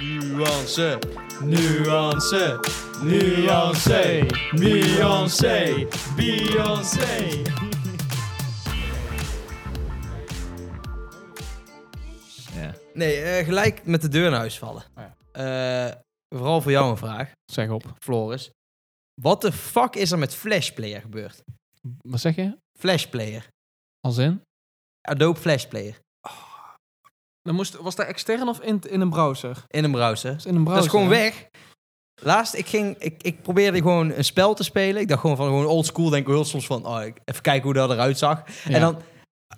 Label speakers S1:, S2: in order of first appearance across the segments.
S1: Nuance, nuance, nuance, Beyoncé, Beyoncé.
S2: Ja.
S3: Nee, eh, gelijk met de deur naar huis vallen.
S4: Oh ja.
S3: Eh, vooral voor jou een vraag,
S4: Zeg op.
S3: Floris. Wat de fuck is er met Flashplayer gebeurd?
S4: Wat zeg je?
S3: Flashplayer.
S4: Als in?
S3: Adobe Flashplayer.
S4: Dan moest, was dat extern of in, in een browser?
S3: In een browser.
S4: Dat is in een
S3: Dat
S4: browser.
S3: is gewoon
S4: hè?
S3: weg. Laatst, ik, ging, ik, ik probeerde gewoon een spel te spelen. Ik dacht gewoon van gewoon old school. Denk ik heel soms van, oh, ik- even kijken hoe dat eruit zag.
S4: Ja.
S3: En dan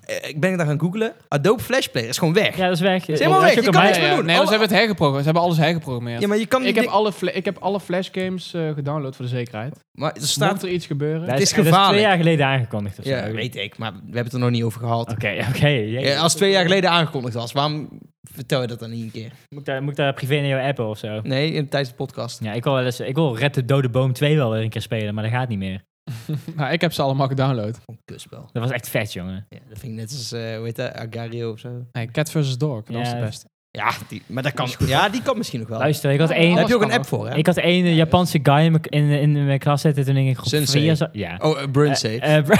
S3: eh, ik ben ik daar gaan googlen. Adobe Flashplayer is gewoon weg.
S2: Ja, dat is weg.
S3: helemaal
S2: Dat
S3: weg,
S2: is ook
S3: je
S2: aan
S3: kan
S2: mij.
S4: Ja,
S3: niks
S4: ja,
S3: meer
S4: ja.
S3: doen.
S4: Nee, maar ze
S3: Alle-
S4: hebben het hergeprogrammeerd. Ze hebben alles hergeprogrammeerd.
S3: Ja, maar je kan
S4: ik,
S3: die
S4: heb alle fla- ik heb alle Flash games eh, gedownload voor de zekerheid.
S3: Maar er
S4: Mocht
S3: staat...
S4: er iets gebeuren...
S2: Dat
S3: Het is
S2: dat
S3: gevaarlijk.
S2: twee jaar geleden aangekondigd of zo.
S3: Ja, weet ik, maar we hebben het er nog niet over gehad.
S2: Oké, oké. jee.
S3: Ja, als het twee jaar geleden aangekondigd was, waarom vertel je dat dan niet een keer?
S2: Moet ik daar, moet ik daar privé naar jou appen of zo?
S3: Nee, in, tijdens de podcast.
S2: Ja, ik wil, wel eens, ik wil Red de Dode Boom 2 wel weer een keer spelen, maar dat gaat niet meer.
S4: Nou, ik heb ze allemaal gedownload.
S3: Een kutspel.
S2: Dat was echt vet, jongen.
S3: Ja, dat vind ik net als, eh hoe heet dat, Agario of zo.
S4: Nee, Cat vs. Dog, dat
S2: Ja,
S4: was de
S2: dat-
S4: beste.
S3: Ja, die, maar dat kan, ja, die kan misschien nog wel. Daar
S2: Luister, ik had
S4: Ja,
S2: één,
S4: alles
S3: heb je ook een
S4: kan
S3: app voor, hè?
S2: ik had één eh, Japanse guy in mijn- in, in mijn klas zitten toen ik in groep
S3: Sensei.
S2: 4 zat. Ja.
S3: Oh, uh, Brunsei.
S2: Eh, eh,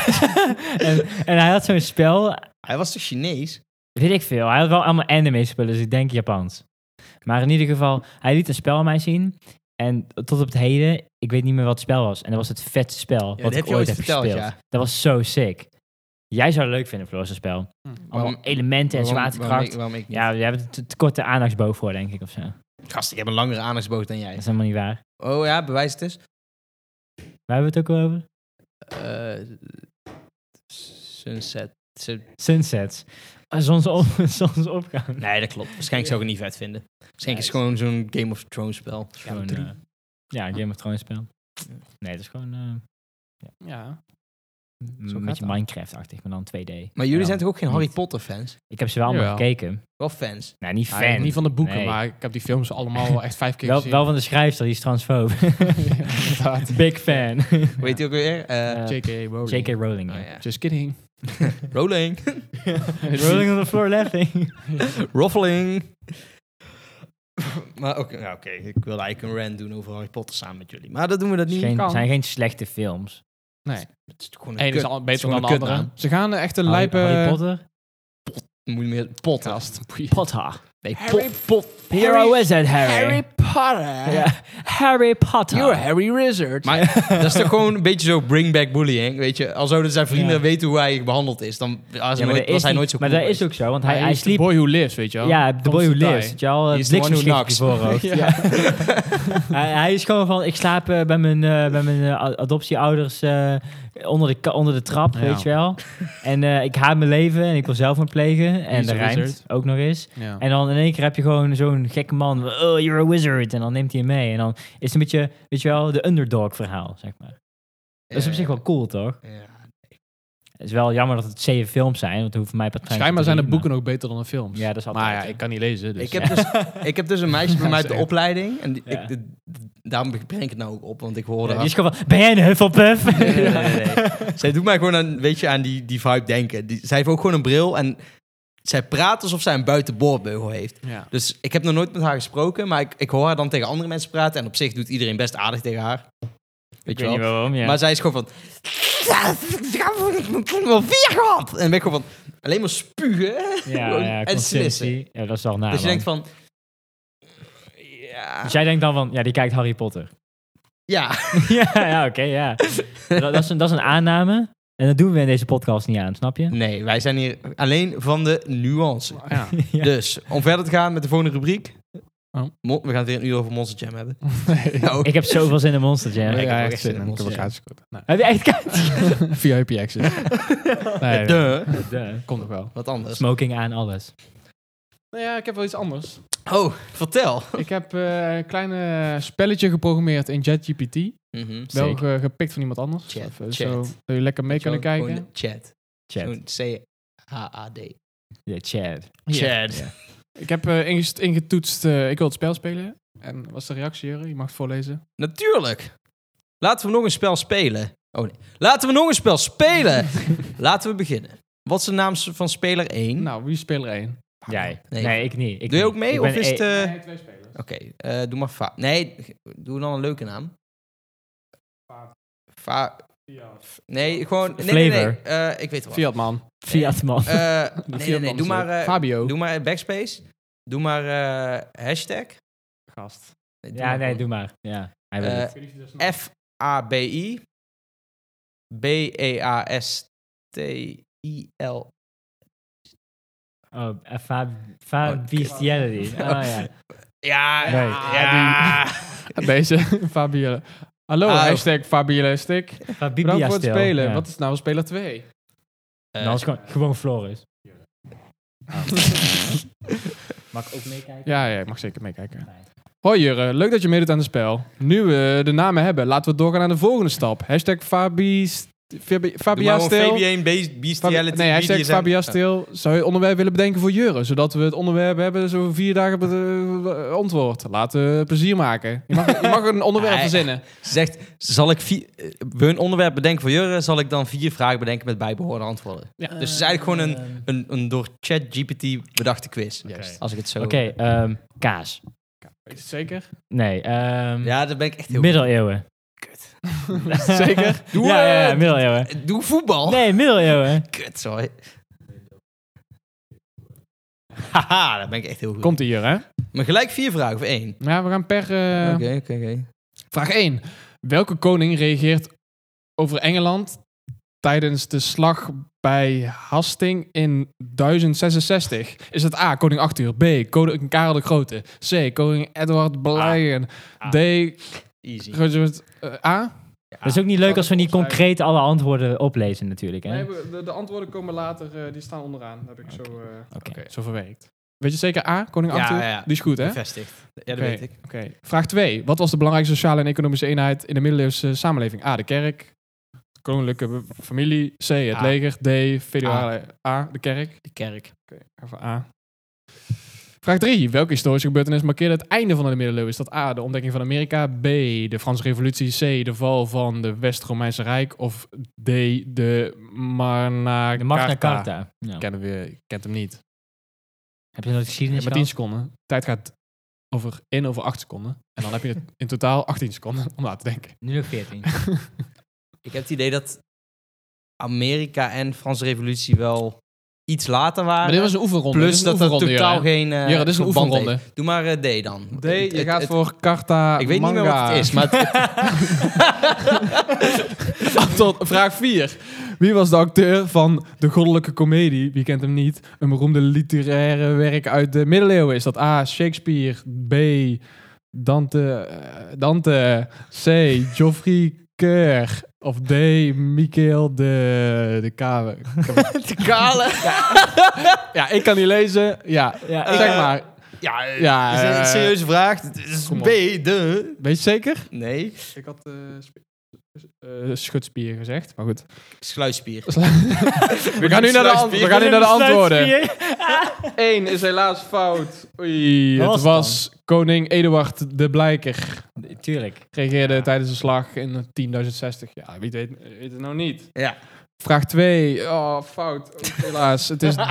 S2: en, en hij had zo'n spel,
S3: Hij was toch Chinees?
S2: weet ik veel. Hij had wel allemaal anime spullen, dus ik denk Japans. Maar in ieder geval, hij liet een spel aan mij zien. En tot op het heden, ik weet niet meer wat het spel was. En dat was het vetste spel
S3: Ja,
S2: wat
S3: dat
S2: ik
S3: heb je
S2: ooit
S3: ooit
S2: heb
S3: verteld,
S2: gespeeld.
S3: ja.
S2: Dat was zo sick. Jij zou het leuk vinden, Floor, zo'n spel. Allemaal
S3: Waarom-
S2: elementen en
S3: Waarom- Waarom
S2: zwaartekracht.
S3: ik, waarom ik niet?
S2: Ja, we hebben het te, te korte aandachtsboog voor, denk ik, of zo. Dat
S3: Gast, ik heb een langere aandachtsboot dan jij.
S2: is helemaal niet waar.
S3: Oh ja, bewijs het eens.
S2: Waar hebben we het ook over?
S3: Eh, sunset. Sun-
S2: Sunsets. Ah, Zonsop, zonsopgang.
S3: Nee, dat klopt. Waarschijnlijk zou ik het niet vet vinden. Waarschijnlijk is het gewoon zo'n Game of Thrones spel.
S2: Gewoon,
S3: drie.
S2: eh, ja, een Game of Thrones spel. Nee, het is gewoon eh,
S4: Ja.
S2: een
S4: gaat
S2: beetje
S4: dat.
S2: Minecraft-achtig, maar dan 2D.
S3: Maar jullie
S2: Ja.
S3: zijn toch ook geen Harry Potter fans?
S2: Ik heb ze wel allemaal
S4: Jawel.
S2: gekeken.
S3: Wel fans.
S2: Nou, niet fan.
S4: Ja, niet van de boeken,
S2: Nee.
S4: maar ik heb die films allemaal wel echt vijf keer
S2: wel,
S4: gezien.
S2: wel van de schrijfster, die is transfoob.
S4: Inderdaad.
S2: Big fan.
S3: Weet je ook weer? Eh,
S2: Eh,
S4: J.K. Rowling.
S2: J.K. Rowling.
S3: oh
S2: ja.
S3: ja.
S4: Just kidding.
S3: Rolling.
S2: Rolling on the floor laughing.
S3: Ruffling. maar oké, nou, oké, ik wil eigenlijk een rant doen over Harry Potter samen met jullie. Maar dat doen we dat
S2: Het
S3: niet.
S2: geen,
S4: kan.
S2: zijn geen slechte films.
S4: Nee.
S3: Het is gewoon een
S4: Eén
S3: kut.
S4: is al
S3: het
S4: beter
S3: gewoon
S4: dan de
S3: een
S4: andere.
S3: kutnaam.
S4: Ze gaan eh, echt een
S2: Harry-
S4: lijpe...
S2: Harry Potter?
S3: Moet je meer potten.
S4: Podcast. Boeien.
S2: Potter.
S3: Nee,
S4: Harry
S3: pot, pot.
S2: Here I was at Harry.
S4: Potter.
S2: Ja, Harry Potter.
S4: Harry Wizard.
S3: Maar dat is toch gewoon een beetje zo bring back bullying, weet je? Al zouden zijn vrienden
S2: Ja.
S3: weten hoe hij behandeld is, dan was, hij
S2: Ja, maar
S3: nooit,
S2: dat
S3: was
S2: is
S3: hij
S2: niet-
S3: nooit zo
S2: Maar
S3: cool
S2: dat is ook zo, want hij, hij
S4: is the
S2: sliep...
S4: boy who lives, weet je wel.
S2: Ja, The Boy Who
S4: Constant
S2: Lives.
S4: die.
S2: Weet je wel,
S3: He is the one who
S2: bliksemschicht op je
S3: knocks.
S2: voorhoofd.
S4: Ja.
S2: hij, hij is gewoon van, ik slaap eh, bij mijn, eh, bij mijn eh, adoptieouders eh, onder, de, ka- onder de trap,
S4: Ja.
S2: weet je wel. En eh, ik haat mijn leven en ik wil zelf plegen. En
S4: is
S2: de
S4: een
S2: rijmt
S4: wizard.
S2: ook nog eens.
S4: Ja.
S2: En dan in één keer heb je gewoon zo'n gekke man. Oh, you're a wizard. En dan neemt hij hem mee. En dan is het een beetje, weet je wel, de underdog verhaal, zeg maar. Dat is op zich wel cool, toch?
S3: Ja.
S2: Het is wel jammer dat het zeven films zijn, want er hoeven mij partij.
S4: Schijnbaar zijn de boeken ook beter dan de films.
S2: Ja, dat is altijd.
S4: maar ja, ik kan niet lezen, dus...
S3: Ik heb, dus, ik heb dus een meisje bij mij uit de
S4: Zeker.
S3: opleiding. En die-
S2: Ja.
S3: ik, de- daarom breng ik het nou ook op, want ik hoorde
S2: Ja,
S3: haar
S2: die is gewoon van, ben jij een Hufflepuff?
S3: Nee, nee, nee, nee, nee. zij doet mij gewoon aan, weet je, aan die, die vibe denken. Die, zij heeft ook gewoon een bril en zij praat alsof zij een buitenboordbeugel heeft.
S4: Ja.
S3: Dus ik heb nog nooit met haar gesproken, maar ik, ik hoor haar dan tegen andere mensen praten. En op zich doet iedereen best aardig tegen haar. Weet je
S2: Ik weet
S3: wel.
S2: niet waarom, ja.
S3: Maar zij is gewoon van... Ik ben wel vier gehad! En dan ben ik gewoon van... Alleen maar spugen.
S2: ja,
S3: gewoon-
S2: ja,
S3: en slissen.
S2: consistentie. Ja, dat is wel na,
S3: dus je
S2: man.
S3: denkt van... Ja...
S2: Dus jij denkt dan van, ja, die kijkt Harry Potter.
S3: Ja.
S2: ja, ja, oké, ja. Dat, dat, is een, dat is een aanname. En dat doen we in deze podcast niet aan, snap je?
S3: Nee, wij zijn hier alleen van de nuance.
S4: Ja.
S2: Ja.
S3: Dus, om verder te gaan met de volgende rubriek.
S4: Oh.
S3: Mo- We gaan het weer een uur over Monster Jam hebben.
S4: Nee.
S3: Nou,
S2: Ik heb zoveel zin in Monster
S4: Ja,
S2: Jam.
S3: ik heb ook
S4: ja,
S3: echt
S4: echt
S3: zin
S4: zin
S3: in
S4: in. Ik heb ook
S3: Monster.
S4: uitgescoord. Nou,
S2: Heb je echt
S4: VIP access. dus. Nee, nee,
S3: duh.
S2: kaart?
S4: komt nog wel.
S3: Wat anders.
S2: Smoking aan alles.
S4: Nou ja, ik heb wel iets anders.
S3: Oh, vertel.
S4: Ik heb eh, een klein eh, spelletje geprogrammeerd in ChatGPT.
S3: Mhm.
S4: Wel
S2: Zeker.
S4: ge- gepikt van iemand anders.
S3: Chat,
S4: Of, eh,
S3: chat.
S4: Zo, dat jullie lekker mee kunnen
S3: Gewoon
S4: kijken.
S3: Chat.
S2: Chad.
S3: Gewoon C-H-A-D.
S2: Ja, Chad.
S4: Ja.
S3: Chat.
S2: Ja.
S4: Ik heb eh, ingest- ingetoetst, eh, ik wil het spel spelen. En was de reactie, Jurre? Je mag het voorlezen.
S3: Natuurlijk. Laten we nog een spel spelen. Oh nee. Laten we nog een spel spelen. Laten we beginnen. Wat is de naam van speler 1?
S4: Nou, wie is speler 1?
S2: Jij.
S3: Nee.
S2: Nee, ik niet. Ik
S3: Doe je
S2: niet.
S3: ook mee?
S2: Ik ben
S3: Of is
S2: e-
S3: het... eh,
S4: twee spelers.
S3: Oké, eh, doe maar Fa. Nee, doe dan een leuke naam. Fa. Nee, gewoon. Nee, nee, nee.
S2: Flavor.
S3: Eh, ik weet het wel.
S4: Fiat man.
S2: Fiat man.
S3: Eh, nee, nee, nee. Doe maar, eh,
S4: Fabio.
S3: doe maar eh, backspace. Doe maar eh, hashtag.
S4: gast.
S3: Nee, doe
S2: ja,
S3: maar
S2: nee,
S3: gewoon.
S2: doe maar. Ja, hij wil
S3: Eh,
S2: het.
S3: F-A-B-I. E B-E-A-S-T-I-L.
S2: Oh, eh, Fa- Fabistiality. Oh ja.
S3: Ja,
S2: Nee.
S3: ja.
S4: Deze. Fabio. Hallo,
S3: Ah,
S4: hashtag Fabio Stick. Bedankt voor het
S2: Fabibiastil.
S4: spelen.
S2: Ja.
S4: Wat is nou speler 2?
S3: Eh,
S2: Nou, dat is gewoon, gewoon Floris. Mag ik ook meekijken?
S4: Ja, ja, ik mag zeker meekijken.
S2: Nee.
S4: Hoi Jurre, leuk dat je meedoet aan het spel. Nu we de namen hebben, laten we doorgaan naar de volgende stap. Hashtag Fabi... St- Fabi-
S3: doe maar
S4: Fabia
S3: gewoon
S4: Stil.
S3: VBA, beast-
S4: Fabi-
S3: bestiality.
S4: nee, hashtag
S3: BDSM.
S4: Fabia Stil. Zou je het onderwerp willen bedenken voor Jurre? Zodat we het onderwerp hebben, zo vier dagen be- eh, antwoord. Laten we plezier maken. Je mag, je mag een onderwerp
S3: Hij-
S4: verzinnen.
S3: Ze zegt, zal ik vier, eh, we een onderwerp bedenken voor Jurre, zal ik dan vier vragen bedenken met bijbehorende antwoorden.
S4: Ja,
S3: dus het is eigenlijk gewoon
S2: Ehm,
S3: Een, een door ChatGPT bedachte quiz.
S2: Juist.
S3: Als ik het zo...
S2: Oké, ehm, kaas.
S4: Weet je het zeker?
S2: Nee, ehm,
S4: Mm.
S3: Ja, daar ben ik echt heel...
S2: middeleeuwen. Kut.
S4: Zeker?
S3: Doe,
S2: ja, ja, ja,
S3: het!
S2: middeleeuwen.
S3: Eh, Doe voetbal.
S2: Nee, middeleeuwen.
S3: Kut, sorry. Haha, daar ben ik echt heel goed.
S4: Komt ie Jurre, hè?
S3: Maar gelijk vier vragen of één?
S4: Ja, we gaan per... eh,
S3: Oké, oké, oké.
S4: Vraag 1. Welke koning reageert over Engeland tijdens de slag bij Hasting in 1066? Is het A, koning Arthur, B, koning Karel de Grote, C, koning Edward Belien,
S2: A.
S4: D,
S3: Easy.
S4: Richard, eh, A?
S2: Dat is ook niet leuk als we niet
S4: opschrijven.
S2: concreet alle antwoorden oplezen natuurlijk, hè?
S4: de, antwoorden komen later, eh, die staan onderaan. Dat heb ik zo, eh,
S2: Oké.
S4: zo verwerkt. Weet je zeker A, koning
S3: Ja,
S4: Arthur?
S3: ja, ja.
S4: Die is goed, hè?
S3: Bevestigd. Ja, dat
S4: Oké.
S3: weet ik.
S4: Oké. Vraag 2. Wat was de belangrijkste sociale en economische eenheid in de middeleeuwse samenleving? A. De kerk. Koninklijke be- familie. C. Het
S3: A.
S4: leger. D. Federale A. De kerk.
S3: De kerk.
S4: Even A. Vraag 3. Welke historische gebeurtenis markeerde het einde van de middeleeuwen? Is dat A. De ontdekking van Amerika. B. De Franse revolutie. C. De val van de West-Romeinse Rijk. Of D. De Magna
S2: De Magna
S4: Carta.
S2: Carta. Ja.
S4: Kennen we, je kent hem niet.
S2: Heb je nooit geschiedenis
S4: maar 10
S2: gehad?
S4: seconden. Tijd gaat over in over 8 seconden. En dan heb je in totaal 18 seconden om na te denken.
S2: Nu nog 14.
S3: Ik heb het idee dat Amerika en Franse Revolutie wel iets later waren.
S4: Maar dit was een oefenronde.
S3: Ah, Plus dat er totaal geen. eh,
S4: Ja, dit is een
S3: verband
S4: oefenronde.
S3: heeft. Doe maar eh, D dan.
S4: D,
S3: Het-
S4: je
S3: het-
S4: gaat
S3: het-
S4: voor Carta
S3: Ik weet niet meer wat het is, maar. het-
S4: Tot vraag 4. Wie was de acteur van De Goddelijke Comedie? Wie kent hem niet? Een beroemde literaire werk uit de middeleeuwen. Is dat A. Shakespeare? B. Dante? eh, Dante C. Geoffrey Keur? Of D. Michael de, de Kave?
S3: het- de kale.
S4: Ja, ik kan niet lezen. Ja,
S2: ja,
S3: Eh,
S4: zeg maar.
S3: Ja, eh,
S4: Ja,
S3: is een
S4: eh,
S3: serieuze vraag. Het is
S4: kom op.
S3: B, de.
S4: Weet je zeker?
S3: Nee.
S4: Ik had eh, schutspier gezegd, maar goed.
S3: Sluitspier.
S4: We gaan nu naar de, ant- we gaan nu naar de antwoorden.
S2: Sluitspier.
S4: 1 is helaas fout. Oei,
S2: Wat
S4: het was koning Eduard de Blijker.
S2: Tuurlijk.
S4: Regeerde tijdens de slag in 10.060. Ja, wie weet, weet het nou niet.
S3: Ja.
S4: Vraag 2. Oh, fout. Ook Helaas. Het is D.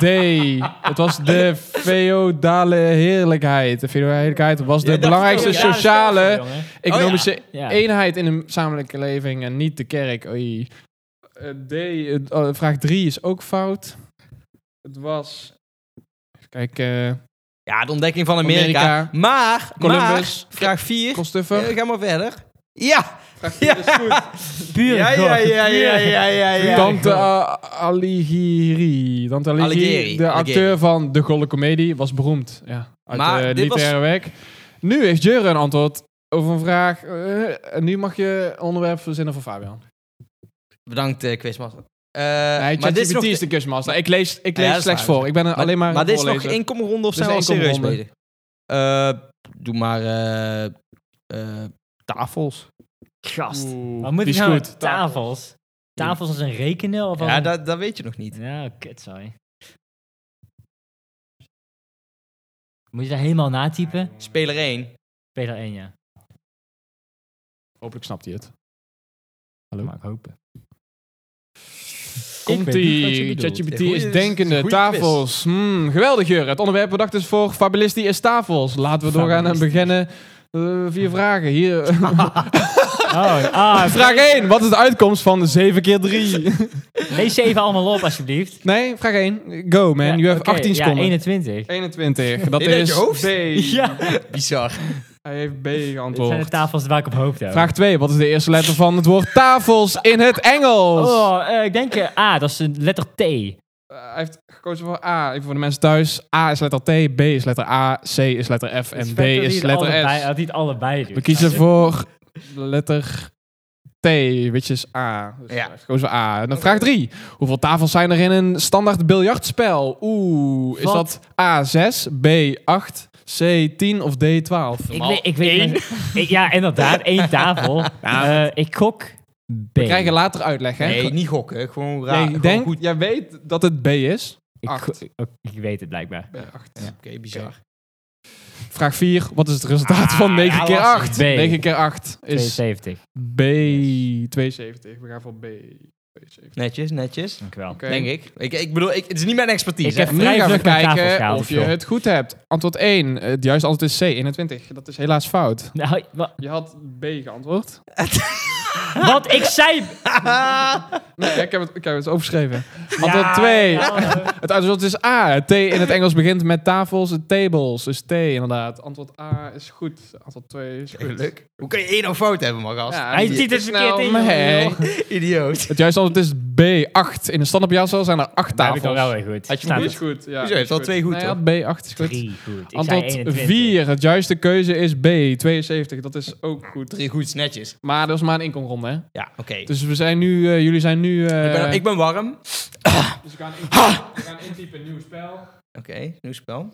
S4: Het was de feodale heerlijkheid. De feodale heerlijkheid was de
S3: Ja, dat
S4: belangrijkste
S3: vertel je.
S4: sociale,
S2: jongen.
S4: economische
S3: Oh,
S2: Ja.
S4: eenheid in een samenlijke leving en niet de kerk. Oei. Eh, D, eh, oh, vraag 3 is ook fout. Het was. Even kijken.
S3: Ja, de ontdekking van Amerika.
S4: Amerika.
S3: Maar,
S4: Columbus.
S3: maar, vraag 4.
S4: Kostuffer.
S3: Ga maar verder. Ja!
S4: vraag 4 is goed.
S2: Pure
S3: Ja, ja, ja, ja, ja, ja, ja.
S4: Dante eh, Alighieri. Dante Alighieri,
S3: Alighieri,
S4: de
S3: Alighieri.
S4: acteur van De Golle Comedie, was beroemd. Ja, uit
S3: Maar
S4: eh,
S3: dit
S4: literaire werk. Nu heeft Jure een antwoord over een vraag. eh, en nu mag je een onderwerp verzinnen voor Fabian.
S3: Bedankt, eh, Quizmaster. Eh,
S4: nee,
S3: maar dit is nog e-
S4: is de kusmaster. Ik lees, ik
S3: Ja,
S4: lees
S3: dat is
S4: slechts
S3: waar.
S4: voor. Ik ben er
S3: Maar-
S4: alleen maar
S3: Maar
S4: een
S3: dit is nog
S4: voorlezer.
S3: inkomronde of
S4: Dit is
S3: zijn we al
S4: een
S3: serieus
S4: inkomronde.
S3: bezig? Eh, doe maar eh, eh, tafels.
S2: Gast.
S4: Oeh,
S2: Wat moet
S4: die
S2: ik
S4: is
S2: nou
S4: goed.
S2: met tafels? Tafels als een rekenen? Of als
S3: Ja,
S2: een-
S3: dat, dat weet je nog niet.
S2: Ja, kut, sorry. Moet je daar helemaal natypen?
S3: Speler 1.
S2: Speler 1, ja.
S4: Hopelijk snapt hij het.
S2: Mag ik hopen. weet niet wat je
S4: Komt-ie.
S2: bedoelt.
S4: ChatGPT
S3: Goeie-
S4: is denkende.
S3: goeie
S4: Tafels. Hmm, geweldig, Jur. Het onderwerp bedacht is voor Fabelisti is tafels. Laten we doorgaan en beginnen. eh, vier vragen. Hier. eh,
S2: Oh, ah,
S4: vraag 1. Wat is de uitkomst van 7 keer 3?
S2: lees ze even allemaal op, alsjeblieft.
S4: Nee, vraag 1. Go, man.
S2: Ja,
S4: you have
S2: oké,
S4: 18
S2: ja,
S4: seconden.
S2: 21.
S4: 21. Dat
S3: Dit uit
S4: is
S3: je hoofd?
S4: B.
S2: Ja,
S3: Bizar.
S4: Hij heeft B
S2: dit zijn de
S4: geantwoord.
S2: tafels waar ik op hoopte. ook.
S4: Vraag 2. Wat is de eerste letter van het woord tafels in het Engels?
S2: Oh, eh, ik denk eh, A, dat is de letter T.
S4: Eh, hij heeft gekozen voor A. Even voor de mensen thuis. A is letter T, B is letter A, C is letter F
S2: Dus
S4: en B is letter
S2: allebei,
S4: S.
S2: Had niet allebei doet.
S4: We kiezen voor letter T, which is A. Dus
S3: Ja.
S4: hij heeft gekozen voor A. En dan vraag 3. Hoeveel tafels zijn er in een standaard biljartspel? Oeh, is
S2: Wat?
S4: dat A 6, B 8, C 10 of D 12?
S2: Ik weet, ik weet ik- ja, inderdaad. één tafel. Eh, ik gok B.
S4: We krijgen later uitleg, hè?
S3: Nee, niet gokken. Gewoon raar.
S4: Nee, ik
S3: gewoon
S4: denk,
S3: goed.
S4: jij weet dat het B is.
S2: ik,
S4: acht.
S2: go- ik- ik weet het blijkbaar.
S3: Oké, bizar.
S4: Vraag 4. Wat is het resultaat van 9
S3: ja,
S4: keer
S3: lastig.
S4: 8?
S2: Ah, B.
S4: 9 keer 8 is
S2: 72.
S4: B72. We gaan voor B72.
S3: Netjes, netjes.
S2: Dank u wel.
S4: Oké.
S3: Denk ik. ik. Ik bedoel, ik, het is niet mijn expertise.
S2: Ik
S3: hè.
S2: heb
S4: Nu
S2: vrij
S4: gaan we
S2: vlug mijn tafels
S4: kijken
S2: gehaald,
S4: of je
S2: joh.
S4: het goed hebt. Antwoord 1. Het juiste antwoord is C, 21. Dat is helaas fout.
S2: Nou, wa-
S4: Je had B geantwoord.
S2: wat ik zei...
S4: Nee, ik heb het, ik heb het overschreven.
S2: Ja,
S4: Antwoord 2.
S2: ja.
S4: Het antwoord is A. Het T in het Engels begint met tafels en tables. Dus T inderdaad. Antwoord A is goed. Antwoord 2 is goed.
S3: Leuk. Hoe kun je één nou fout hebben, man, gast?
S4: Ja,
S2: Hij
S4: die-
S2: ziet het
S4: snel,
S2: verkeerd in,
S4: maar
S2: joh.
S4: hey.
S3: Idioot.
S4: Het juiste antwoord is B8. In de standaardbiljartspel zijn er 8
S2: Daar heb ik al
S4: tafels.
S2: wel weer goed.
S3: Had je
S2: Staat
S3: hem
S4: Is goed, ja.
S3: Hoezo, je hebt al
S4: Is
S3: twee goed,
S4: Nee,
S3: hoor.
S4: hij had B8 is goed.
S2: Drie goed. Ik zei
S4: Antwoord
S2: 21.
S4: 4. Het juiste keuze is B, 72. Dat is ook goed.
S3: Drie goeds, netjes.
S4: Maar dat is maar een inkomronde, hè?
S3: Ja, oké.
S4: Dus we zijn nu, eh, jullie zijn nu... eh,
S3: ik, ben, ik ben warm. Oké,
S4: Dus we gaan, intypen, we gaan intypen nieuw spel.
S3: nieuw spel.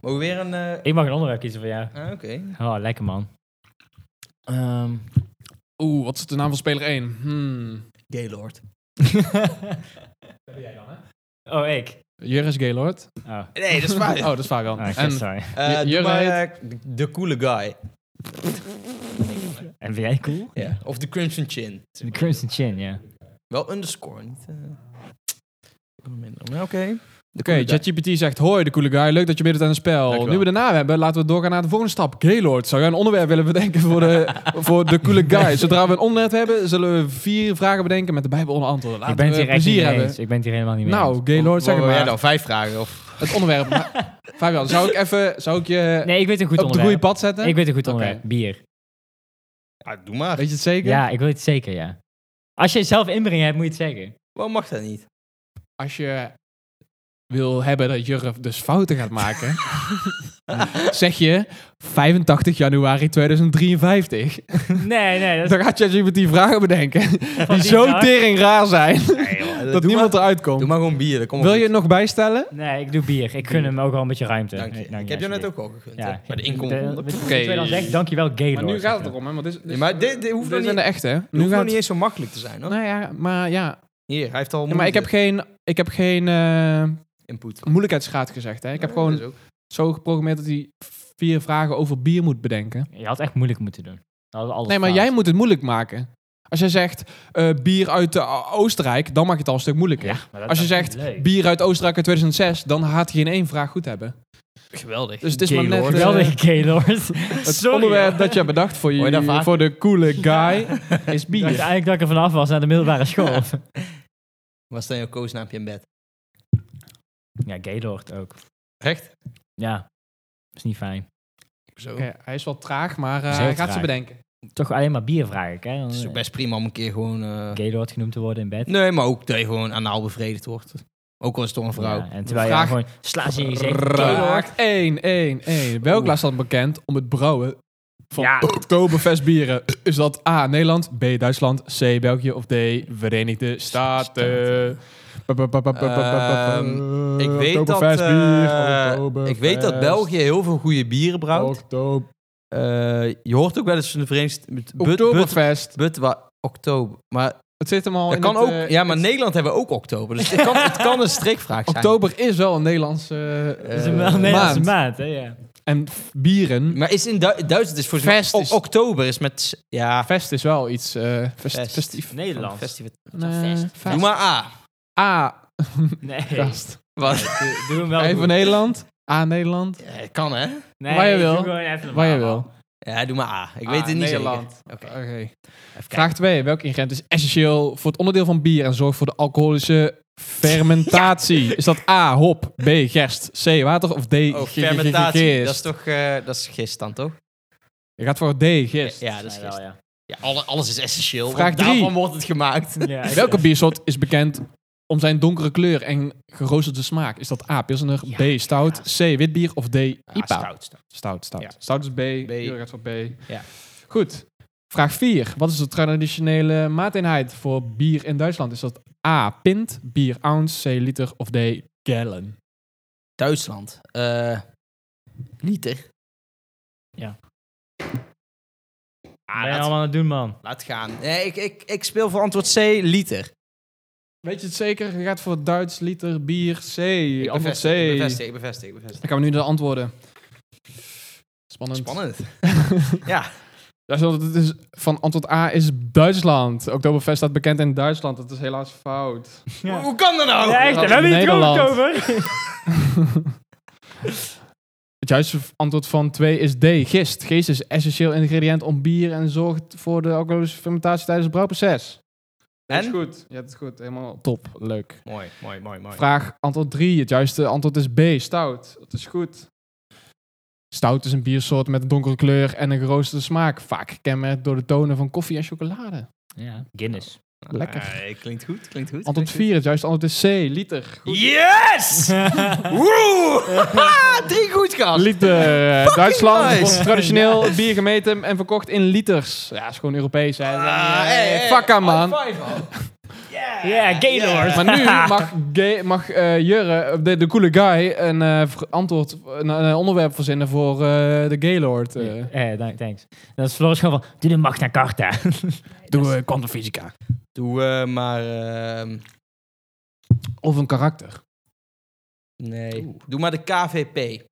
S3: Mogen we weer een... eh,
S2: Ik mag een onderwerp kiezen voor jou.
S3: ah, oké.
S2: Oh, lekker man.
S3: Ehm,
S4: Oeh, wat is de naam van speler 1? Hmm.
S3: Gaylord.
S2: Oh, ik.
S4: Juris Gaylord.
S2: Oh,
S3: Nee, dat is
S4: Oh,
S3: waar.
S4: dat is vaak al.
S2: oh ik
S4: en
S2: sorry.
S3: Eh,
S4: J-
S3: doe
S4: Jurre
S3: maar, eh, de- de coole guy.
S2: En vind jij cool?
S3: Ja. Of de Crimson Chin.
S2: De Crimson Chin, ja.
S3: Wel underscore, niet... eh, minder. Maar Oké. De
S4: Oké,
S3: coole guy.
S4: ChatGPT zegt, hoi de coole guy, leuk dat je meedoet aan het spel.
S3: Dankjewel.
S4: Nu we de naam hebben, laten we doorgaan naar de volgende stap. Gaylord, zou jij een onderwerp willen bedenken voor de, voor de coole guy? Zodra we een onderwerp hebben, zullen we vier vragen bedenken met de Bijbel onder antwoorden. Laten
S2: ik ben het
S4: we
S2: hier echt niet
S4: plezier
S2: mee
S4: hebben.
S2: eens. Ik ben het hier helemaal niet mee
S4: Nou,
S2: eens.
S4: Gaylord, zeg
S3: Mogen
S4: het maar.
S3: we- ja, nou, vijf vragen of...
S4: Het onderwerp. maar- Fabian, zou ik even, zou ik je
S2: Nee, ik weet een goed
S4: op de goede
S2: onderwerp.
S4: pad zetten?
S2: Ik weet een goed
S4: Oké.
S2: onderwerp. Bier.
S3: Ja, doe maar.
S4: Weet je het zeker?
S2: Ja, ik weet het zeker, ja. Als je het zelf inbrengen hebt, moet je het zeggen.
S3: Waarom mag dat niet?
S4: Als je wil hebben dat Jurf dus fouten gaat maken, zeg je 85 januari 2053.
S2: Nee, nee, dat is...
S4: Dan gaat ChatGPT vragen bedenken
S2: Van
S4: die
S2: die
S4: zo
S2: dag?
S4: tering raar zijn dat niemand
S3: maar,
S4: eruit
S3: Eh, Doe
S4: komt.
S3: maar gewoon bier, dat komt
S4: Wil
S3: wel
S4: je het
S3: goed.
S4: nog bijstellen?
S2: Nee, ik doe bier. Ik gun hem ook wel een beetje ruimte.
S3: Dank je.
S2: Nee, dank
S3: ik heb jou net
S2: alsjeblieft.
S3: ook al gegund.
S2: Ja. dus
S3: hè. Maar de inkomst...
S2: Oké.
S4: Oké.
S2: dan zegt, dankjewel Gaylord.
S4: Maar nu
S2: zeg
S4: gaat het
S2: maar.
S4: erom, hè? Want dit, is- dit,
S3: Ja, maar dit, dit
S4: dit
S3: hoeft nog
S4: zijn
S3: niet,
S4: de echte, hè?
S3: nu
S4: Nu
S3: hoeft nog
S4: gaat
S3: niet eens zo makkelijk te zijn, hoor.
S4: Nou ja, maar ja.
S3: Hier, hij heeft al
S4: Ja, maar ik heb
S3: moeite.
S4: geen, ik heb geen eh,
S3: input.
S4: moeilijkheidsgraad gezegd, hè? Ik heb
S3: Ja,
S4: gewoon
S3: dat is ook-
S4: zo geprogrammeerd dat hij vier vragen over bier moet bedenken.
S2: Je had echt moeilijk moeten doen. Dan hadden we alles
S4: Nee, maar
S2: fout.
S4: jij moet het moeilijk maken. Als jij zegt eh, bier uit eh, Oostenrijk, dan maak je het al een stuk moeilijker.
S2: Ja, maar dat-
S4: Als je
S2: dat is niet
S4: zegt
S2: leuk.
S4: bier uit Oostenrijk uit 2006, dan gaat hij geen één vraag goed hebben.
S3: Geweldig.
S4: Dus het is maar net,
S3: Gaylord.
S4: eh,
S2: Geweldig Gaylord.
S4: Het onderwerp dat je hebt bedacht voor,
S3: Hoor je dat
S4: je,
S3: vaak?
S4: voor de coole guy is
S2: Ik dacht
S4: bier.
S2: eigenlijk dat ik er vanaf was naar de middelbare school.
S3: Wat is dan jouw koosnaampje in bed?
S2: ja, Gaylord ook.
S3: Echt?
S2: Ja, is niet fijn.
S3: Zo.
S4: Oké, hij is wel traag, maar eh,
S2: Is heel
S4: hij gaat
S2: traag.
S4: ze bedenken.
S2: Toch alleen maar bier vraag ik, hè? Dan,
S3: Het is
S2: eh,
S3: ook best prima om een keer gewoon... eh,
S2: Gaylord genoemd te worden in bed.
S3: Nee, maar ook dat je gewoon anaal bevredigd wordt. Ook al is het door een vrouw.
S2: Ja, en terwijl
S4: Vraag-
S2: je dan gewoon slaat ze in je gezicht.
S4: Vraag 1, 1, 1. Welk
S3: Oeh.
S4: land staat bekend om het brouwen van
S2: Ja.
S4: Oktoberfest bieren? Is dat A, Nederland, B, Duitsland, C, België of D, Verenigde Staten? Ba, ba, ba, ba, ba, ba, ba,
S3: Ehm,
S4: ba.
S3: Ik weet dat...
S4: Eh, Oktoberfest bier,
S3: eh, ik weet dat
S4: Oktoberfest,
S3: België heel veel goede bieren brouwt.
S4: Oktober-
S3: Eh, je hoort ook wel eens van de Verenigde... But, but, but,
S4: Oktoberfest.
S3: wa- oktober. Maar
S4: Het zit hem al
S3: dat
S4: in
S3: kan
S4: het,
S3: ook...
S4: eh,
S3: ja, maar Nederland hebben we ook oktober. Dus het kan, het kan een strikvraag zijn.
S4: Oktober is wel een Nederlandse
S2: Dat
S4: eh,
S2: is een wel een
S4: maand.
S2: Nederlandse maand, hè? Ja.
S4: En f- bieren.
S3: Maar is in Du- Duitsland is voor
S4: Fest is-
S3: oktober is met s- ja
S4: Fest is wel iets eh, fest-
S3: Fest.
S4: festief.
S2: Nederland.
S3: festival.
S4: Eh,
S2: Fest.
S4: fest.
S3: Doe maar A.
S4: A.
S2: Nee,
S4: Gast.
S3: Wat?
S2: doe, doe hem wel
S4: E
S2: goed.
S4: voor Nederland. A Nederland.
S3: Ja, kan hè?
S2: Nee,
S4: waar je wil.
S2: doe gewoon even
S4: Waar je
S2: normaal.
S4: wil.
S3: Ja, doe maar A. Ik weet
S4: A,
S3: het niet
S4: Nederland.
S3: zeker. Ah, Oké.
S4: Oké.
S3: Even kijken.
S4: Vraag 2. Welk ingrediënt is essentieel voor het onderdeel van bier en zorgt voor de alcoholische fermentatie? Is dat A. Hop, B. Gerst, C. Water of D.
S3: Oh,
S4: ge- ge- ge-
S3: fermentatie.
S4: gist?
S3: Dat is toch... eh, dat is gist dan, toch?
S4: Je gaat voor D. Gist.
S3: Ja, dat is
S2: Volgens
S3: gist.
S2: mij wel,
S3: Ja, alle- alles is essentieel. want
S4: Vraag drie.
S3: Daarvan wordt het gemaakt.
S2: ja. Ja,
S4: Welke
S2: ik-
S4: biersoort is bekend om zijn donkere kleur en geroosterde smaak? Is dat A. Pilsener,
S2: Ja,
S4: B. Stout, C. Witbier of D. IPA?
S3: Ah, stout, stout.
S4: Stout, stout.
S3: Ja.
S4: Stout is B.
S3: B.
S4: B. gaat voor B.
S3: Ja.
S4: Goed. Vraag 4. Wat is de traditionele maateenheid voor bier in Duitsland? Is dat A. Pint, bier ounce, C. liter of D. Gallon?
S3: Duitsland. Eh liter.
S2: Wat ben je
S3: dat-
S2: allemaal aan het doen, man?
S3: Laat gaan. Nee, ik, ik, ik speel voor antwoord C, liter.
S4: Weet je het zeker? Je gaat voor Duits, liter, bier, C.
S3: Ik
S4: Antwoord C.
S3: bevestig, ik bevestig, ik bevestig, ik bevestig.
S4: Dan gaan we nu de antwoorden. Spannend.
S3: Spannend. ja.
S4: Duitsland, het is, van antwoord A is Duitsland. Oktoberfest staat bekend in Duitsland. Dat is helaas fout.
S2: Ja.
S3: Hoe kan dat nou?
S2: Ja, echt,
S4: Oh, dat
S2: we hebben niet
S4: Nederland.
S2: gehoord over.
S4: Het juiste antwoord van 2 is D. Gist. Gist is essentieel ingrediënt om bier en zorgt voor de alcoholische fermentatie tijdens het brouwproces. Dat is
S3: En?
S4: goed. Ja, dat is goed.
S3: Oh,
S4: Helemaal top. Leuk.
S3: Mooi, mooi, mooi, mooi.
S4: Vraag antwoord 3. Het juiste antwoord is B. Stout. Dat is goed. Stout is een biersoort met een donkere kleur en een geroosterde smaak. Vaak gekenmerkt door de tonen van koffie en chocolade.
S2: Ja, Guinness.
S4: Lekker.
S3: Eh, klinkt goed, klinkt goed.
S4: Antwoord
S3: klinkt
S4: 4. Het juiste antwoord is C. Liter.
S3: goed. Yes! Woe! Haha, Drie goed, gast.
S4: Liter. eh, Duitsland
S3: nice.
S4: wordt traditioneel bier gemeten en verkocht in liters. Ja, is gewoon Europees. Hè.
S3: Ah,
S4: Eh,
S3: hey, hey,
S4: fuck aan, man.
S3: high five, man. Yeah.
S2: Ja,
S4: Maar
S2: Gaylord.
S4: nu mag, Ge- mag eh, Jurre, de, de coole guy, een eh, ver- antwoord, een, een onderwerp verzinnen voor eh, de Gaylord. eh.
S2: Eh, dank- thanks. Dat is Floris gewoon van, doe de Magna Carta.
S4: Doe we kwantumfysica.
S3: Doe eh, maar... ehm,
S4: Of een karakter.
S3: nee. Doe maar de KVP.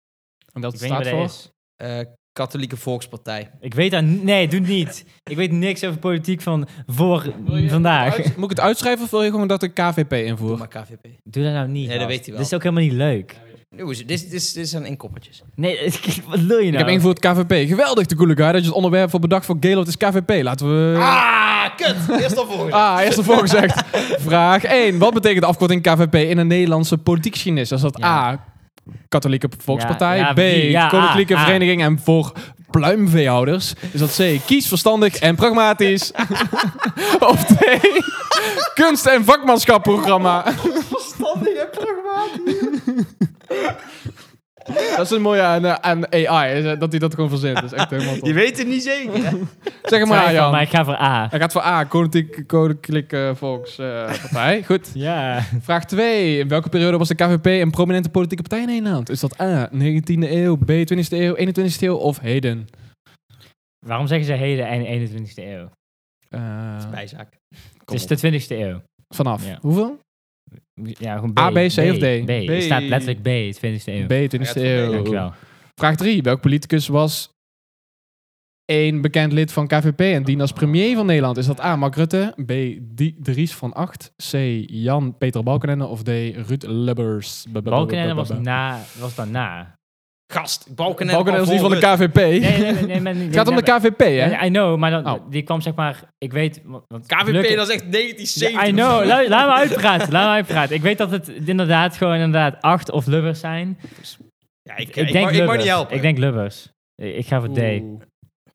S4: En dat
S2: ik weet niet wat
S4: staat
S2: dat
S4: voor.
S2: is.
S3: eh, Katholieke Volkspartij.
S2: Ik weet dat... Nee, doe het niet. ik weet niks over politiek van voor vandaag.
S4: Uit- moet ik het uitschrijven of wil je gewoon dat ik KVP
S3: Doe
S4: invoer?
S3: maar KVP.
S2: Doe dat nou niet.
S3: Nee, dat
S2: gast.
S3: weet hij wel.
S2: Dit is ook helemaal niet leuk.
S3: Nu is het- Dit, dit, is- dit zijn inkoppertjes.
S2: Nee, wat wil je nou?
S4: Ik heb ingevoerd KVP. Geweldig, de coole guy, dat je het onderwerp voor bedacht voor Gaylord is KVP. Laten we...
S3: Ah, kut! Eerst opvolgen.
S4: Ah, eerst ervoor gezegd. Vraag 1. Wat betekent de afkorting KVP in een Nederlandse politiek Chinees? Is dat
S2: Ja.
S4: A. Katholieke Volkspartij.
S2: Ja, ja,
S4: B.
S2: wie? Ja,
S4: Koninklijke
S2: A, A.
S4: Vereniging en voor pluimveehouders. Is dat C. Kies verstandig en pragmatisch. of D. Kunst- en vakmanschapprogramma.
S3: Verstandig en pragmatisch.
S4: Dat is een mooie aan, eh, aan AI. is, eh, Dat hij dat gewoon verzint. Dat is echt helemaal
S3: Je
S4: top.
S3: weet het niet zeker, hè?
S4: Zeg hem
S2: Twijfel,
S4: maar, Jan.
S2: maar ik ga voor A.
S4: Hij gaat voor A. Koninklijke, Koninklijke Volkspartij. Goed.
S2: Ja.
S4: Vraag 2. In welke periode was de KVP een prominente politieke partij in Nederland? Is dat A, 19e eeuw, B, 20e eeuw, 21e eeuw of heden?
S2: Waarom zeggen ze heden en 21e eeuw?
S4: Eh,
S3: Bijzaak.
S2: Het is de 20e eeuw.
S4: vanaf.
S2: Ja.
S4: Hoeveel?
S2: Ja, gewoon B.
S4: A, B, C of D?
S2: B. Er
S4: B.
S2: staat letterlijk B, 20e eeuw.
S4: B, 20e eeuw.
S2: Dankjewel.
S4: Vraag 3. Welk politicus was één bekend lid van KVP en dien als premier van Nederland? Is dat A, Mark Rutte, B, Di- Dries van Acht, C, Jan-Peter Balkenende of D, Ruud Lubbers?
S2: Balkenende was, na, was daarna.
S3: Gast, Balkenende.
S4: Balkenende is
S3: kwam
S4: niet van de
S3: voor Rutte.
S4: KVP.
S2: Nee, nee, nee. nee, maar-
S4: Het gaat om de KVP, hè?
S2: Ja, I know, maar dan,
S4: Oh.
S2: die kwam zeg maar... Ik weet... want- want
S3: KVP,
S2: gelukkig-
S3: dat is echt 1970.
S2: Ja, I know. Laat, laat me uitpraten. laat me uitpraten. Ik weet dat het inderdaad gewoon inderdaad acht of lubbers zijn.
S3: Ja, ik, ik,
S2: denk
S3: mag, ik mag
S2: lubbers.
S3: niet helpen.
S2: Ik denk lubbers. Ik ik ga voor D.
S4: Oeh.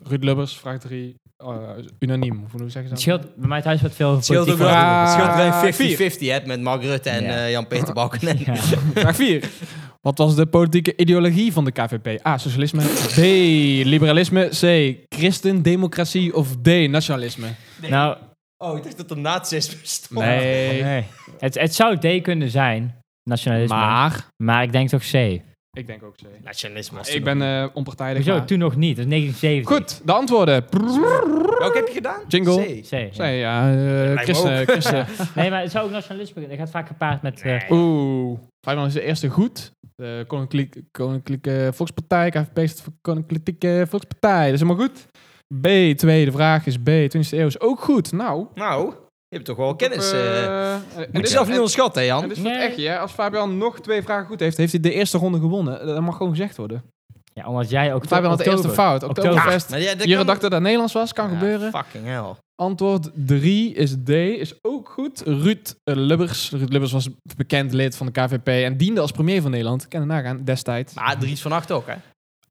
S4: Ruud Lubbers, vraag 3. eh, unaniem, hoe zeggen ze
S2: Het
S4: dat?
S2: scheelt bij mij thuis wat veel
S3: Het scheelt ook
S2: politiek
S3: wel.
S4: Ja.
S3: Het scheelt wel
S4: Ah,
S3: 50-50 hè, met Mark Rutte en
S2: Ja.
S3: eh, Jan-Peter Balkenende.
S2: Ja.
S4: Vraag 4. Wat was de politieke ideologie van de KVP? A. Socialisme. B. Liberalisme. C. Christendemocratie. Of D. Nationalisme?
S2: Nou,
S3: Oh, ik dacht dat er nazisme stond.
S4: Nee.
S2: nee. Het, het zou D kunnen zijn, nationalisme. Maar,
S4: Maar.
S2: ik denk toch C.
S4: Ik denk ook C.
S3: Nationalisme. was
S4: Ik
S3: er
S4: ben eh, onpartijdig.
S2: Hoezo,
S4: maar-
S2: toen nog niet. Dat is 1970.
S4: Goed, de antwoorden.
S3: nog. Welke heb je gedaan?
S4: Jingle.
S3: C.
S2: C.
S4: C.
S2: ja.
S4: Ja, eh,
S3: me
S4: christen.
S3: ook.
S4: christen.
S2: Nee, maar het zou ook nationalisme kunnen. Dat gaat vaak gepaard met... eh,
S4: Oeh. Vijfman is de eerste goed. De Koninklijke, Koninklijke Volkspartij. KVP staat voor Koninklijke Volkspartij. Dat is helemaal goed. B, tweede vraag is B. 20e eeuw is ook goed. Nou,
S3: Nou, hebt toch wel kennis.
S4: Op,
S3: eh.
S4: eh, en-
S3: moet je
S4: en-
S3: zelf niet
S4: en-
S3: onderschatten, hè,
S4: En
S3: Jan.
S4: dit is voor het
S2: Nee.
S4: echtje, hè? Als Fabian nog twee vragen goed heeft, heeft hij de eerste ronde gewonnen. Dat mag gewoon gezegd worden.
S2: Ja, omdat jij ook...
S4: Fabian had de eerste fout.
S2: Oktober.
S4: Oktoberfest.
S3: Maar ja, dat
S4: Jure
S3: kan-
S4: dacht dat dat Nederlands was. Kan
S3: Ja,
S4: gebeuren.
S3: Fucking hell.
S4: Antwoord 3 is D, is ook goed. Ruud eh, Lubbers. Ruud Lubbers was bekend lid van de KVP en diende als premier van Nederland. Kan je nagaan, destijds.
S3: Maar Dries van Acht ook, hè?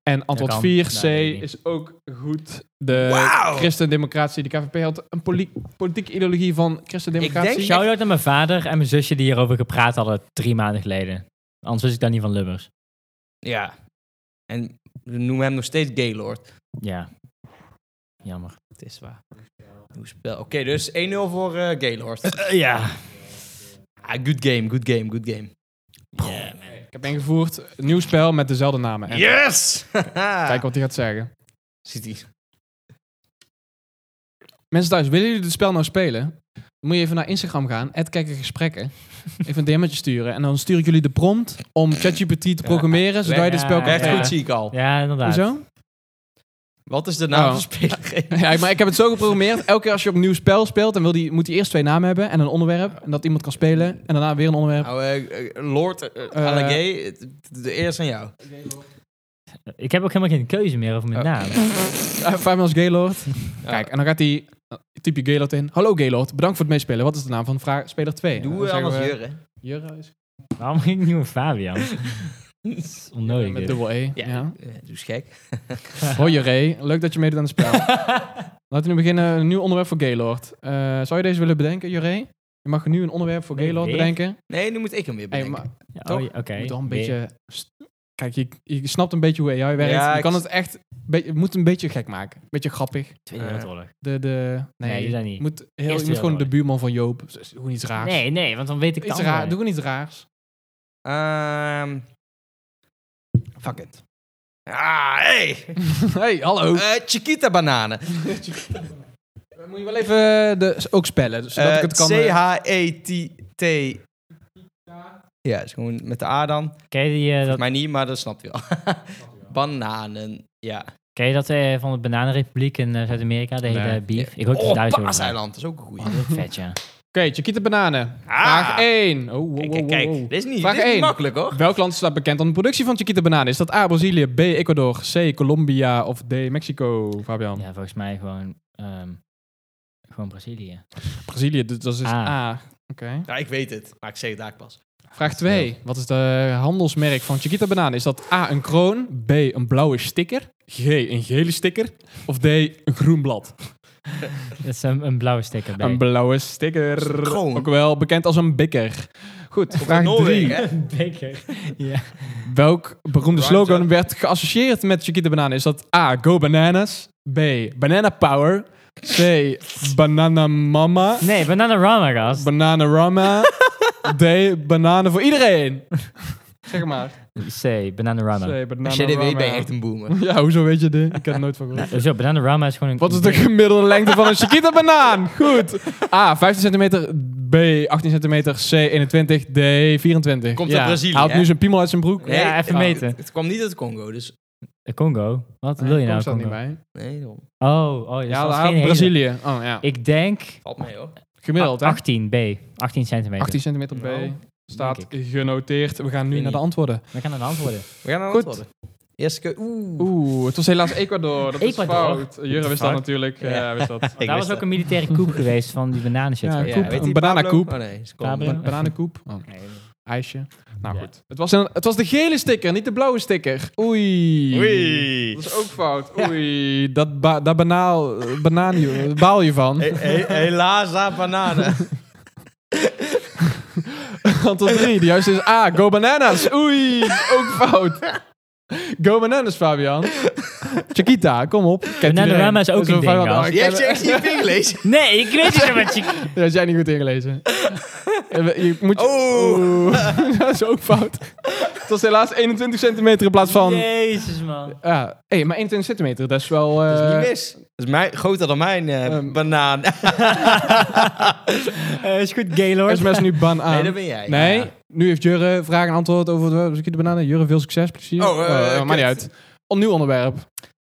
S4: En antwoord
S2: kan.
S4: 4,
S2: Nee,
S4: C,
S2: weet ik niet.
S4: is ook goed. De
S3: Wauw!
S4: christendemocratie, de KVP had een poli- politieke ideologie van christendemocratie.
S3: Ik denk-
S2: Shout-out naar mijn vader en mijn zusje die hierover gepraat hadden drie maanden geleden. Anders wist ik daar niet van Lubbers.
S3: Ja. En we noemen hem nog steeds Gaylord.
S2: Ja. Jammer.
S3: Het is waar. Nieuw spel. Oké, dus 1-0 voor eh, Gaylord.
S2: ja.
S3: Ah, good game, good game, good game. Yeah, man.
S4: Ik heb ingevoerd een nieuw spel met dezelfde namen. En
S3: Yes!
S4: Kijk wat hij gaat zeggen.
S3: Ziet hij.
S4: Mensen thuis, willen jullie dit spel nou spelen? Dan moet je even naar Instagram gaan, kijken gesprekken. even een DM'tje sturen. En dan stuur ik jullie de prompt om ChatGPT te programmeren, zodat je dit spel kan
S3: Echt
S2: Ja.
S3: goed zie ik al.
S2: Ja, inderdaad.
S4: Hoezo?
S3: Wat is de naam
S4: Oh.
S3: van speler?
S4: Ja, maar ik heb het zo geprogrammeerd. Elke keer als je op een nieuw spel speelt, dan wil die, moet hij eerst twee namen hebben en een onderwerp. En dat iemand kan spelen. En daarna weer een onderwerp.
S3: Nou, eh, eh, Lord eh, eh, Allegay, het- het- de eerste aan jou.
S2: Ik heb ook helemaal geen keuze meer over mijn
S4: Oh.
S2: naam.
S4: Uh, als Gaylord. Kijk, en dan gaat hij... eh, Typ je Gaylord in. Hallo Gaylord, bedankt voor het meespelen. Wat is de naam van vraag, speler 2?
S3: Doe eh, anders Jurre.
S4: Jurre is
S2: Waarom ging ik niet met Fabian? Dat is onnodig.
S4: met
S2: dit.
S4: dubbel E.
S3: Ja,
S4: Ja.
S3: eh, doe eens gek.
S4: Hoi Jurre, leuk dat je meedoet aan het spel. Laten we nu beginnen. Een nieuw onderwerp voor Gaylord. Eh, zou je deze willen bedenken, Jurre? Je mag nu een onderwerp voor
S2: Nee,
S4: Gaylord
S2: weer?
S4: bedenken.
S3: Nee, nu moet ik hem weer
S4: Hey,
S3: bedenken.
S4: maar
S2: Ja,
S4: toch?
S2: oh, ja, Oké.
S4: Je moet wel een
S2: Weer.
S4: beetje... st- Kijk, je, je snapt een beetje hoe AI werkt.
S3: Ja,
S4: je
S3: ik
S4: kan
S3: s-
S4: het echt... Be, je moet het een beetje gek maken. Een beetje grappig.
S2: Tweede wereldoorlog.
S4: De, de,
S2: Nee, doe dat niet.
S4: Je moet, heel, je
S2: Eerste
S4: moet gewoon de
S2: wereldoorlog.
S4: buurman van Joop. Z- Doe iets raars.
S2: Nee, nee, want dan weet ik
S4: iets
S2: het
S4: raar,
S2: raar.
S4: doe gewoon iets raars.
S3: Ehm, fuck it. Ah, hey!
S4: hey, hallo.
S3: Eh, Chiquita bananen.
S4: moet je wel even de, ook spellen, zodat ik het kan...
S3: Eh,
S4: eh,
S3: C-H-E-T-T. Ja, is gewoon met de A dan.
S2: Ken je, die, eh, dat,
S3: Maar niet, maar dat snapt u al. bananen, ja.
S2: ken je dat eh, van de Bananenrepubliek in eh, Zuid-Amerika, de hele
S4: Nee.
S2: beef? Ik hoor het
S3: Oh,
S2: Duits over. praten.
S3: Paaseiland, dat is ook een goeie.
S2: Oh, dat is ook vet, ja.
S4: Oké, Chiquita Bananen.
S3: Ah.
S4: Vraag 1. Oh, wow,
S3: Kijk,
S4: wow, wow,
S3: kijk, kijk.
S4: wow.
S3: Dit is niet,
S4: Vraag
S3: dit is niet
S4: één.
S3: makkelijk, hoor.
S4: Welk land staat bekend aan de productie van Chiquita Bananen? Is dat A, Brazilië, B, Ecuador, C, Colombia of D, Mexico, Fabian?
S2: Ja, volgens mij gewoon, ehm, gewoon Brazilië.
S4: Brazilië, dus dat is
S2: A.
S4: A. Oké.
S3: Ja, Nou, ik weet het, maar ik zeg het daar pas.
S4: Vraag 2. Wat is de handelsmerk van Chiquita Banaan? Is dat A, een kroon, B, een blauwe sticker, G, een gele sticker of D, een groen blad?
S2: Dat is een, een blauwe sticker bij.
S4: Een blauwe sticker.
S3: Een kroon.
S4: Ook wel bekend als een bikker. Goed,
S3: In
S4: vraag Nou, 3.
S3: hè?
S2: beker. Ja.
S4: Welk beroemde
S3: Right,
S4: slogan
S3: hè?
S4: werd geassocieerd met Chiquita Banaan? Is dat A, go bananas, B, banana power, C, banana mama,
S2: Nee, Bananarama, gast.
S4: bananarama, D, bananen voor iedereen. Zeg maar.
S2: C, Bananarama.
S4: C, bananarama.
S3: Als je dit weet, ben
S4: nou.
S3: je echt een boomer.
S4: Ja, hoezo weet je dit? Ik heb er nooit van gehoord.
S2: Zo, Bananarama is gewoon een...
S4: Wat is de
S2: ding.
S4: gemiddelde lengte van een Chiquita banaan? Goed. A, 15 centimeter. B, 18 centimeter. C, 21. D, 24.
S3: Komt uit Brazilië,
S4: Hij haalt
S3: hè? oh,
S4: nu zijn piemel uit zijn broek.
S2: Ja, even meten.
S3: Het, het kwam niet uit Congo, dus...
S2: De Eh, Congo? Wat wil je
S4: Komt
S2: nou,
S4: dat niet
S2: Congo?
S4: bij.
S3: Nee, daarom.
S2: Oh, oh, dat
S4: Ja, hij
S2: was geen
S4: haalt
S2: hele.
S4: Brazilië. Oh ja.
S2: Ik denk
S3: valt mee, hoor.
S4: Gemiddeld, hè?
S2: 18 B, 18 centimeter. Oh.
S4: 18 centimeter
S3: Nou,
S4: B. Staat
S2: denk
S4: genoteerd. We gaan nu
S3: Weet
S4: naar de
S3: niet.
S4: antwoorden.
S2: We gaan het antwoorden.
S3: We gaan naar
S4: Goed.
S3: antwoorden. Eerste keer... Oeh.
S4: Oeh, het was helaas Ecuador. Dat is
S2: Ecuador?
S4: fout. Jure wist dat
S2: Fuck.
S4: natuurlijk.
S3: Ja.
S4: Ja, hij wist dat.
S3: Ik
S2: Daar was
S3: wist
S2: ook een militaire coup geweest van die bananenshit.
S4: Ja,
S2: shit.
S4: koep.
S3: weet je
S4: Een
S3: Pablo?
S4: bananenkoep.
S3: Oh, nee, is
S2: Pablo.
S4: Ba- Bananenkoep. Oh, ijsje. Nou
S2: Ja.
S4: goed. Het was, een, het was de gele sticker, niet de blauwe sticker. Oei.
S3: Oei.
S4: Dat is ook fout. Oei, dat, ba dat banaal, eh, banaan je, baal je van.
S3: He- he- helaas daar bananen.
S4: Antwoord 3, de juiste is A, go bananas. Oei, ook fout. Go bananas, Fabian. Chiquita, kom op. Kent
S2: Bananarama
S4: iedereen.
S2: is ook
S4: Zo
S2: een ding,
S4: Fabian-
S2: gast.
S4: Oh, ik
S3: Je
S4: ken-
S3: hebt je echt niet ingelezen.
S2: Nee, ik weet niet wat je...
S4: Dat had jij niet goed ingelezen. Eh, we- je moet je-
S3: Oeh.
S4: Oeh. dat is ook fout. Het was helaas 21 centimeter in plaats van...
S2: Jezus, man.
S4: Ja, hey, maar 21 centimeter, dat is wel...
S3: Dat is
S4: eh,
S3: niet mis. Dat is mijn, groter dan mijn eh,
S4: Ehm.
S3: banaan.
S2: Eh, is goed, Gaylord.
S4: SMS nu ban aan.
S3: Nee, dat ben
S2: Eh,
S3: jij.
S4: Nee,
S3: Ja.
S4: nu heeft Jurre vraag en antwoord over de, de bananen. Jurre, veel succes, plezier.
S3: Oh, eh,
S4: Eh, maakt
S3: kut.
S4: niet uit. Opnieuw onderwerp.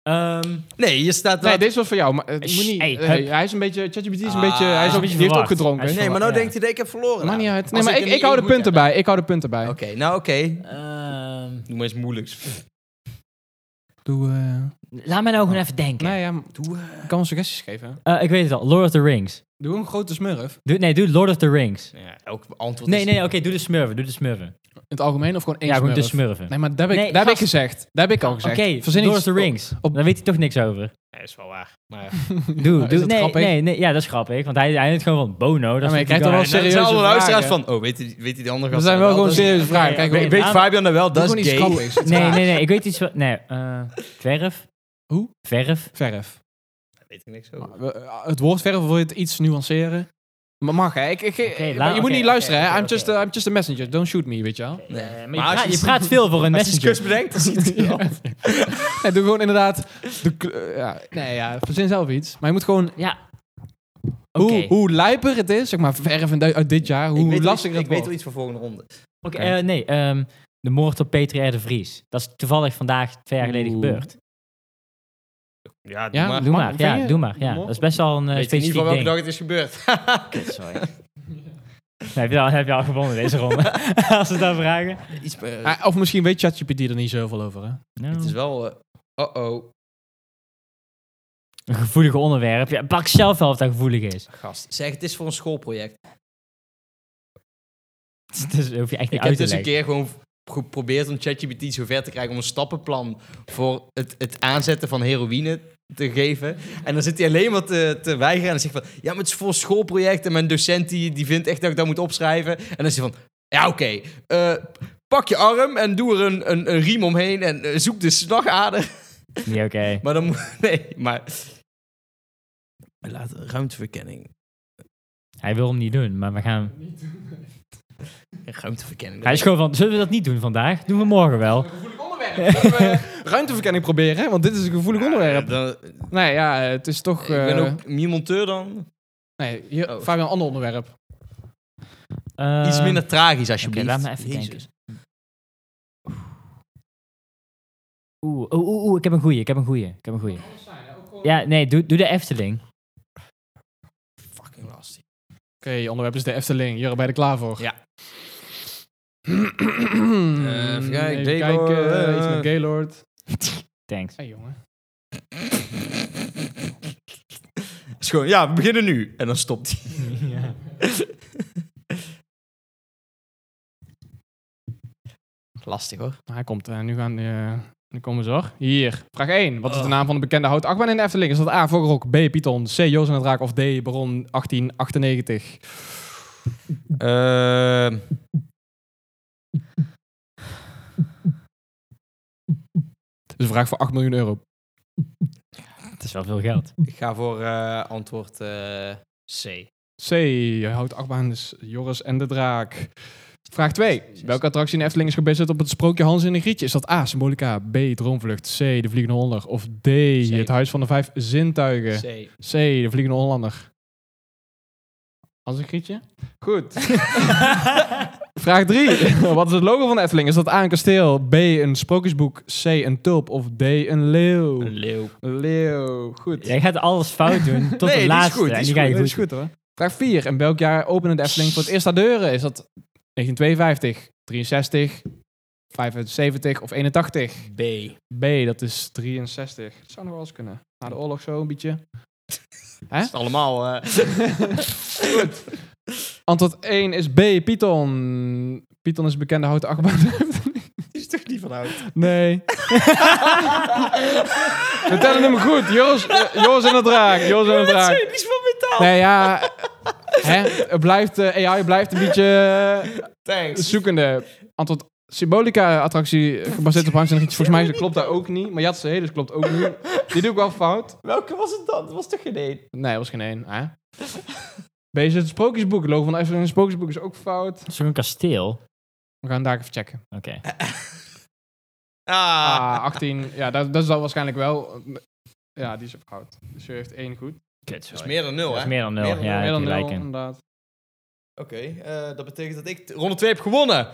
S2: Ehm,
S3: Nee, je staat
S4: Nee,
S3: wel...
S4: dit is wel voor jou. Maar het
S2: Shh,
S4: moet niet.
S2: hey,
S4: hey,
S2: hup.
S4: hij is een beetje. ChatGPT is een
S3: Ah,
S4: beetje. Hij is
S2: een
S4: ook
S2: beetje
S4: die heeft ook
S2: verwacht.
S4: gedronken.
S2: Hij is
S4: hè?
S3: nee, maar nou
S2: Ja.
S3: denkt hij dat ik heb verloren.
S4: Maakt niet
S3: nou.
S4: uit. Nee,
S3: Als
S4: maar ik,
S3: hem
S4: ik
S3: niet
S4: hou de
S3: in moet
S4: punten
S3: hebben.
S4: bij. Ik hou de punten bij.
S3: Oké, nou oké.
S2: ehm,
S3: Doe maar eens moeilijks.
S4: Doe. eh,
S2: laat mij nou gewoon even denken.
S4: nou ja, doe. ik kan wel suggesties geven.
S2: Eh, ik weet het al. Lord of the Rings.
S4: Doe een grote smurf.
S2: Doe, nee, doe Lord of the Rings.
S3: Ja, elk antwoord
S2: Nee,
S3: is...
S2: nee, oké, doe de smurven. Doe de smurven.
S4: In het algemeen of gewoon één
S2: Ja, gewoon
S4: smurf?
S2: de smurven.
S4: Nee, maar daar heb ik,
S2: Nee,
S4: daar heb ik
S2: gast.
S4: gezegd. Daar heb ik al
S2: Oké,
S4: gezegd. Verzin
S2: Lord of
S4: iets-
S2: the Rings.
S4: op-
S2: Daar weet hij toch niks over.
S3: Ja, is wel waar. Maar
S2: Doe,
S4: Is
S2: doe.
S4: dat
S2: nee,
S4: grappig?
S2: nee, nee, ja, dat is grappig. Want hij, hij heeft gewoon van Bono. Dat
S4: maar je
S2: is natuurlijk
S4: krijgt er wel serieus-
S2: wel-
S3: serieuze
S4: Serieuze
S3: allemaal luisteraars
S4: vragen.
S3: van... Oh, weet die, weet die
S4: Dat
S3: andere gast
S4: zijn
S3: dan
S4: wel gewoon
S3: Dat is-
S4: serieuze vragen. Kijk,
S2: ja,
S4: gewoon-
S2: ja.
S3: Weet
S2: Aan-
S3: Fabian dan
S4: doe
S3: wel? Dat
S4: gewoon
S3: is
S4: iets
S3: gay.
S4: grappigs.
S2: Nee, nee, nee. Ik weet iets wat... Nee, eh, verf.
S4: Hoe?
S2: Verf.
S4: Verf.
S3: Daar weet ik niks
S4: Maar,
S3: over.
S4: eh, Het woord verf wil je het iets nuanceren. Maar mag hè? Ik, ik, ik-
S2: Oké,
S4: maar
S2: laat-
S4: je moet
S2: oké,
S4: niet luisteren
S2: oké,
S4: hè? I'm,
S2: oké,
S4: just,
S2: oké.
S4: a- I'm just a messenger. Don't shoot me, weet je wel?
S3: Nee.
S2: Eh,
S3: Maar
S2: maar je,
S3: als
S2: praat,
S3: je-
S2: je praat veel voor een
S3: Als je iets kus
S2: messenger.
S3: bedenkt, dan ziet het wel.
S4: Nee, doe gewoon inderdaad. De, kle- eh, ja, nee, ja, verzin zelf iets. Maar je moet gewoon.
S2: Ja. Oké.
S4: Hoe, hoe lijper het is, zeg maar, verf en du- uit dit jaar,
S3: Ik
S4: hoe
S3: weet wel iets-
S4: lastiger het
S3: Ik weet wel
S4: wordt.
S3: iets voor volgende ronde.
S2: Oké,
S4: Oké.
S2: eh, nee, ehm, de moord op Peter R. de Vries. Dat is toevallig vandaag, twee jaar geleden,
S4: Oeh.
S2: gebeurd.
S3: Ja, doe
S4: Ja,
S3: maar.
S2: Doe
S4: Mag-
S2: maar,
S4: vind
S2: ja,
S4: je-
S2: doe maar. Ja.
S4: moord?
S2: Dat is best wel een eh,
S3: Weet je in ieder
S2: specifiek
S3: geval welke dag
S2: ding.
S3: het is gebeurd.
S2: Sorry. Nou, heb, je al, heb je al gewonnen deze ronde? Als ze dat vragen.
S3: Iets eh, meer-
S4: Ah, of misschien weet ChatGPT er niet zoveel over. Hè?
S2: Nou,
S3: Het is wel... eh, Oh-oh.
S2: Een gevoelige onderwerp. Ja, pak zelf wel of dat gevoelig is.
S3: Gast. Zeg, het is voor een schoolproject.
S2: Dus dat hoef je echt niet
S3: Ik
S2: uit
S3: heb dus
S2: te
S3: een
S2: leggen.
S3: keer gewoon geprobeerd om ChatGPT zover te krijgen om een stappenplan voor het, het aanzetten van heroïne te geven. En dan zit hij alleen maar te, te weigeren en dan zegt van, ja, maar het is voor een schoolproject en mijn docent die, die vindt echt dat ik dat moet opschrijven. En dan is hij van, ja, oké, eh, pak je arm en doe er een, een, een riem omheen en eh, zoek de slagader.
S2: Nee, oké.
S3: Maar dan moet, nee, maar... Laat ruimteverkenning.
S2: Hij wil hem niet doen, maar we gaan...
S3: Ruimteverkenning.
S2: Hij is gewoon van, zullen we dat niet doen vandaag? Doen we morgen wel.
S4: Gevoelig onderwerp. Zullen
S3: eh,
S4: we ruimteverkenning proberen, hè? want dit is een gevoelig onderwerp.
S3: Dan,
S4: Nee, ja, het is toch...
S3: ik ben
S4: eh,
S3: ook meer monteur dan.
S4: Nee, hier,
S3: Oh.
S4: Fabian, een ander onderwerp.
S3: Iets
S2: Ehm,
S3: minder tragisch,
S2: Oké,
S3: alsjeblieft.
S2: laat me even
S3: Jezus.
S2: denken. Oeh, oeh, oeh, oeh, ik heb een goeie, ik heb een goeie, ik heb een goeie. Ja, nee, doe, doe de Efteling.
S3: Fucking lastig.
S4: Oké, onderwerp is de Efteling. Hier ben je er klaar voor.
S3: Ja.
S4: even
S3: even kijken,
S4: kijken.
S3: Gaylord.
S4: eh, iets met Gaylord.
S2: Thanks.
S4: Hey, jongen.
S3: is gewoon, ja, we beginnen nu. En dan stopt hij. Lastig hoor.
S4: Hij komt, eh, nu gaan... eh, nu komen ze hoor. Hier, vraag 1. Wat is
S3: Oh.
S4: de naam van de bekende houten achtbaan in de Efteling? Is dat A, Vogelrok, B, Python, C, Joost en het Draak of D, Baron Dus 1898?
S3: Ehm,
S4: Dat is een vraag voor 8 miljoen euro.
S2: Het is wel veel geld.
S3: ik ga voor eh, antwoord eh, C.
S4: C, houten achtbaan is Joris en de Draak. Vraag 2. Welke attractie in de Efteling is gebaseerd op het sprookje Hans en een Grietje? Is dat A, Symbolica, B, Droomvlucht, C, De Vliegende Hollander of D, Het Huis van de Vijf Zintuigen?
S3: C.
S4: C, de Vliegende Hollander. Als een grietje? Goed. Vraag 3. Wat is het logo van de Efteling? Is dat A, een kasteel, B, een sprookjesboek, C, een tulp of D, een leeuw?
S3: Een leeuw.
S4: leeuw. Goed.
S2: Jij gaat alles fout doen tot
S3: Nee, die
S2: de
S3: is
S2: laatste.
S3: goed, die
S2: en
S3: is
S2: die ga je
S4: Dat
S2: goed.
S4: is goed hoor. Vraag 4. In welk jaar opende de Efteling voor het eerst haar deuren? Is dat 1952, 63, 75 of 81?
S3: B.
S4: B, dat is 63. Dat zou nog wel eens kunnen. Na de oorlog zo een beetje.
S3: Dat is allemaal... eh,
S4: Goed. Antwoord 1 is B, Python. Python is een bekende houten achtbaan.
S3: die is toch niet van hout?
S4: nee. We tellen hem goed. Joris, eh, Joris en de draak. Joris en de draak.
S3: Die is van metaal.
S4: Nee, ja. Hè? Het blijft, eh, AI blijft een beetje eh,
S3: Thanks.
S4: zoekende. Antwoord Symbolica-attractie gebaseerd op Hans en Grietje. Volgens mij klopt dat ook niet. Maar je had ze, dus klopt ook niet. Die doe ik wel fout.
S3: Welke was het dan? Dat was toch geen één?
S4: Nee, dat was geen één. Hè? Bezig het sprookjesboek. Het logo van de Efteling in het sprookjesboek is ook fout.
S2: Dat is toch een kasteel? Oké.
S4: We gaan daar even checken.
S3: Ah.
S4: Ah, 18. Ja, dat, dat is dan waarschijnlijk wel. Ja, die is op goud. Dus je heeft één goed.
S2: Kut,
S3: Dat is
S2: sorry.
S3: meer dan nul,
S2: Dat
S3: hè?
S2: is meer dan nul.
S3: Meer dan
S2: ja,
S4: Meer dan
S2: heb je
S4: nul,
S2: gelijk in.
S4: inderdaad.
S3: Oké, eh, dat betekent dat ik t- ronde 2 heb gewonnen.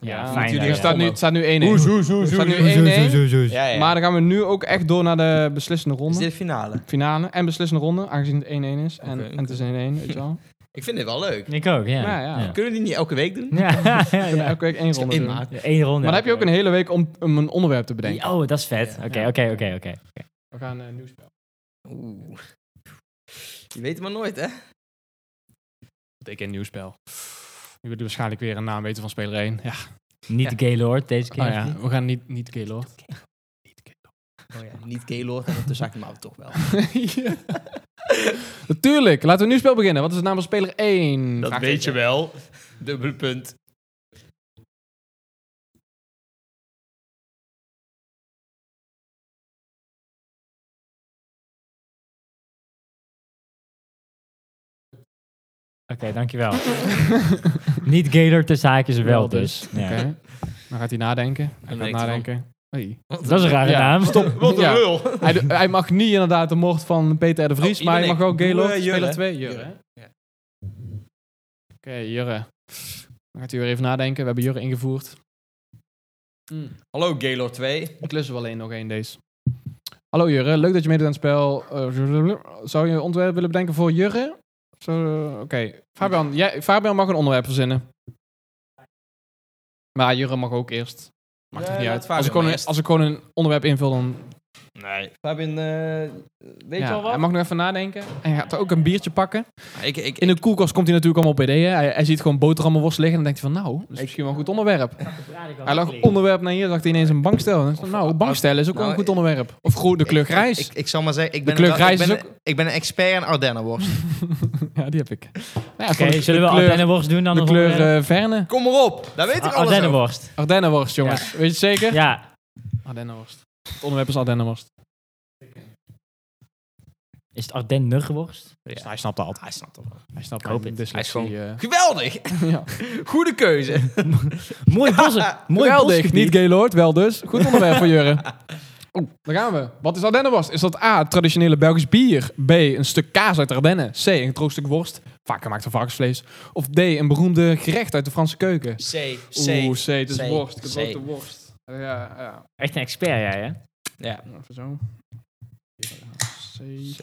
S2: Ja,
S4: want
S2: fijn,
S4: jullie-
S2: ja.
S4: Er staat nu, het staat nu 1-1. Er staat nu 1-1.
S3: Ja, ja.
S4: Maar dan gaan we nu ook echt door naar de beslissende
S3: is
S4: ronde.
S3: dit de finale?
S4: Finale en beslissende ronde, aangezien het 1-1 is. En,
S3: Oké,
S4: en het is 1-1, weet je wel.
S3: Ik vind dit wel leuk.
S2: Ik ook, ja.
S4: Ja, ja.
S2: ja.
S3: Kunnen we die niet elke week doen?
S2: Ja, ja,
S4: We kunnen
S2: ja.
S4: elke week één
S3: Zo
S4: ronde doen.
S3: inmaken.
S2: Ja, één ronde.
S4: Maar dan heb je ook een hele week om, om een onderwerp te bedenken.
S2: Oh, dat is vet. Oké, oké, oké, oké.
S4: We gaan eh nieuws spelen.
S3: Oeh. Je weet het maar nooit, hè?
S4: Ik ken nieuwspel. Nu willen waarschijnlijk weer een naam weten van speler 1. Ja,
S2: Niet de Gaylord deze keer.
S4: oh, ja. we gaan niet, niet Gaylord.
S3: Oh ja, niet Gaylord en de zaak, maar toch wel.
S4: ja. Natuurlijk, laten we een nieuwspel beginnen. Wat is het naam van speler 1?
S3: Dat weet je wel. Dubbele punt.
S2: Oké, dankjewel. Niet Gaylord tussen haakjes wel
S4: Wel
S2: dus. Ja.
S4: Oké, dan gaat hij nadenken. Hij
S3: Dan
S4: gaat
S3: denkt hij
S4: nadenken. Hey.
S2: Dat is een rare
S4: Ja,
S2: naam. Stop.
S3: Wat een
S4: Ja.
S3: lul.
S4: hij, do- hij mag niet inderdaad de moord van Peter R. de Vries,
S3: Oh,
S4: maar hij
S3: Ivan,
S4: mag wel
S3: ik doe,
S4: Gaylord
S3: eh,
S4: speler
S3: Jurre.
S4: 2. Jurre.
S3: Jurre,
S4: hè?
S3: ja.
S4: Oké, Jurre. Dan gaat hij weer even nadenken. We hebben Jurre ingevoerd. Hmm.
S3: Hallo Gaylord 2.
S4: Ik lus er wel één nog één deze. Hallo Jurre, leuk dat je meedoet aan het spel. Eh, zou je een ontwerp willen bedenken voor Jurre? Zo, eh, Oké, Fabian, jij, Fabian mag een onderwerp verzinnen. Maar Jurre mag ook eerst. Maakt
S3: Ja,
S4: het niet
S3: laat
S4: uit.
S3: Fabian
S4: Als ik, gewoon
S3: maar
S4: een,
S3: eerst.
S4: als ik gewoon een onderwerp invul, dan...
S3: Nee. Fabian, eh, weet
S4: Ja,
S3: je al wat?
S4: Hij mag nog even nadenken. En hij gaat ook een biertje pakken.
S3: Ik, ik,
S4: In de koelkast komt hij natuurlijk allemaal op ideeën. Hij, hij ziet gewoon boterhammenworst liggen en dan denkt hij van... Nou, dat is misschien wel een goed onderwerp. Hij lag onderwerp naar hier, dacht hij ineens een bankstel. En dan dacht hij, Nou, bankstel is ook wel een
S3: Nou,
S4: goed onderwerp. Of groen, de kleur
S3: ik-
S4: grijs.
S3: Ik, ik, zal maar zeggen, ik ben,
S4: kleur
S3: een- ik
S4: grijs
S3: ben,
S4: is
S3: een- ik ben een expert in Ardennenworst.
S4: Ja, die heb ik. Ja,
S2: Oké, zullen we Ardennenworst doen dan?
S4: De
S2: nog
S4: kleur
S2: onderwerp?
S4: eh, Verne.
S3: Kom maar op. Daar weet ik
S2: Ah,
S3: alles over.
S2: Ardennenworst.
S4: Ardennenworst, jongens. Weet je het zeker?
S2: Ja.
S4: Ardennenworst. Het onderwerp is Ardennenworst.
S2: Is het Ardennenworst?
S4: Dus hij snapt dat.
S3: Hij snapt het wel.
S4: Hij snapt
S2: Ik hoop
S4: mijn
S2: het.
S4: dyslexie,
S3: Hij is
S4: eh,
S3: Geweldig.
S4: ja.
S3: Goede keuze.
S2: Mooi bos. Mooi
S4: Geweldig.
S2: bosgebied.
S4: Niet Gaylord, wel dus. Goed onderwerp voor Jurre. Oeh, daar gaan we. Wat is Ardennenworst? Is dat A, traditionele Belgisch bier? B, een stuk kaas uit Ardennen? C, een droog worst? Vaak gemaakt van varkensvlees. Of D, een beroemde gerecht uit de Franse keuken?
S3: C, C.
S4: Oeh, C, het is
S3: C,
S4: worst.
S3: C.
S4: Gedoofde worst. Ja, ja.
S2: Echt een expert jij, hè?
S3: Ja.
S4: Even zo. C.
S3: C.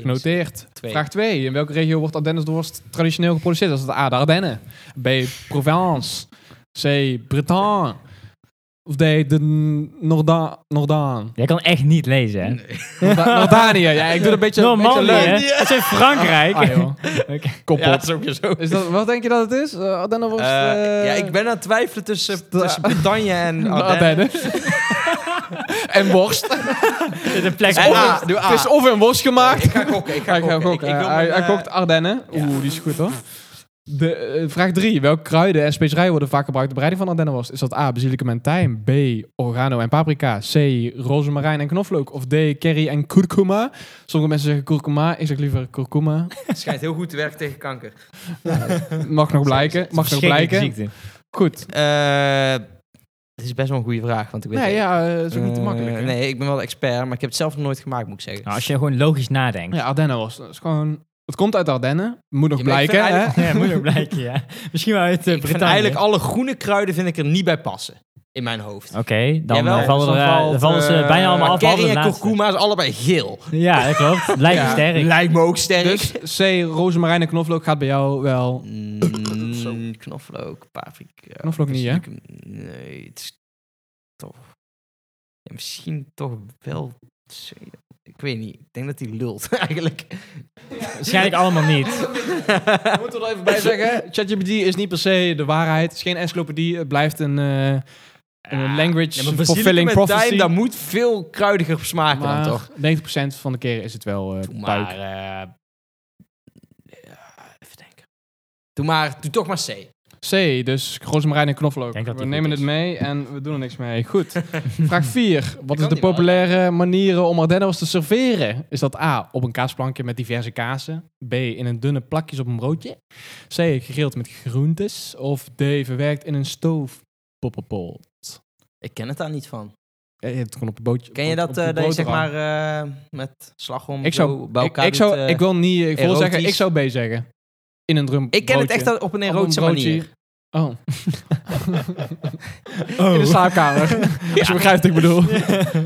S4: Genoteerd.
S3: Twee.
S4: Vraag 2. In welke regio wordt Ardennenworst traditioneel geproduceerd? Dat is het A, de Ardennen. B, Provence. C, Bretagne. Of D, de Norda Nordaan.
S2: Jij kan echt niet lezen, hè?
S4: Norda Nordanië. Ja, ik doe het een beetje... een beetje
S2: Normandië,
S4: leuk.
S2: hè? Het is in Frankrijk.
S4: Ah, joh.
S2: Oké.
S4: Kop
S3: Ja,
S4: op.
S3: dat is ook weer zo.
S4: Is dat, wat denk je dat het is? Eh, Ardennenworst?
S3: Eh,
S4: eh,
S3: ja, ik ben aan het twijfelen tussen,
S4: sta-
S3: tussen Bretagne en Ardennen.
S4: Ardennen. en worst.
S2: Dit is een plek.
S3: En
S2: voor-
S3: A, doe A.
S4: Het is of een worst gemaakt.
S3: Ik ga gokken, ik ga
S4: Hij gaat
S3: gokken.
S4: gokken.
S3: Ik- ik wil
S4: hij,
S3: mijn,
S4: hij
S3: eh,
S4: gokt Ardennen. Oeh, die is goed hoor. De, eh, vraag 3. Welke kruiden en specerijen worden vaak gebruikt bij de bereiding van Ardennenworst? Is dat A. Basilicum en tijm. B. Oregano en paprika. C. Rozemarijn en knoflook. Of D. Curry en kurkuma. Sommige mensen zeggen kurkuma. Ik zeg liever kurkuma.
S3: Het schijnt heel goed te werken tegen kanker.
S4: Mag nog blijken. Mag nog
S2: verschrikkelijke
S4: blijken.
S2: ziekte.
S4: Goed.
S3: Eh, dit is best wel een goede vraag, want ik weet
S4: Nee, ja, eh, is ook niet te
S3: Eh,
S4: makkelijk. hè?
S3: nee, ik ben wel expert, maar ik heb het zelf nog nooit gemaakt, moet ik zeggen.
S2: Nou, als je gewoon logisch nadenkt.
S4: Ja, Ardennenworst. Dat is gewoon... Het komt uit Ardennen. Moet nog
S3: Ja, maar ik
S4: blijken.
S3: vind
S4: Hè?
S3: eigenlijk-
S2: Ja, moet ook blijken, ja. Misschien wel uit eh,
S3: ik vind
S2: Bretagne.
S3: eigenlijk alle groene kruiden vind ik er niet bij passen. In mijn hoofd.
S2: Oké, dan
S3: Jawel,
S2: eh, vallen,
S3: dus
S2: er,
S3: dan
S2: eh,
S3: valt,
S2: vallen ze
S3: eh,
S2: bijna allemaal
S3: Kerry
S2: af. behalve de
S3: en
S2: laatste.
S3: kurkuma is allebei geel.
S2: Ja, dat klopt. Lijkt me
S4: Ja.
S2: sterk.
S3: Lijkt me ook sterk.
S4: Dus C. Rozemarijn en knoflook gaat bij jou wel
S3: Mm, knoflook, paprika.
S4: Knoflook niet, hè?
S3: basilicum. Nee, het is toch... Ja, misschien toch wel... Ik weet niet. Ik denk dat hij lult, eigenlijk.
S2: Waarschijnlijk allemaal niet.
S4: Ik moet er wel even bij zeggen, ChatGPT is niet per se de waarheid. Het is geen encyclopedie, het blijft een, eh, een language
S3: Ja, Ah, maar basilicum
S4: fulfilling
S3: met
S4: prophecy.
S3: tijm, daar moet veel kruidiger smaken
S4: maar
S3: dan toch?
S4: 90% van de keren is het wel eh
S3: maar...
S4: puik.
S3: eh, ja, even denken. Doe, maar, doe toch maar C.
S4: C, dus rozemarijn en knoflook.
S2: Ik denk dat
S4: We
S2: die
S4: nemen
S2: goed
S4: het mee en we doen er niks mee. Goed. Vraag 4. Wat is
S3: kan
S4: de
S3: die wel,
S4: populaire manieren om Ardennenwas te serveren? Is dat A, op een kaasplankje met diverse kazen? B, in een dunne plakjes op een broodje? C, gegrild met groentes? Of D, verwerkt in een stoofpoppenpot?
S3: Ik ken het daar niet van.
S4: Ja, je hebt Eh, het gewoon op een bootje.
S3: Ken je
S4: op-
S3: dat,
S4: op
S3: eh
S4: een
S3: dat je zeg
S4: broodrand.
S3: maar eh, met slagroom
S4: Ik
S3: zo
S4: zou,
S3: bij
S4: ik,
S3: elkaar
S4: ik zou,
S3: doet, eh,
S4: ik wil niet, eh, ik wil
S3: erotisch.
S4: zeggen, ik zou B zeggen. In een drum.
S3: ik ken het
S4: broodje.
S3: echt op een
S4: Op een
S3: erotische
S4: broodje.
S3: manier.
S4: Oh. In de slaapkamer. Als je begrijpt wat ik bedoel.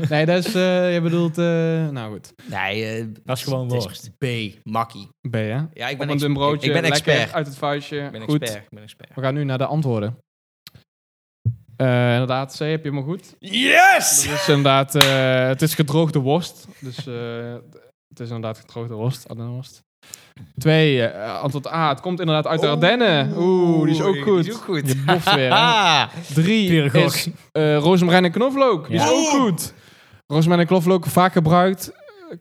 S4: Nee, dat is... eh, je bedoelt... eh, nou goed.
S3: Nee, eh,
S2: Was gewoon
S3: het is
S2: worst.
S3: B, makkie.
S4: B, hè?
S3: Ja, ik
S4: Op
S3: ben
S4: een
S3: ex-
S4: dun broodje.
S3: Ik ben
S4: lekker
S3: expert.
S4: Uit het vuistje.
S3: Ik ben
S4: goed.
S3: expert. Ik ben expert.
S4: We gaan nu naar de antwoorden. Eh, inderdaad, C heb je hem al goed.
S3: Yes!
S4: Het is inderdaad, eh, het is gedroogde worst. Dus eh, het is inderdaad gedroogde worst. Adenworst. Twee, eh, antwoord A. Het komt inderdaad uit de Ardennen. Oeh, die is ook goed.
S3: Die is ook goed.
S4: Je boft weer, hè?
S3: Ah,
S4: Drie
S2: Pure gok.
S4: is eh rozemarijn en knoflook. Die
S2: Ja.
S4: is ook goed. Rozemarijn en knoflook vaak gebruikt. eh,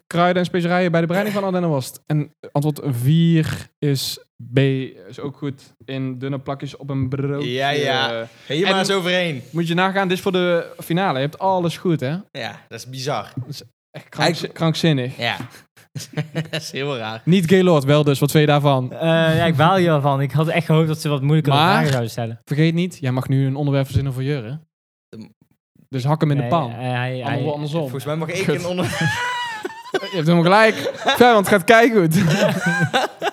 S4: Kruiden en specerijen bij de bereiding van Ardennenworst. En antwoord 4 is B. Is ook goed. In dunne plakjes op een broodje.
S3: Ja, ja. helemaal
S4: En-
S3: eens overheen.
S4: Moet je nagaan, dit is voor de finale. Je hebt alles goed, hè?
S3: Ja, dat is bizar.
S4: Echt krankz- krankzinnig.
S3: Ja. dat is heel raar.
S4: Niet Gaylord, wel dus. Wat vind je daarvan?
S2: Eh, ja, ik baal hier wel van. Ik had echt gehoopt dat ze wat moeilijkere
S4: Maar-
S2: vragen zouden stellen.
S4: Vergeet niet, jij mag nu een onderwerp verzinnen voor Jurre. Dus hak hem in de
S2: Nee,
S4: pan.
S2: eh, hij, hij,
S4: Andersom. andersom.
S3: Volgens mij mag ik
S4: Kut.
S3: een onder...
S4: Je hebt helemaal gelijk. Ferdinand gaat kijken goed.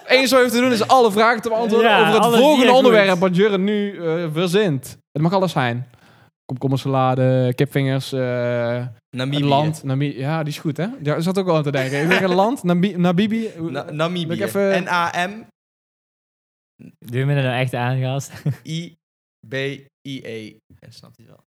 S4: Eén zo heeft te doen is alle vragen te beantwoorden
S2: Ja,
S4: over het
S2: alles
S4: volgende
S2: direct
S4: onderwerp
S2: goed.
S4: wat Jurre nu eh, verzint. Het mag alles zijn. Komkommersalade, kipvingers, eh,
S3: Namibië.
S4: een land. Namibië. Ja, die is goed, hè? Daar zat ook wel aan te denken. Ik denk een land, Nabi Nabibi.
S3: Na-
S4: Moet
S3: Namibië.
S4: ik even-
S3: N-A-M-I-B-I-E.
S2: Doe je me er nou echt aan, gast?
S3: En E. snapt hij wel.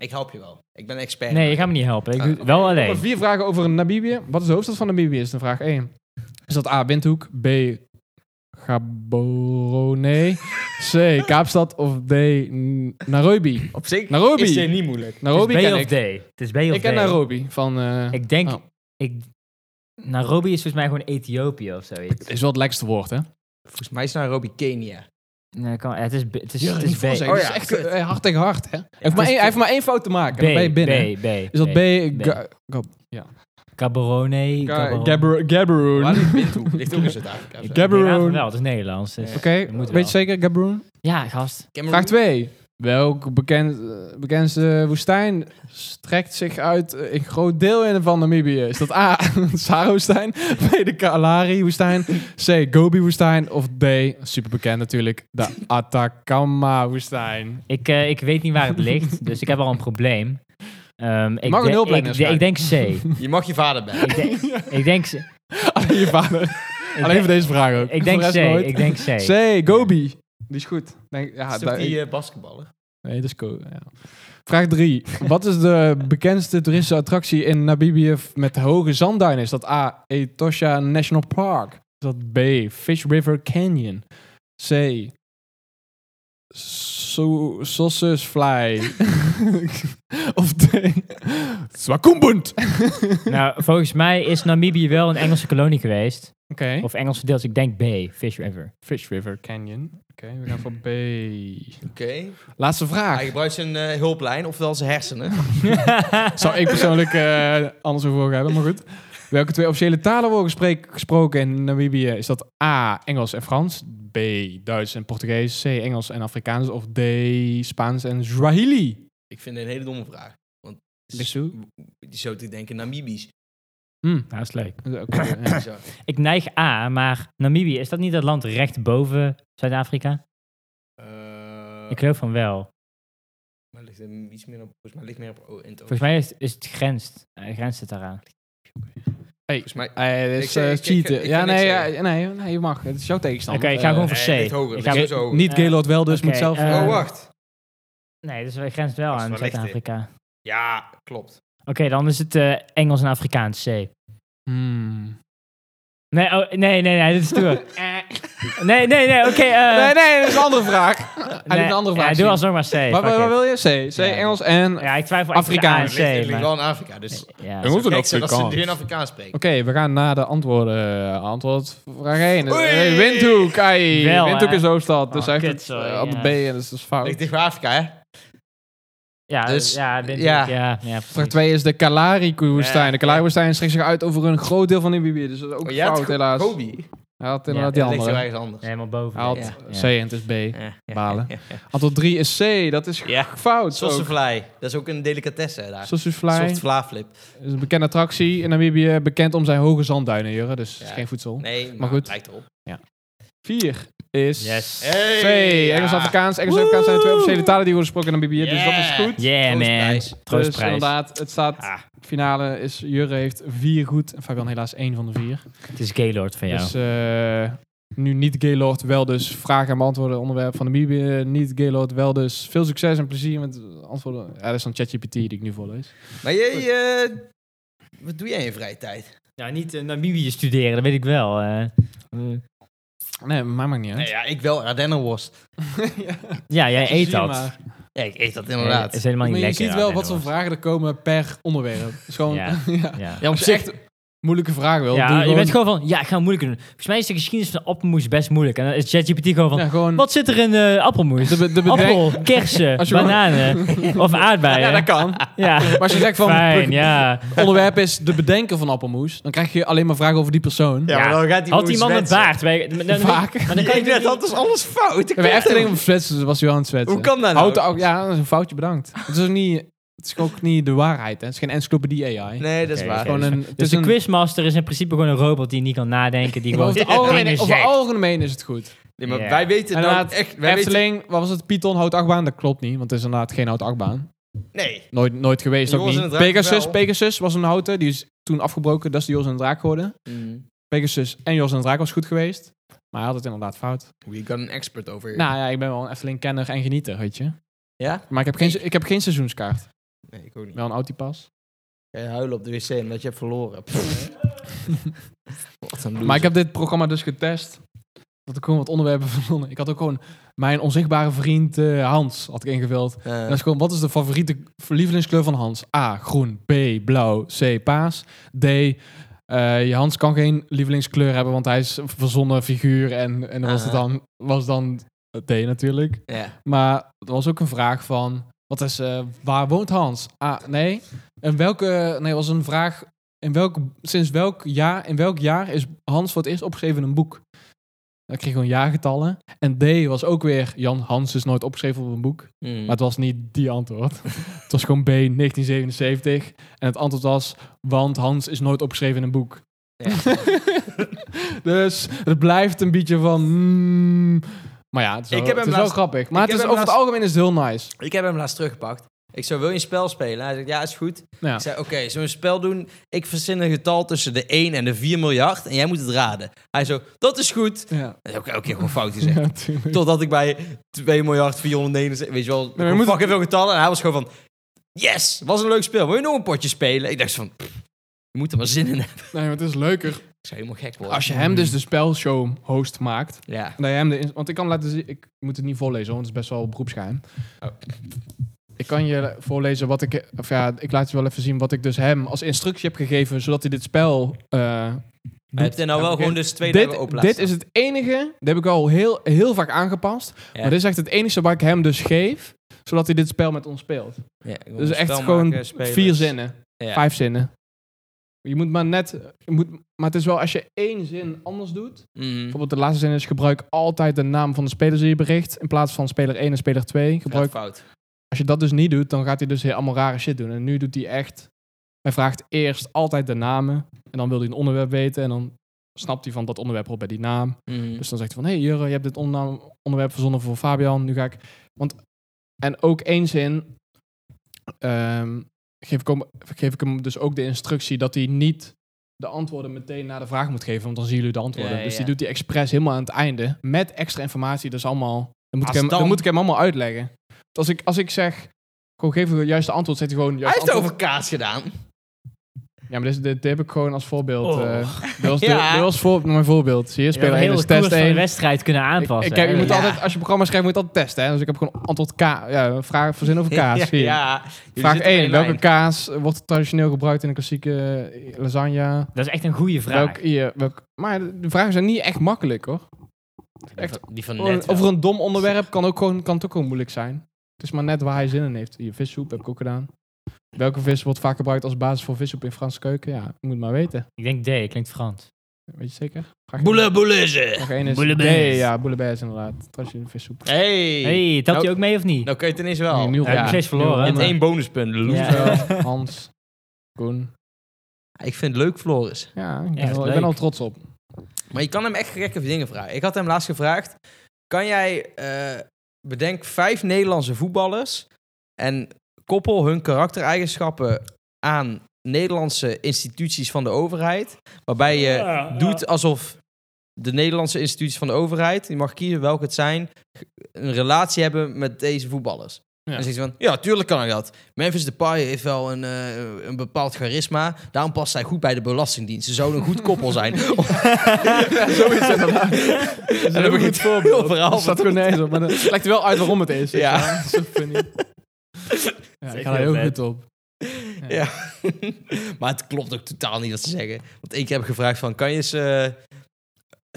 S3: Ik help je wel. Ik ben expert.
S2: Nee, ik ga me niet helpen. Ik
S3: Ah,
S2: doe het wel
S4: Ik heb
S2: alleen.
S4: vier vragen over Namibië. Wat is de hoofdstad van Namibië? Is de vraag 1. Is dat A. Windhoek, B. Gaborone, C. Kaapstad of D. N- Nairobi?
S3: Op zich
S4: Nairobi.
S3: is dit niet moeilijk.
S4: Nairobi
S2: het is B
S4: ken
S2: of
S4: ik.
S2: D. Het is B of D.
S4: Ik ken Nairobi van. eh
S2: Ik denk...
S4: Oh.
S2: Ik, Nairobi is volgens mij gewoon Ethiopië of zoiets.
S4: is wel het lekkerste woord, hè?
S3: Volgens mij is Nairobi Kenia.
S2: Nee, kan, het is, B- het is,
S4: Ja,
S2: het
S4: niet
S2: is
S4: voor
S2: B.
S4: zeggen.
S3: Oh
S4: Het
S3: ja,
S4: is echt
S3: kut.
S4: eh, hard tegen hard, hè? Hij heeft, maar
S2: is
S4: één, hij heeft maar één fout te maken. en dan ben je binnen. hè?
S2: B, B.
S4: Is dat B?
S2: B.
S4: Ga- Ga-
S2: Gaborone.
S4: Ga-
S2: Gaborone.
S4: Gabber-
S3: Waar
S4: Gabberoon.
S3: ligt Windhoek? Ligt ook in Zuid-Afrika. of
S4: Gab-
S3: zo?
S2: Ik denk eigenlijk
S4: Gaborone.
S2: wel, het is Nederlands. dus-
S4: Oké,
S2: Dat moet
S4: weet
S2: wel.
S4: je zeker? Gabberoon?
S2: Ja, gast.
S3: Cameroen?
S4: Vraag 2. Welk bekend, eh, bekendste woestijn strekt zich uit eh, een groot deel in van Namibië? Is dat A, Saro-woestijn, B, de Kalahari-woestijn, C, Gobi-woestijn of D, superbekend natuurlijk, de Atacama-woestijn?
S2: Ik, eh, ik weet niet waar het ligt, dus ik heb al een probleem. Ehm, ik,
S4: mag een
S2: de-
S4: hulplijn
S2: ik, de-
S4: inschakelen.
S2: ik denk C. ik,
S3: Je mag je vader bellen.
S2: denk- ik denk C.
S4: Alleen je vader.
S2: Ik
S4: Alleen voor
S2: denk-
S4: deze vraag ook.
S2: Ik denk
S4: Voor
S2: C.
S4: de rest nooit.
S2: Ik denk C.
S4: C, Gobi. Die is goed. Denk, ja,
S3: is
S4: daar-
S3: toch die eh, basketballer?
S4: Nee, dat is cool. Ja. Vraag 3. Wat is de bekendste toeristische attractie in Namibië f- met hoge zandduinen? Is dat A. Etosha National Park? Is dat B. Fish River Canyon? C. So Sausage Fly? of D. Swakumbund? Oké.
S2: Nou, volgens mij is Namibië wel een Engelse kolonie geweest. Of Engelse deels. Ik denk B. Fish River.
S4: Fish River Canyon. Oké, we gaan voor B.
S3: Oké.
S4: Laatste vraag.
S3: Hij gebruikt zijn eh, hulplijn, oftewel zijn hersenen.
S4: Zou ik persoonlijk eh, anders over hebben, maar goed. Welke twee officiële talen worden gesprek- gesproken in Namibië? Is dat A, Engels en Frans? B, Duits en Portugees? C, Engels en Afrikaans? Of D, Spaans en Swahili?
S3: Ik vind het een hele domme vraag. Want
S4: Bissou?
S3: die zou te denken Namibisch.
S4: Hm.
S2: Nou, is leuk.
S4: dat is ook, eh, ja.
S3: Bizar.
S2: Ik neig A, maar Namibië, is dat niet dat land recht boven Zuid-Afrika?
S3: Eh,
S2: Ik geloof van wel.
S3: maar ligt er iets meer op, volgens mij ligt meer op o- in het oog.
S2: Volgens mij is, is het grenst. eh, grenst het daaraan.
S4: Hey,
S3: Volgens mij-
S4: eh, dit
S3: Ik
S4: is
S3: zeg-
S4: eh,
S3: ik- ik- ik
S4: cheaten.
S3: ga
S4: Ja,
S3: niks
S4: nee,
S3: zeggen.
S4: ja, nee, nee, je mag. Het is jouw tegenstander.
S2: Oké, ik ga
S4: Eh,
S2: gewoon voor
S3: Nee,
S2: C.
S3: ligt hoger,
S2: Ik
S3: ligt
S2: ga-
S3: sowieso hoger.
S4: Niet
S2: Eh,
S4: Gaylord wel, dus
S2: oké,
S4: moet zelf...
S2: eh,
S3: oh, wacht.
S2: Nee, dus het grenst wel
S3: Dat is
S2: aan
S3: wel licht, hè?
S2: Zuid-Afrika.
S3: Ja, klopt.
S2: Oké, dan is het eh, Engels en Afrikaans C. Nee,
S4: Hmm.
S2: oh, nee, nee, nee, dit is door. nee, nee, nee, oké. eh,
S4: Nee, nee, dat is een andere vraag. Hij
S2: nee,
S4: doet een andere
S2: ja,
S4: vraag.
S2: doe
S4: zien.
S2: alsnog maar C.
S4: Wat-
S2: fuck
S4: Wat
S2: it.
S4: wat wil je? C. C,
S2: Ja.
S4: Engels en...
S2: Ja, ik twijfel echt
S4: Afrikaans.
S2: Afrikaans.
S3: Het ligt, het
S2: C,
S3: ligt
S2: maar...
S3: wel in Afrika, dus...
S2: Ja,
S4: Engels?
S2: zo-
S4: moeten
S3: Gek
S4: ook
S3: zijn dat ze
S4: Afrikaans.
S3: geen Afrikaans spreken.
S4: Oké, we gaan naar de antwoorden. eh, Antwoord vraag 1.
S3: Oei!
S4: Hey, Windhoek. Ai.
S2: Wel,
S4: Windhoek
S2: hè?
S4: is hoofdstad. Dus
S2: Oh,
S4: hij
S2: kut,
S4: heeft het
S2: sorry,
S4: eh, op de
S2: ja.
S4: B en dat is dus fout.
S3: Ligt dicht bij Afrika, hè?
S2: ja,
S3: Dus-
S2: ja, denk
S3: ja.
S2: ik, ja, ja, precies.
S4: Vraag 2 is de Kalahari-woestijn.
S3: Ja.
S4: De Kalahari-woestijn strekt zich uit over een groot deel van Namibië. Dus dat is ook
S3: Oh, jij had
S4: fout
S3: Go-
S4: helaas.
S3: Gobi.
S4: Hij had
S2: Ja,
S4: inderdaad
S3: Ja, dat
S4: die
S3: ligt
S4: andere.
S3: heel ergens anders.
S2: Helemaal boven.
S4: Hij had
S2: Ja.
S4: C en het is B.
S3: Ja, ja,
S4: Balen.
S3: ja, ja.
S4: Antwoord 3 is C. Dat is
S3: Ja.
S4: fout. Sausage
S3: Sausagevlaai. Dat is ook een delicatesse daar. Een
S4: fly.
S3: soort vlaaflip.
S4: is een bekende attractie in Namibië. Bekend om zijn hoge zandduinen, Jurre. Dus het is
S3: Ja.
S4: geen voedsel.
S3: Nee, maar,
S4: goed.
S3: lijkt op.
S4: 4 is
S2: Yes.
S4: C.
S3: Hey, ja.
S4: Engels-Afrikaans. Engels-Afrikaans zijn de twee officiële talen die worden gesproken in Namibië. Dus dat is
S3: Yeah.
S4: goed.
S2: Yeah,
S3: Troostprijs.
S2: man.
S4: Dus
S2: Troostprijs.
S4: inderdaad, het staat...
S3: Ah.
S4: Finale is... Jurre heeft vier goed. En Fabian helaas één van de vier.
S2: het is Gaylord van jou.
S4: Dus eh, nu niet Gaylord, wel dus vragen en beantwoorden onderwerp van de Namibië. Niet Gaylord, wel dus veel succes en plezier met antwoorden. Ja, dat is dan ChatGPT die ik nu voorlees.
S3: Maar jij, eh, wat doe jij in je vrije tijd?
S2: Ja, niet eh, Namibië studeren, dat weet ik wel. eh.
S4: Nee, maar maakt niet uit.
S3: Nou ja, ik wel Ardennerworst.
S2: ja, jij eet
S4: Zie
S2: dat.
S4: maar.
S3: Ja, ik eet dat
S2: Nee,
S3: inderdaad.
S2: is helemaal niet
S4: Maar je
S2: lekker.
S4: ziet wel
S2: ja,
S4: wat voor
S2: Denneworst.
S4: vragen er komen per onderwerp. Dus gewoon, ja.
S2: Ja. Ja.
S3: Ja, op
S4: Als je
S3: zich.
S4: echt moeilijke vragen wil,
S2: Ja,
S4: doe
S2: je
S4: gewoon,
S2: bent gewoon van, ja, ik ga moeilijk doen. Volgens mij is de geschiedenis van appelmoes best moeilijk. En dan is ChatGPT gewoon van,
S4: ja, gewoon
S2: wat zit er in eh, appelmoes?
S4: Hm. de, be- de bedrijf...
S2: Appel, kersen,
S4: Als je gewoon-
S2: bananen of aardbeien.
S4: Ja, dat kan.
S2: Ja.
S4: Maar als je zegt van,
S2: Fijn, ja.
S4: het onderwerp is de bedenker van appelmoes, dan krijg je alleen maar vragen over die persoon.
S3: Ja, maar dan gaat die
S2: Had die man een
S3: zwetsen.
S2: baard? Wij- maar dan-
S4: Vaak.
S2: Maar dan kan je
S3: Ik net
S2: natuurlijk
S3: had dus alles fout. Ik
S4: En bij
S3: weet
S4: Efteling
S3: het.
S4: of Zwetsen dus was hij wel aan het zwetsen.
S3: Hoe kan dat nou?
S4: Houd de au- ja, dat is een foutje, bedankt. Het is ook niet, het is ook niet de waarheid, hè. Het is geen encyclopedie AI.
S3: Nee, dat is
S2: Oké,
S3: waar.
S2: oké.
S4: Gewoon een,
S2: niet-
S4: het
S2: Dus
S4: is
S2: de
S4: een,
S2: quizmaster is in principe gewoon een robot die niet kan nadenken. Die
S4: over
S2: gewoon
S4: het
S2: dingen
S4: algemeen, over
S2: zegt.
S4: het algemeen is het goed.
S3: Nee, maar
S2: Ja.
S3: wij weten
S4: En
S3: nou
S4: inderdaad, E-
S3: echt... Wij weten,
S4: Efteling, wat was het? Python, houtachtbaan? Dat klopt niet, want het is inderdaad geen houtachtbaan.
S3: nee.
S4: Nooit, nooit geweest, ook
S3: Jongens
S4: niet.
S3: in het Draak
S4: Pegasus,
S3: wel.
S4: Pegasus was een houten. Die is toen afgebroken. Dat is de Jos en de Draak geworden.
S3: Mm.
S4: Pegasus en Jos en de Draak was goed geweest. Maar hij had het inderdaad fout.
S3: We got an expert over here.
S4: Nou ja, ik ben wel een Efteling-kenner en genieter, weet je.
S3: Ja?
S4: Maar ik heb geen, se- ik heb geen seizoenskaart.
S3: Nee, ik ook niet.
S4: Wel een autipas.
S3: Ga je huilen op de wc omdat je hebt verloren. Wat een
S4: Maar ik heb dit programma dus getest. Dat ik gewoon wat onderwerpen verzonnen. Ik had ook gewoon mijn onzichtbare vriend eh, Hans had ik ingevuld.
S3: Eh,
S4: En dat is gewoon, wat is de favoriete lievelingskleur van Hans? A, groen. B, blauw. C, paas. D, eh, je Hans kan geen lievelingskleur hebben, want hij is een verzonnen figuur. En, en dan was het
S3: Ah.
S4: dan, was dan D natuurlijk.
S3: ja.
S4: Maar er was ook een vraag van, wat is, eh, waar woont Hans? A, nee. En welke, nee, was een vraag, in welk, sinds welk jaar, in welk jaar is Hans voor het eerst opgeschreven in een boek? Dan kreeg je gewoon jaargetallen. En D was ook weer, Jan Hans is nooit opgeschreven op een boek.
S3: Hmm.
S4: Maar het was niet die antwoord. het was gewoon B, 1977. En het antwoord was, want Hans is nooit opgeschreven in een boek.
S3: Ja.
S4: Dus het blijft een beetje van... mm. maar ja, het is wel,
S3: Ik heb hem
S4: het is wel
S3: laatst-
S4: grappig. Maar
S3: ik
S4: het is,
S3: heb hem
S4: over het
S3: laatst-
S4: algemeen is het heel nice.
S3: Ik heb hem laatst teruggepakt. Ik zou wil je een spel spelen? Hij zegt, ja, is goed.
S4: Ja.
S3: Ik zei, oké, zullen we een spel doen? Ik verzin een getal tussen de 1 en de 4 miljard en jij moet het raden. Hij zo, dat is goed.
S4: Ja,
S3: Ik zei, Oké, oké, gewoon fout gezegd.
S4: Ja, tuurlijk.
S3: Totdat ik bij 2 miljard 479, weet je wel,
S4: maar
S3: ik
S4: moet-
S3: moet fucking veel getallen. En hij was gewoon van, yes, was een leuk spel. Wil je nog een potje spelen? Ik dacht van, pff, je moet er maar zin in hebben.
S4: Nee, maar het is leuker
S3: Ik zou helemaal gek worden.
S4: als je hem dus de spelshow host maakt.
S3: Ja.
S4: Dat je hem de ins- want ik kan laten zien, ik moet het niet voorlezen, want het is best wel beroepsgeheim.
S3: Oh.
S4: Ik kan je voorlezen wat ik, of ja, ik laat je wel even zien wat ik dus hem als instructie heb gegeven, zodat hij dit spel. eh,
S3: Maar heb je nou wel
S4: oké.
S3: gewoon dus twee dagen op
S4: dit,
S3: laten
S4: dit is het enige, dat heb ik al heel, heel vaak aangepast,
S3: Ja.
S4: maar dit is echt het enige wat ik hem dus geef, zodat hij dit spel met ons speelt.
S3: staan. Ja, ik wil
S4: Dus
S3: een
S4: echt
S3: spel
S4: gewoon
S3: maken, spelen.
S4: vier zinnen.
S3: Ja.
S4: Vijf zinnen. Je moet maar net. Je moet, maar het is wel als je één zin anders doet.
S3: Mhm.
S4: Bijvoorbeeld de laatste zin is: gebruik altijd de naam van de speler die je bericht. In plaats van speler 1 en speler 2.
S3: Gaat
S4: Gebruik,
S3: fout.
S4: als je dat dus niet doet, dan gaat hij dus heel allemaal rare shit doen. En nu doet hij echt. Hij vraagt eerst altijd de namen. En dan wil hij een onderwerp weten. En dan snapt hij van dat onderwerp op bij die naam.
S3: Mhm.
S4: Dus dan zegt hij van, hé hey, Jurre, je hebt dit ondernaam- onderwerp verzonnen voor Fabian. Nu ga ik... Want, en ook één zin ehm, geef, ik hem, geef ik hem dus ook de instructie dat hij niet de antwoorden meteen naar de vraag moet geven, want dan zien jullie de antwoorden.
S3: Ja, ja,
S4: Dus die
S3: ja.
S4: doet hij expres helemaal aan het einde, met extra informatie, dus allemaal... Dan moet, ik
S3: Als
S4: hem,
S3: dan-
S4: dan moet ik hem allemaal uitleggen. Want Als ik, als ik zeg, gewoon geef het juiste antwoord, zegt hij gewoon...
S3: Hij
S4: juist
S3: heeft het
S4: antwoord.
S3: over kaas gedaan.
S4: Ja, maar dit, dit, dit heb ik gewoon als voorbeeld.
S2: Oh.
S4: eh dit was, dit-
S3: Ja.
S4: dit was voor, mijn voorbeeld. Zie je,
S2: Je
S4: speler
S2: hebt
S4: 1
S2: heel
S4: is
S2: de koers
S4: test
S2: van de
S4: 1.
S2: wedstrijd kunnen
S4: Ik,
S2: aanpassen.
S4: ik heb, je
S2: hè.
S4: moet
S3: Ja.
S4: altijd, als je programma schrijft, moet je altijd testen. Hè? Dus ik heb gewoon antwoord K. Ja, vraag voor zin over kaas.
S3: ja,
S4: zie je.
S3: ja. Jullie
S4: Vraag
S3: zitten op
S4: 1.
S3: één
S4: Welke
S3: lijn.
S4: kaas wordt traditioneel gebruikt in een klassieke eh, lasagne?
S2: Dat is echt een goede vraag.
S4: Welk, ja, welk, maar de vragen zijn niet echt makkelijk hoor.
S3: Die
S4: echt-
S3: van- Die van
S4: Over
S3: net
S4: een- Over een dom onderwerp kan, ook gewoon, kan het ook gewoon moeilijk zijn. Het is maar net waar hij zin in heeft. Je vissoep heb ik ook gedaan. Welke vis wordt vaak gebruikt als basis voor vissoep in Franse keuken? Ja, ik moet maar weten.
S2: Ik denk D, klinkt Frans.
S4: Weet je zeker? Vraag
S3: Boele boeleze.
S4: één- vraag één is...
S2: Boulebez.
S4: Nee, ja, boelebez inderdaad. Trasje vissoep.
S3: Hey.
S2: hey, telt
S3: Nou-
S2: je ook mee of niet?
S3: Nou kun je het ineens
S4: Nee,
S3: wel.
S4: nul.
S2: Ja, ik heb steeds verloren,
S4: nul.
S3: Met één bonuspunt. loser.
S2: Ja.
S4: Zo, Hans, Koen.
S3: Ik vind het leuk, Floris.
S4: Ja, ik ben,
S2: Echt
S4: al, ik
S2: leuk.
S4: ben al trots op.
S3: Maar je kan hem echt gekke dingen vragen. Ik had hem laatst gevraagd: kan jij eh, bedenk vijf Nederlandse voetballers en koppel hun karaktereigenschappen aan Nederlandse instituties van de overheid, waarbij je doet alsof de Nederlandse instituties van de overheid, die mag kiezen welke het zijn, een relatie hebben met deze voetballers.
S4: Ja.
S3: En dan zegt ze van, ja, tuurlijk kan ik dat. Memphis Depay heeft wel een, eh, een bepaald charisma. Daarom past hij goed bij de Belastingdienst. Ze zouden een goed koppel zijn. Ja, zoiets. En dan, en dan begint het heel verhaal.
S4: Dat staat gewoon nergens op, maar dat het lijkt er wel uit waarom het is.
S3: Ja.
S4: Dat is zo funny. Ja, ik
S2: echt
S4: ga daar
S2: heel
S4: heel
S2: vet.
S4: goed op.
S3: Ja. maar het klopt ook totaal niet wat ze zeggen. Want ik heb gevraagd van, kan je eens eh,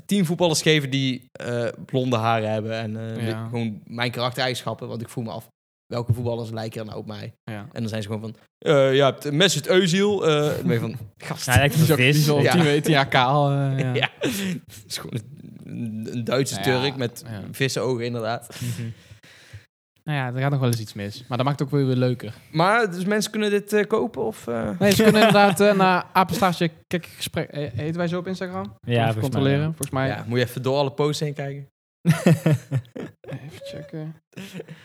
S3: tien voetballers geven die eh, blonde haren hebben en eh,
S4: Ja.
S3: gewoon mijn karaktereigenschappen, want ik voel me af. Welke voetballers lijken er nou op mij?
S4: Ja.
S3: En dan zijn ze gewoon van, eh ja, het- Mesut Özil. eh dan ben je van, gast.
S2: Hij lijkt op een
S4: Die is
S2: vis.
S4: al
S3: Ja.
S4: 10 weten, ja, kaal. eh, ja.
S3: Ja, het is gewoon een, een Duitse
S4: Nou ja,
S3: Turk met
S4: ja.
S3: vissenogen inderdaad.
S4: Nou ja, er gaat nog wel eens iets mis. Maar dat maakt het ook wel weer leuker.
S3: Maar dus mensen kunnen dit eh, kopen of... eh,
S4: Nee, ze kunnen inderdaad eh, naar apenstaartje kikkergesprek... eh, Heten wij zo op Instagram?
S2: Ja,
S4: Even
S2: volgens mij,
S4: controleren.
S2: ja.
S4: Volgens mij.
S3: ja, moet je even door alle posts heen kijken.
S4: Even checken.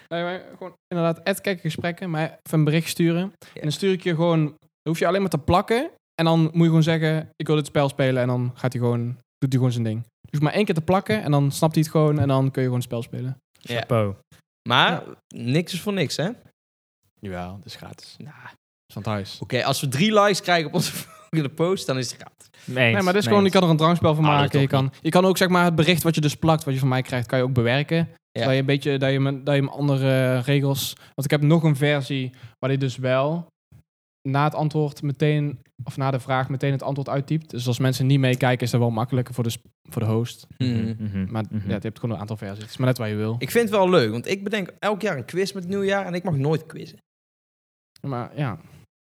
S4: Nee, maar gewoon inderdaad, ad kikkergesprekken. Maar even een bericht sturen. En dan stuur ik je gewoon... Dan hoef je alleen maar te plakken. En dan moet je gewoon zeggen, ik wil dit spel spelen. En dan gaat hij gewoon, doet hij gewoon zijn ding. Je hoeft maar één keer te plakken. En dan snapt hij het gewoon. En dan kun je gewoon het spel spelen.
S3: Ja.
S2: Po.
S3: Maar niks is voor niks, hè?
S4: Jawel, dat is gratis.
S3: Nou,
S4: van thuis.
S3: Oké, als we drie likes krijgen op onze volgende post, dan is het gratis.
S2: Nee,
S4: Nee, maar dit is gewoon, je kan er een drankspel van
S3: Ah, dat
S4: maken. Je
S3: toch
S4: kan, je kan ook zeg maar het bericht wat je dus plakt, wat je van mij krijgt, kan je ook bewerken. Terwijl je een beetje, dat je, hem- dat je hem andere eh, regels... Want ik heb nog een versie waar hij dus wel na het antwoord meteen, of na de vraag meteen het antwoord uittypt. Dus als mensen niet meekijken, is dat wel makkelijker voor de, sp- voor de host.
S3: Mhm.
S2: Mhm.
S4: Maar ja, je hebt gewoon een aantal versies. Het is maar net waar je wil.
S3: Ik vind het wel leuk, want ik bedenk elk jaar een quiz met het nieuwjaar en ik mag nooit quizzen.
S4: Maar ja,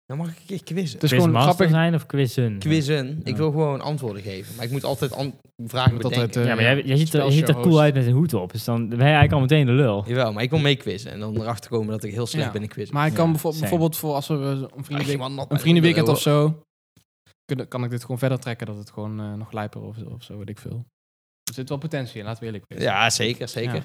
S3: Dan mag ik een keer quizzen.
S4: het is gewoon grappig.
S2: zijn of quizzen?
S3: Quizzen, ik
S4: Ja.
S3: wil gewoon antwoorden geven, maar ik moet altijd an- vragen
S4: moet
S3: bedenken.
S4: altijd, eh,
S2: Ja, maar jij, jij ziet, er, je ziet er
S4: Spelshow-host.
S2: cool uit met een hoed op. Dus dan ben je eigenlijk al meteen de lul.
S3: Jawel, maar ik wil meequizzen en dan erachter komen dat ik heel slecht
S4: Ja.
S3: ben in quizzen.
S4: Maar ik kan
S2: Ja,
S4: bijvoor-
S2: same.
S4: bijvoorbeeld voor als we eh, een
S3: Ach,
S4: vriendenweek
S3: man, dat-
S4: een vriendenweekend of zo. Kunnen, kan ik dit gewoon verder trekken dat het gewoon eh, nog lijper of, of zo, weet ik veel. Er zit wel potentie in, laten we eerlijk wezen.
S3: Ja, zeker, zeker.
S4: Ja.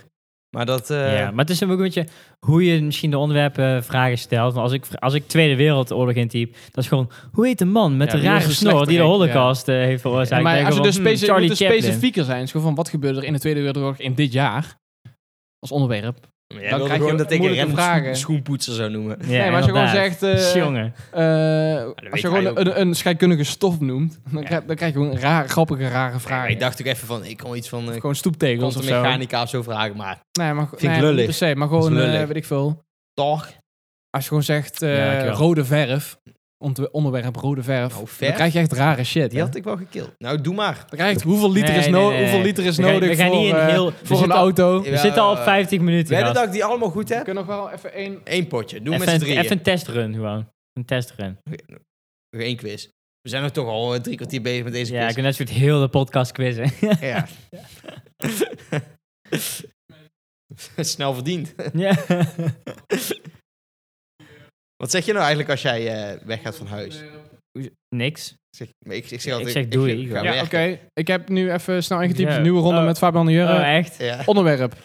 S3: Maar dat... eh,
S2: ja, maar het is ook een beetje hoe je misschien de onderwerpen eh, vragen stelt. Want als ik, als ik Tweede Wereldoorlog intyp, dat is gewoon... Hoe heet de man met
S4: Ja,
S2: de
S4: die was
S2: rare
S4: een
S2: snor die de
S4: slechterik,
S2: Holocaust eh, heeft veroorzaakt?
S4: maar
S2: Dan
S4: als je
S2: denk
S4: dus
S2: ik
S4: specie-
S2: wel,
S4: je
S2: hmm,
S4: moet dus
S2: Charlie Chaplin.
S4: specifieker zijn, is gewoon van wat gebeurde er in de Tweede Wereldoorlog in dit jaar als onderwerp.
S3: jij
S4: dan
S3: wilde
S4: krijg je
S3: gewoon dat ik een
S4: moeilijke
S3: random
S4: vragen.
S3: schoenpoetser zou noemen.
S2: Ja,
S4: nee, maar als je gewoon
S2: inderdaad.
S4: zegt, eh,
S2: Jongen.
S4: eh, als
S3: weet
S4: je
S3: hij ook
S4: gewoon
S3: niet.
S4: een, een scheikundige stof noemt, dan,
S2: Ja.
S4: krijg, dan krijg je gewoon raar, grappige, rare vragen.
S3: Maar ik dacht ook even van, ik kon iets van... eh
S4: gewoon stoeptegels of zo.
S3: mechanica of zo vragen, maar
S4: Nee, maar,
S3: ik
S4: nee, niet
S3: lullig.
S4: per se, maar
S3: is
S4: gewoon, eh,
S3: lullig.
S4: weet ik veel.
S3: toch.
S4: Als je gewoon zegt eh,
S2: Ja, ik wel.
S4: rode verf, ont- onderwerp rode verf,
S3: Nou, verf?
S4: dan krijg je echt rare shit.
S3: Die
S4: hè?
S3: had ik wel gekild. Nou, doe maar.
S4: Dan krijg je echt hoeveel liter
S2: Nee,
S4: is, no-
S2: nee, nee,
S4: hoeveel
S2: nee.
S4: liter is
S2: We gaan-
S4: nodig
S2: we gaan
S4: voor,
S2: niet in
S4: eh,
S2: heel- we
S4: voor een
S2: zitten al-
S4: auto.
S2: We zitten al op 50 minuten,
S3: Wedden
S2: gast.
S3: dat ik die allemaal goed
S4: We
S3: heb?
S4: kunnen nog wel even één...
S3: Eén potje. Doe met
S2: Even,
S3: z'n
S2: een-
S3: drieën.
S2: even een testrun gewoon. Een testrun.
S3: Nog één quiz. We zijn er toch al eh, drie kwartier bezig met deze
S2: Ja, ik
S3: quiz.
S2: kan net zo goed heel de podcast quizzen.
S3: Ja. Snel verdiend.
S2: ja.
S3: Wat zeg je nou eigenlijk als jij eh, weggaat van huis?
S2: Niks.
S3: Zeg, ik, ik zeg altijd...
S2: Ik zeg doei,
S3: ga
S2: Igor.
S4: Ja,
S3: werken.
S4: oké. Ik heb nu even snel ingetypt.
S2: Ja.
S4: Nieuwe ronde
S2: Oh.
S4: met Fabian de Jurre.
S2: Oh, echt?
S3: Ja.
S4: Onderwerp.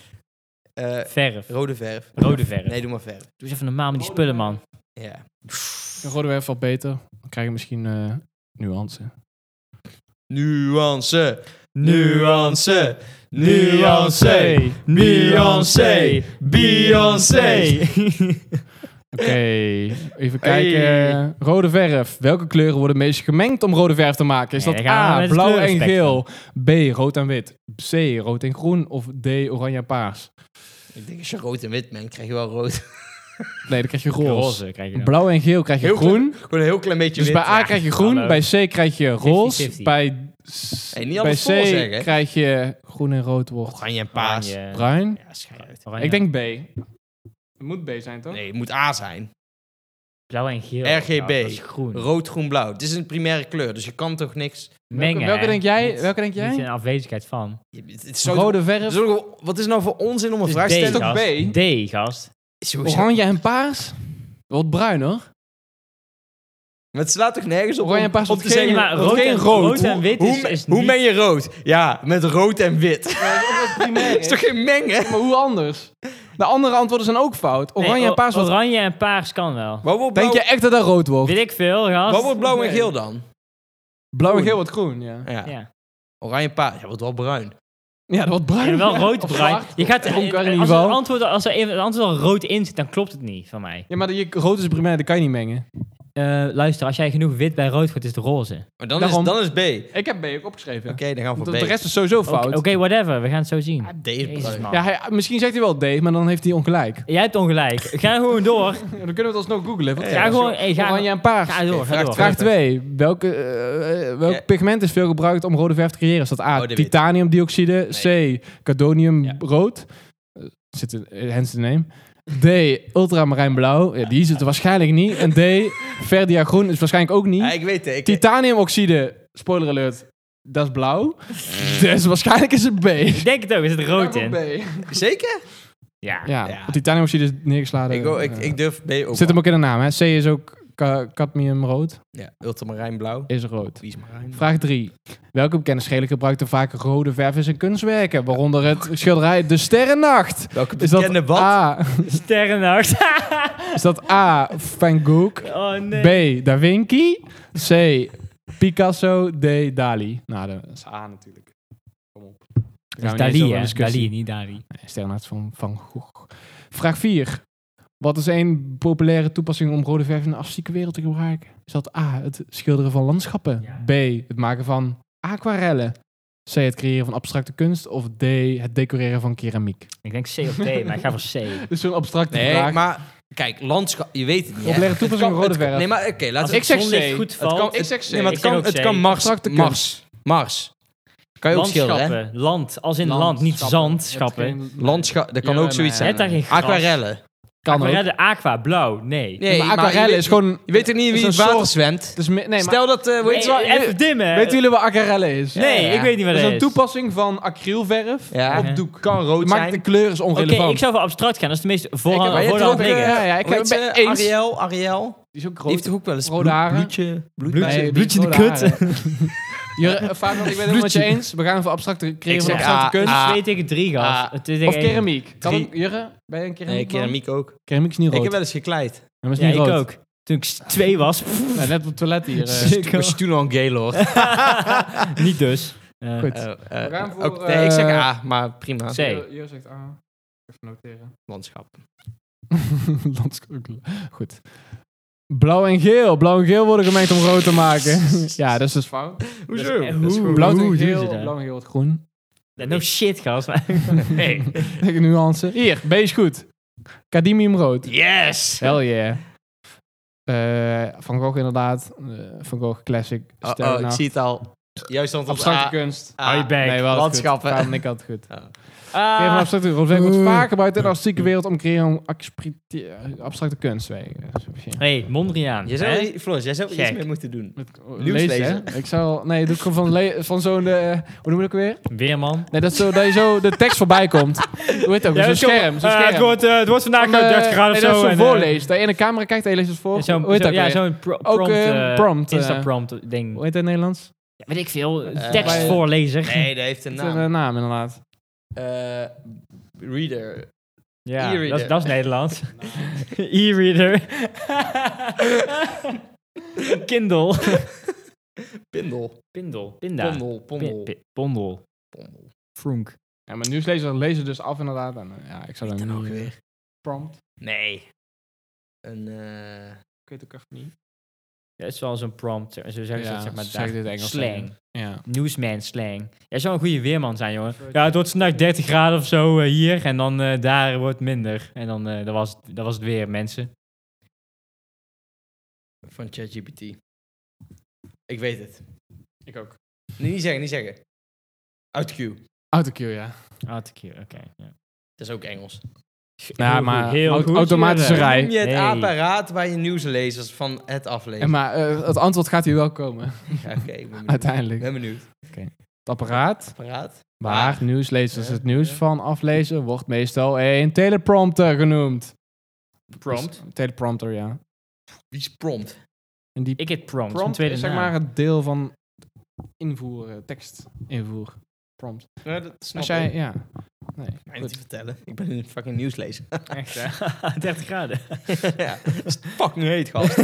S3: Eh,
S2: Verf.
S3: rode verf.
S2: Rode verf.
S3: Nee, doe maar verf.
S2: Doe eens even normaal met die spullen, man.
S3: Ja.
S4: Een rode werf wat beter. Dan krijg je misschien eh, nuance.
S3: Nuance.
S1: Nuance, nuance, Beyoncé, Beyoncé.
S4: Oké, even kijken. Rode verf. Welke kleuren worden het meest gemengd om rode verf te maken? Is
S2: Nee,
S4: dat
S2: dan gaan we
S4: A,
S2: met het
S4: blauw en geel,
S2: kleurenspectrum.
S4: B, rood en wit, C, rood en groen of D, oranje en paars?
S3: Ik denk, als je rood en wit bent, krijg je wel rood.
S4: Nee, dan krijg je roze.
S2: Roze krijg je dan.
S4: Blauw en geel krijg je
S3: Heel
S4: groen.
S3: Gewoon een heel klein beetje
S4: Dus
S3: wit.
S4: bij A
S3: Ja.
S4: krijg je groen,
S2: hallo.
S4: bij C krijg je roze,
S2: 50-50.
S4: bij, s-
S3: Hey, niet
S4: bij
S3: alles
S4: C
S3: voorzeggen, hè?
S4: krijg je groen en rood wordt
S3: Oh, Oranje en paas.
S2: Oranje.
S4: bruin.
S3: Ja, schijt uit.
S2: Oranje.
S4: Ik denk B. Het moet B zijn, toch?
S3: Nee, het moet A zijn.
S2: Blauw en geel.
S3: RGB.
S2: Ja, dat is groen.
S3: Rood, groen, blauw. Het is een primaire kleur, dus je kan toch niks...
S2: Mengen.
S4: welke, welke
S2: hè?
S4: denk jij?
S2: Niet-
S4: welke denk
S2: Niet in
S4: jij?
S2: afwezigheid van.
S3: Je- Het het is zo...
S4: Rode
S3: het
S4: verf,
S3: is ook- wat is nou voor onzin om een
S2: Het
S3: vraag te
S2: is D,
S3: stellen?
S4: toch
S2: gast. D, gast.
S3: Sowieso.
S4: oranje en paars. Wat bruin hoor.
S3: Maar het slaat toch nergens op
S4: Oranje
S3: om,
S4: paars
S3: om
S4: wordt
S3: te
S4: geen-
S3: zeggen...
S2: maar
S3: want
S2: rood
S3: geen
S2: en-
S3: rood.
S2: rood en wit
S3: hoe,
S2: is-
S3: me-
S2: is
S3: Hoe
S2: niet-
S3: ben je rood? Ja, met rood en wit. Dat is toch geen mengen?
S4: maar hoe anders? De andere antwoorden zijn ook fout. Oranje
S2: Nee,
S4: en paars.
S2: o-
S4: wordt-
S2: Oranje en paars kan wel.
S3: Wat wordt blauw,
S4: Denk je echt dat dat rood wordt?
S2: Weet ik veel, gast.
S3: wat wordt blauw en
S4: Nee.
S3: geel dan?
S4: Blauw en
S3: groen?
S4: geel wordt groen, ja.
S3: Ja.
S2: Ja.
S3: Oranje paars. Ja, wordt wel bruin.
S4: Ja, dat wordt bruin.
S2: En wel
S4: ja.
S2: rood
S4: Of
S2: bruin.
S4: zwart.
S2: Je gaat,
S4: Dronken in
S2: als,
S4: ieder
S2: het
S4: geval.
S2: antwoord, als er even het antwoord al rood in zit, dan klopt het niet van mij.
S4: Ja, maar je, rood is primair, dat kan je niet mengen.
S2: Eh, luister, als jij genoeg wit bij rood gooit, is het roze.
S3: Maar dan,
S4: Daarom-
S3: is, dan is B. Oké,
S4: Ik heb B ook opgeschreven.
S3: dan gaan we
S4: Want
S3: voor
S4: de
S3: B.
S4: rest is sowieso
S2: Oké,
S4: fout.
S2: oké, whatever. We gaan het zo zien.
S3: Ja, D is
S2: Jezus,
S3: bruin.
S2: man.
S4: Ja, hij, misschien zegt hij wel D, maar dan heeft hij ongelijk.
S2: Jij hebt ongelijk. Ga gewoon door.
S4: Ja, dan kunnen we het alsnog googlen. Wat
S3: Ja,
S4: is
S2: Ga
S4: dat?
S2: gewoon... Hey, ga,
S4: Oranje en paars.
S2: ga door, ga
S3: vraag
S2: door.
S4: Vraag
S3: twee.
S4: 2. Welke, eh, eh, welk
S3: Ja.
S4: pigment is veel gebruikt om rode verf te creëren? Is dat A,
S3: Oh, de wit.
S4: titaniumdioxide, C,
S3: Ja.
S4: cadoniumrood, Eh, zit in- eh, hence the name, D, ultramarineblauw, ja, die zit er waarschijnlijk niet, en D, verdiagroen is waarschijnlijk ook niet.
S3: Ja, ik weet het. Ik,
S4: Titaniumoxide, spoiler alert, dat is blauw, dus waarschijnlijk is het B.
S2: Ik denk het ook, is het rood in.
S3: Zeker?
S2: Ja.
S4: Ja,
S3: Ja.
S4: want titaniumoxide is dus neergeslagen.
S3: Ik, ik,
S4: eh,
S3: ik durf B ook.
S4: zit hem ook in de naam, hè? C is ook ka- cadmiumrood,
S3: Ja, ultamarijnblauw.
S4: is rood.
S3: Wie is marijn?
S4: Vraag 3. Welke bekende schelen gebruikten vaak rode verf in zijn kunstwerken? Waaronder het schilderij De Sterrennacht.
S3: Welke
S4: Is dat,
S3: bekende wat?
S4: A,
S2: Sterrennacht.
S4: is dat A. Van Gogh?
S2: oh nee.
S4: B. Da Vinci? C. Picasso? D. Dali? Nou, dat is A natuurlijk. Kom op. Nou,
S2: Dat is Dali, hè. Dali, niet Dali.
S4: Sterrennacht van Van Gogh. Vraag 4. Wat is één populaire toepassing om rode verf in de artistieke wereld te gebruiken? Is dat A. Het schilderen van landschappen.
S2: Ja.
S4: B. Het maken van aquarellen. C. Het creëren van abstracte kunst. Of D. Het decoreren van keramiek.
S2: Ik denk C of D, maar ik ga voor C.
S4: Dus zo'n abstracte
S3: Nee,
S4: vraag.
S3: maar kijk, landschap, je weet het niet. hè?
S4: Populaire
S3: Het
S4: toepassing
S3: kan-
S4: rode
S3: het kan-
S4: verf.
S3: Nee, maar oké, laten
S2: Als
S3: we
S2: het
S4: ik zeg
S2: zonlicht
S4: C.
S2: goed
S4: Het kan-
S2: valt...
S4: ik zeg C.
S3: Nee, maar het
S2: Ik zeg
S3: kan,
S2: ook
S3: het
S2: C.
S3: kan Mars.
S4: Abstracte kunst.
S3: Mars. Mars. Kan je ook schilderen, hè?
S2: Landschappen. Land, als in land, niet zand. Schappen.
S3: Landschap, dat kan
S4: Ja,
S3: ook zoiets
S4: maar-
S2: Zet daar
S3: zijn.
S2: geen gras.
S3: Aquarellen.
S4: Kan ook.
S2: Aquarellen, aqua, blauw, nee.
S3: Nee,
S4: maar
S3: maar
S4: aquarellen
S3: je weet-
S4: is gewoon...
S3: Je weet er niet wie
S4: is
S3: in het
S4: een
S3: water
S4: soort-
S3: zwemt.
S4: het is me- nee, maar,
S3: Stel dat, eh, weet je
S2: Nee,
S3: wel...
S2: even dimmen.
S4: weten jullie wat aquarellen is?
S2: Nee, ik weet niet wat
S4: dat is.
S2: het
S4: een
S2: is.
S4: toepassing van acrylverf.
S3: Ja.
S4: Op doek.
S3: Kan rood
S4: Maakt de
S3: zijn.
S4: kleur is
S2: Oké,
S4: onrelevant.
S2: ik zou voor abstract gaan. Dat is de meest voorhand,
S3: maar je hebt
S2: voorhand
S3: ook,
S2: liggen.
S3: eh,
S4: ja, ja, ik
S3: Hoe heet
S4: heb
S3: ze?
S4: het eens.
S3: Ariel, Ariel.
S4: Die is ook
S3: Die
S4: rood.
S3: heeft toch ook wel eens
S4: Rode
S3: bloed-
S4: haren?
S3: bloedje? bloedje?
S4: Nee, die
S2: bloedje in de
S4: rode
S2: kut.
S4: haren. Jure, eh, Fabian, ik ben het helemaal met je
S2: Bloedje.
S4: eens. We gaan voor abstracte creëren
S2: Ik
S4: van
S2: zeg
S4: abstracte
S3: ah,
S4: kunst.
S3: ah.
S2: Twee tegen drie, gast.
S3: Ah.
S2: Het is
S4: of
S2: tegen één.
S4: keramiek. Kan
S3: Drie.
S4: ook, Jurre, ben je een keramiek
S3: Nee, keramiek ook.
S4: Keramiek is niet rood.
S3: Ik heb wel eens gekleid.
S4: Dat is
S2: Ja,
S4: niet
S2: ik
S4: rood.
S2: ook. Toen ik s- twee was. pff,
S4: Nou, net op het toilet hier. eh.
S2: Shit. Ik
S3: Ik was toen al een gaylord.
S2: niet dus. Eh,
S4: Goed.
S3: Eh, eh,
S4: We gaan voor,
S3: ook- nee, ik zeg
S4: eh,
S3: A, maar prima.
S2: C.
S4: Jurre Jurre zegt A. Even noteren.
S3: Landschap.
S4: Landskogel. Goed. Blauw en geel. Blauw en geel worden gemengd om rood te maken. ja, dat is dus fout.
S3: Hoezo?
S2: eh, hoe-
S4: Blauw
S2: hoe
S4: en
S2: doen ze
S4: geel.
S2: dat?
S4: Blauw en geel wordt groen.
S2: No shit, gast. maar- Hey.
S4: Lekker nuance. Hier, B is goed. Cadmiumrood.
S3: Yes!
S4: Hell yeah. Eh, Van Gogh inderdaad. Eh, Van Gogh classic.
S3: Oh, oh, ik
S4: Sterrennacht.
S3: zie het al. Juist stond op
S2: Ah.
S4: Abstracte
S3: A.
S4: kunst.
S3: A.
S2: Hou je bek.
S4: Ah, nee, wel
S3: landschappen.
S4: Goed. Fabian en ik had het goed. Creëren van
S2: Ah,
S4: abstracte kunst. Wordt
S1: Eh.
S4: vaak gebruikt in de artistieke wereld om creëren om expri- abstracte kunst. Wij, eh, zo precies.
S2: Hey, Mondriaan.
S3: Jij
S2: hè?
S3: zou, Floris, jij zou er iets
S2: Gek.
S3: mee moeten doen.
S4: Met, oh,
S3: Nieuws lezen.
S4: hè? Ik zou... Nee, doe ik gewoon van, le- van zo'n... eh, hoe noem je dat ook weer?
S2: Weerman.
S4: Nee, dat, is zo, dat je zo de tekst voorbij komt. Hoe heet dat ook?
S2: Ja,
S4: zo'n
S2: dat is
S4: scherm. Zo'n
S2: Eh,
S4: scherm.
S2: het, wordt, eh, het wordt vandaag
S4: Van,
S2: eh,
S4: eh,
S2: 30 graden
S4: nee,
S2: of
S4: dat
S2: zo.
S4: is zo'n
S2: en, eh,
S4: voorlees. Dat je in de camera kijkt en je leest het voor.
S2: Zo'n
S4: hoe heet dat
S2: zo, ja,
S4: weer?
S2: zo'n pro-
S4: Ook,
S2: prompt,
S4: eh,
S2: eh,
S4: prompt, eh,
S2: Insta-prompt ding.
S4: Hoe heet dat in het Nederlands?
S2: Ja, weet ik veel.
S3: Eh,
S2: tekstvoorlezer.
S3: Nee, dat heeft een
S4: Het is
S3: naam.
S4: een, eh, naam, inderdaad.
S3: Eh, reader.
S2: ja,
S3: e-reader.
S2: dat, is- dat is Nederlands. E-reader. Kindle.
S3: Pindel.
S2: Pindel. Pinda.
S3: Pondel. Pondel.
S2: Pin- pi- Pondel.
S3: Pondel.
S2: Fronk.
S4: Ja, maar nieuwslezer lezen dus af inderdaad. En, eh, ja, ik zou dan nu weer. Prompt.
S3: Nee. Een, eh,
S4: Ik weet ook echt niet.
S2: Ja, het is wel zo'n prompt. Zo zeggen ze
S4: Ja,
S2: dat, zeg maar.
S4: zo zeggen
S2: daar.
S4: dit Engels.
S2: slang.
S4: Ja.
S2: Newsman slang. Jij zou een goede weerman zijn, jongen. Ja, het wordt vandaag 30 graden of zo eh, hier. En dan eh, daar wordt het minder. En dan eh, dat was, het- dat was het weer, mensen.
S3: van ChatGPT. Ik weet het.
S4: Ik ook.
S3: Nee, niet zeggen, niet zeggen. Uit Q.
S4: Autocue, ja.
S2: Ah, te keer, Oké. ja.
S3: Dat is ook Engels.
S4: Ja,
S2: Heel
S4: maar
S2: goed, heel
S4: au-
S2: goed,
S4: automatische
S2: Jurre.
S4: rij.
S3: Noem je het
S2: Nee.
S3: apparaat waar je nieuwslezers van het
S4: En
S3: aflezen?
S4: Maar eh, het antwoord gaat hier wel komen,
S3: Ja, Oké, ik ben benieuwd. Ik
S4: uiteindelijk.
S3: ben benieuwd.
S4: Het apparaat
S3: Apparaat?
S4: waar
S3: Waar?
S4: nieuwslezers
S3: Ja,
S4: het nieuws
S3: ja.
S4: van aflezen wordt meestal een teleprompter genoemd.
S3: Prompt?
S4: Dus- teleprompter, ja.
S3: Wie is prompt?
S4: En die
S2: Ik heb prompt, een
S4: prompt
S2: tweede
S4: is zeg
S2: naam.
S4: maar het deel van invoeren, tekst invoer. Prompt.
S3: Nou, dat snap
S4: Als jij,
S3: ik.
S4: ja. Nee,
S3: Mij
S4: goed.
S3: niet te vertellen. Ik ben een fucking nieuwslezer.
S2: Echt, hè? 30 graden.
S3: ja, dat is fucking heet, gast.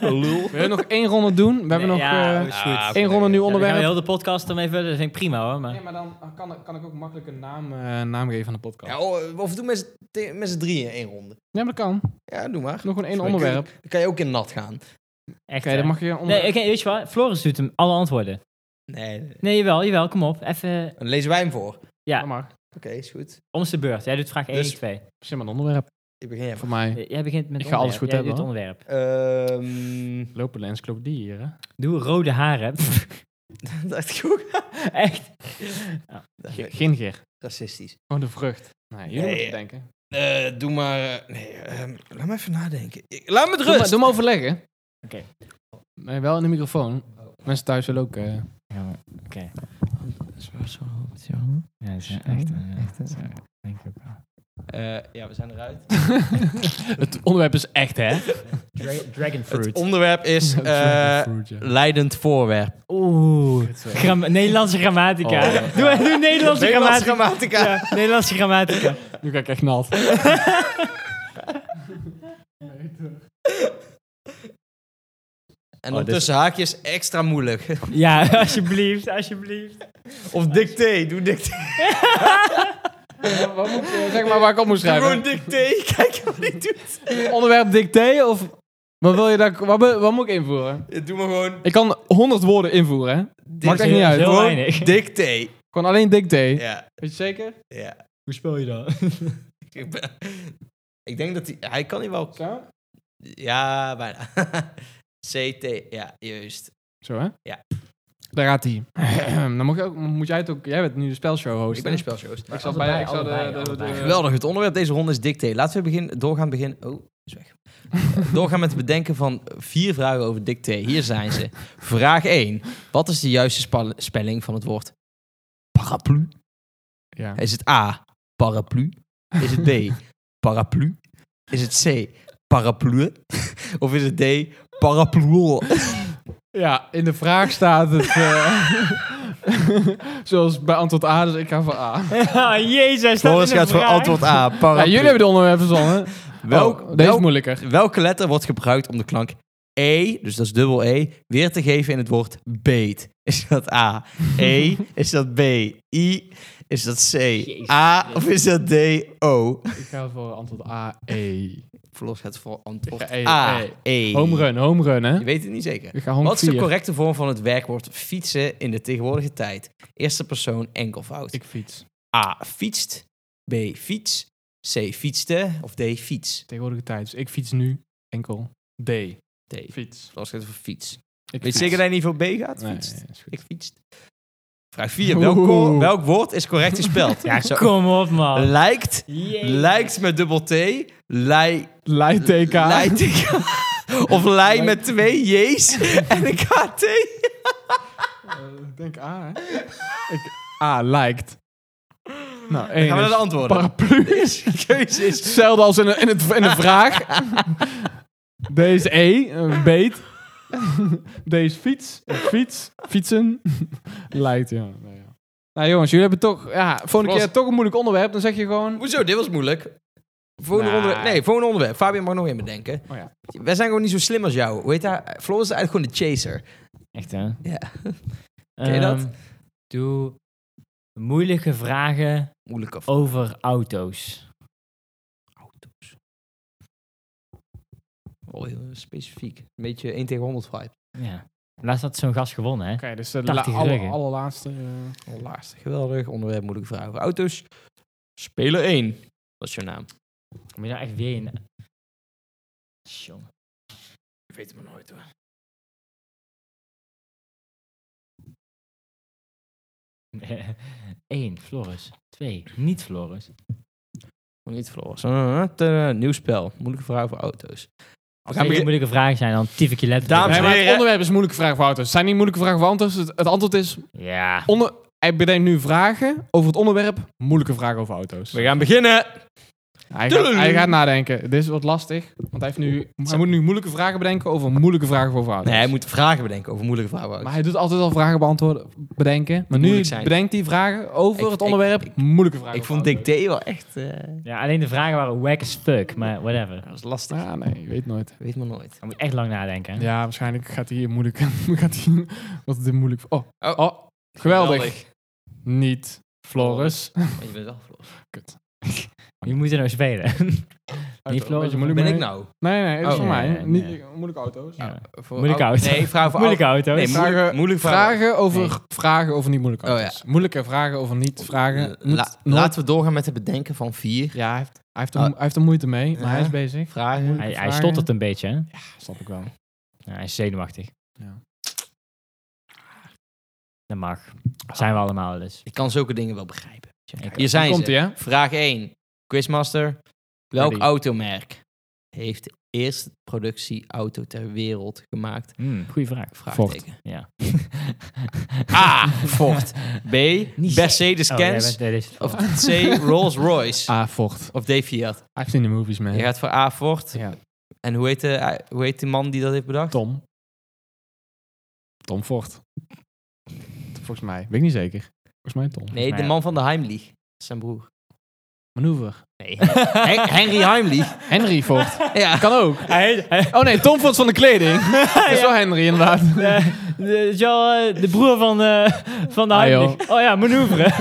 S3: Lul.
S4: Wil je nog één ronde doen? We hebben
S2: Nee,
S4: nog
S2: ja,
S4: eh,
S2: is
S3: Ah,
S2: goed.
S3: oké.
S4: één ronde nieuw
S2: Ja, dan gaan we
S4: onderwerp.
S2: heel de podcast ermee verder. Dat vind ik prima hoor. Maar...
S4: Nee, maar dan kan, ik- kan ik ook makkelijk een naam, eh, naam geven aan de podcast.
S3: Ja,
S4: Ja,
S3: oh, of doen met z'n te- met z'n drieën één ronde.
S4: maar dat kan.
S3: Ja, doe maar.
S4: Nog een één
S3: Sorry,
S4: onderwerp. Oké,
S3: Dan kan je ook in nat gaan.
S2: Echt,
S4: dan
S2: hè?
S4: mag je een onderwerp.
S2: Nee, oké, weet je wat? Floris doet hem alle antwoorden.
S3: Nee, nee, nee.
S2: Nee, jawel, jawel. Kom op. Even
S3: dan lezen wij hem voor. Oké,
S2: ja.
S4: Dat mag.
S3: is goed.
S2: om zijn beurt. Jij doet vraag 1
S3: Dus-
S2: en 2.
S4: Zin maar een onderwerp
S3: Ik begin even.
S4: voor mij.
S2: Eh, Jij begint met
S4: Ik ga alles
S2: onderwerp.
S4: goed
S2: Jij
S4: hebben,
S2: doet
S4: hoor.
S2: onderwerp.
S3: Ehm
S4: Lopen de encyclopedie hier, hè?
S2: Doe rode haren.
S3: dat dacht ik ook.
S2: Echt.
S4: Ge- Ginger.
S3: Racistisch.
S4: Oh, de vrucht. Nee, jullie
S3: Nee,
S4: moeten
S3: ja.
S4: denken.
S3: Eh, doe maar... eh, nee, ehm, laat me even nadenken. Ik- laat me het
S4: Doe, maar-
S3: rust.
S4: doe hem overleggen.
S2: Oké.
S4: Nee, wel in de microfoon. Mensen thuis willen ook... eh,
S2: Ja, maar- Oké. Ja, dat is echt. eh, dat is, eh, denk ik ook wel.
S3: Eh, ja, we zijn eruit.
S4: het onderwerp is eh, echt, hè?
S2: Dra- dragon
S3: Het
S2: fruit.
S3: onderwerp is eh, leidend voorwerp.
S2: Oeh. Gram- Nederlandse grammatica.
S4: Oh.
S2: Doe, doe
S3: Nederlands
S2: Nederlandse grammatica.
S3: grammatica.
S2: Ja, Nederlandse grammatica.
S4: Nu ga ik echt nat.
S3: En
S2: Oh,
S3: dan
S2: dit-
S3: tussen haakjes extra moeilijk.
S2: Ja, alsjeblieft, alsjeblieft.
S3: Of dicté, doe dicté.
S4: Wat moet ik, eh, zeg maar waar ik op moet
S3: Gewoon
S4: schrijven.
S3: dicté, kijk wat hij doet.
S4: Onderwerp dicté of... Wat wil je dat... Wat, be- wat moet ik invoeren?
S3: Doe maar gewoon
S4: Ik kan 100 woorden invoeren, hè? Maakt echt niet
S2: heel-
S4: uit.
S2: heel
S4: hoor.
S2: weinig.
S3: dicté.
S4: Gewoon alleen dicté.
S3: Ja,
S4: Weet je zeker?
S3: ja.
S2: Hoe speel je dat?
S3: Ik, ben- ik denk dat hij... Hij kan hier wel...
S4: Zo?
S3: Ja, bijna. CT, ja, juist.
S4: Zo, hè?
S3: Ja.
S4: Daar gaat hij. Dan moet, je ook, moet jij het ook... Jij bent nu de spelshow host.
S3: Ik ben
S4: hè?
S3: een spelshowst.
S4: Ik zal
S2: Allebei,
S4: bij... Ik zal
S3: eh,
S4: de,
S2: allebei,
S4: de, de,
S2: allebei.
S3: Geweldig, het onderwerp deze ronde is dicté. Laten we begin, doorgaan beginnen... Oh, is weg. doorgaan met het bedenken van vier vragen over dicté. Hier zijn ze. Vraag 1. Wat is de juiste spa- spelling van het woord paraplu?
S4: Ja.
S3: Is het A, paraplu? Is het B, paraplu? Is het C, paraplu? Of is het D, parapluol?
S4: Ja, in de vraag staat het. eh, zoals bij antwoord A, dus ik ga voor A.
S2: Oh, Jezus, dat is een vraag.
S3: A,
S4: Ja, jullie hebben de onderwerp verzonnen.
S3: Welk,
S4: Oh, deze is
S3: welk-
S4: moeilijker.
S3: welke letter wordt gebruikt om de klank E, dus dat is dubbel E, weer te geven in het woord beet? Is dat A, E? Is dat B, I? Is dat C,
S2: Jezus.
S3: A? Of is dat D, O?
S4: Ik ga voor antwoord A, E.
S3: Verlos gaat voor antwoord
S4: E,
S3: A,
S4: E.
S3: E.
S4: Home run, home run, hè?
S3: Je weet het niet zeker.
S4: Ik ga 104.
S3: Wat is de correcte vorm van het werkwoord fietsen in de tegenwoordige tijd? Eerste persoon enkelvoud.
S4: Ik fiets.
S3: A. Fietst. B. Fiets. C. Fietste. Of D. Fiets.
S4: Tegenwoordige tijd. Dus ik fiets nu enkel. D.
S3: D.
S4: Fiets.
S3: Zoals het voor fiets.
S4: Ik
S3: Weet
S4: fiets.
S3: je zeker dat je niet voor B gaat?
S4: Nee,
S3: Fietst.
S4: is goed.
S3: Ik fietst. Vraag 4. Welk,
S4: Oeh.
S3: welk woord is correct gespeld? ja, zo.
S2: Kom op, man.
S3: Lijkt.
S2: Jezus.
S3: Lijkt met dubbel T. Lij.
S4: Light TK.
S3: Lijkt. Of lij met twee J's en een KT.
S4: Eh, ik denk A, hè? Ik, A, liked. Nou, één
S3: Gaan we naar
S4: is
S3: de antwoorden.
S4: Paraplu.
S3: Keuze is
S4: Hetzelfde als in een, in het, in een vraag. D is E, een beet. D is fiets, fiets, fietsen. Leidt, ja. Nou, ja. nou jongens, jullie hebben toch... Ja, volgende
S3: Los.
S4: keer toch een moeilijk onderwerp. Dan zeg je gewoon...
S3: Hoezo, dit was moeilijk. Volgende
S4: Nee.
S3: onderwerp. Nee, volgende onderwerp. Fabian mag nog één bedenken.
S4: Oh ja.
S3: Wij zijn gewoon niet zo slim als jou. Hoe heet dat? Floor is eigenlijk gewoon de chaser.
S2: Echt, hè?
S3: Ja. Ken je dat?
S2: Ehm, Doe moeilijke vragen
S3: Moeilijk of...
S2: over auto's.
S3: Auto's. Oh, heel specifiek. Een beetje 1 tegen 100 vibe.
S2: Ja. Laatst had zo'n gast gewonnen, hè?
S4: Oké, dus de
S2: 80
S4: la- alle-
S2: ruggen.
S4: allerlaatste... eh,
S3: Oh, laatste. Geweldig. Onderwerp moeilijke vragen over auto's. Speler 1. Wat is jouw naam?
S2: Moet je nou echt weer in... Tjonge.
S3: Ik weet het maar nooit hoor.
S2: Eén, Floris. Twee, niet Floris.
S3: Nog niet Eh, verloren. Nieuw spel. Moeilijke vraag voor auto's. We gaan
S2: Geen
S3: beginnen.
S2: moeilijke vraag zijn, dan tyf ik je letter.
S3: Dames
S4: Nee,
S2: erbij.
S4: maar het
S3: heren.
S4: onderwerp is moeilijke vragen voor auto's. Het zijn niet moeilijke vragen voor auto's. Het, het antwoord is...
S2: Ja.
S4: Onder, hij bedenkt nu vragen over het onderwerp. Moeilijke vragen over auto's.
S3: We gaan beginnen.
S4: Hij gaat,
S3: Doei.
S4: hij gaat nadenken. Dit is wat lastig. Want hij, heeft nu, hij moet nu moeilijke vragen bedenken over moeilijke vragen over auto's.
S3: Nee, hij moet vragen bedenken over moeilijke vragen. over
S4: Maar hij
S3: auto's.
S4: doet altijd al vragen beantwoorden, bedenken. Maar nu
S3: Moeilijk zijn.
S4: bedenkt hij vragen over
S3: Ik-
S4: het
S3: ik-
S4: onderwerp
S3: ik-
S4: moeilijke vragen.
S3: Ik
S4: over
S3: vond
S4: auto's.
S3: Dick D wel echt... eh,
S2: ja, alleen de vragen waren wack as fuck, maar whatever.
S3: dat was lastig.
S4: Ah, nee, je weet nooit.
S3: Weet maar nooit.
S2: Dan moet je echt lang nadenken.
S4: Ja, waarschijnlijk gaat hij hier moeilijk. gaat hij, wat is dit moeilijk? Oh,
S3: Oh.
S4: oh, geweldig. Niet Floris.
S3: je bent wel Floris.
S2: Je moet er nou spelen. Niet Floris,
S4: Weet je,
S2: Hoe
S3: Hoe
S4: moeilijk
S3: ben ik
S4: mee?
S3: nou?
S4: Nee, nee, dat is
S3: Oh.
S4: voor mij.
S2: Nee,
S4: Niet,
S2: nee.
S4: Moeilijke auto's.
S2: Ja.
S3: Voor
S2: Moeilijke
S3: oud-
S2: auto's.
S3: Nee, vragen voor
S2: Moeilijke auto's.
S3: Nee, moeilijk-
S4: Vragen-
S3: moeilijke vragen.
S4: Vragen over
S2: Nee.
S4: vragen over niet moeilijke
S3: Oh,
S4: auto's. Moeilijke vragen over niet vragen. Niet-
S3: La-
S4: nooit-
S3: laten we doorgaan met het bedenken van vier
S4: Ja, hij heeft, hij, heeft er,
S3: Ah.
S4: hij heeft er moeite mee, maar
S3: Ja.
S4: hij is bezig.
S3: vragen.
S2: Hij, hij
S4: vragen.
S2: stottert een beetje, hè?
S4: Snap ik wel.
S2: Ja, hij is zenuwachtig.
S4: Ja.
S2: Dat mag. Zijn we allemaal dus.
S3: Ik kan zulke dingen wel begrijpen.
S2: Ik-
S3: Hier zijn
S4: Komt
S3: ze.
S4: ie, hè?
S3: Vraag 1. Quizmaster. Welk
S4: Ready.
S3: automerk heeft de eerste productieauto ter wereld gemaakt?
S2: Hmm, goeie vraag.
S3: Vraagteken.
S2: Ja.
S3: A. Ford. B.
S2: Niet Oh, jij
S3: Mercedes-Benz.
S2: bent- nee, dit is-
S3: Of C. Rolls-Royce.
S4: Ah, vocht.
S3: Of D. Fiat.
S4: I've seen the movies, man.
S3: Je gaat voor A. Ford.
S4: Ja.
S3: En hoe heet, de, eh, hoe heet die man die dat heeft bedacht?
S4: Tom. Tom Vocht. Volgens mij. Weet ik niet zeker. Volgens mij Tom.
S3: Nee, de
S2: Nee.
S3: man van de Heimlich. Dat is Zijn broer.
S4: Manoeuvre.
S3: Nee. Hen- Henry Heimlich.
S4: Henry Vocht.
S3: Ja.
S4: Kan ook.
S2: Hij- eh, hij-
S4: Oh nee, Tom Vocht van de kleding. Dat is wel Henry, inderdaad.
S2: eh, de, is wel, eh, de broer van, eh, van de
S4: Ah, joh.
S2: Heimlich. Oh ja, manoeuvre.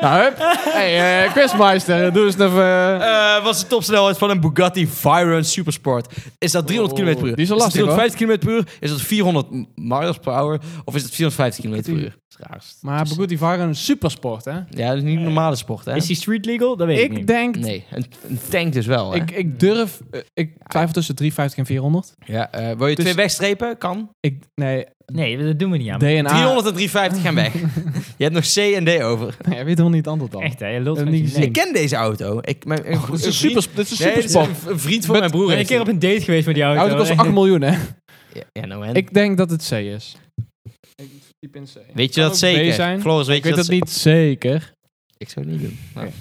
S4: Nou, hup. Hey, eh Quizmeister, doe eens even... eh,
S3: Eh, was de topsnelheid van een Bugatti Veyron Supersport. Is dat 300 km per uur?
S4: Oh, die is wel
S3: dat
S4: lastig, hoor.
S3: 350 km per uur? Is dat 400 m- miles per hour? Of is dat 450 km per uur? Dat is raar.
S4: maar Bugatti Varen, een supersport, hè?
S3: Ja, dat is niet een normale sport, hè?
S2: Is die street legal? Dat weet ik,
S4: Ik
S2: niet.
S4: denk...
S3: Nee, een, een tank dus wel, hè?
S4: Ik, ik durf... eh, ik twijfel tussen 350 en 400.
S3: ja, eh, wil je
S4: Dus- Nou-
S3: twee wegstrepen? Kan.
S4: Ik... Nee,
S2: Nee, dat doen we niet aan.
S4: DNA...
S3: 300 en 350 gaan weg. je hebt nog C en D over.
S4: Nee, hij weet helemaal niet het antwoord dan.
S2: Echt, hè? Je lult
S4: Dat
S2: met
S4: niet
S2: je
S4: gezien.
S2: nek.
S3: Ik ken deze auto. Ik, mijn, een,
S4: dit Oh, is een
S3: een vriend-
S4: super, dit is een
S3: Nee, dit is
S4: supersport.
S3: een- een vriend van
S4: Met-
S3: mijn broer.
S2: Ik ben een
S3: heeft
S2: keer op een date geweest met die auto.
S4: auto kost 8 miljoen, hè?
S3: die. Ja, nou en?
S4: Ik denk dat het C is. Ik typ in C.
S3: weet je
S4: Kan
S3: dat
S4: ook B
S3: zeker?
S4: zijn.
S3: Floris, weet
S4: Ik
S3: je
S4: weet
S3: dat
S4: dat niet zeker.
S3: Ik zou het niet doen. Nou.
S4: Oké.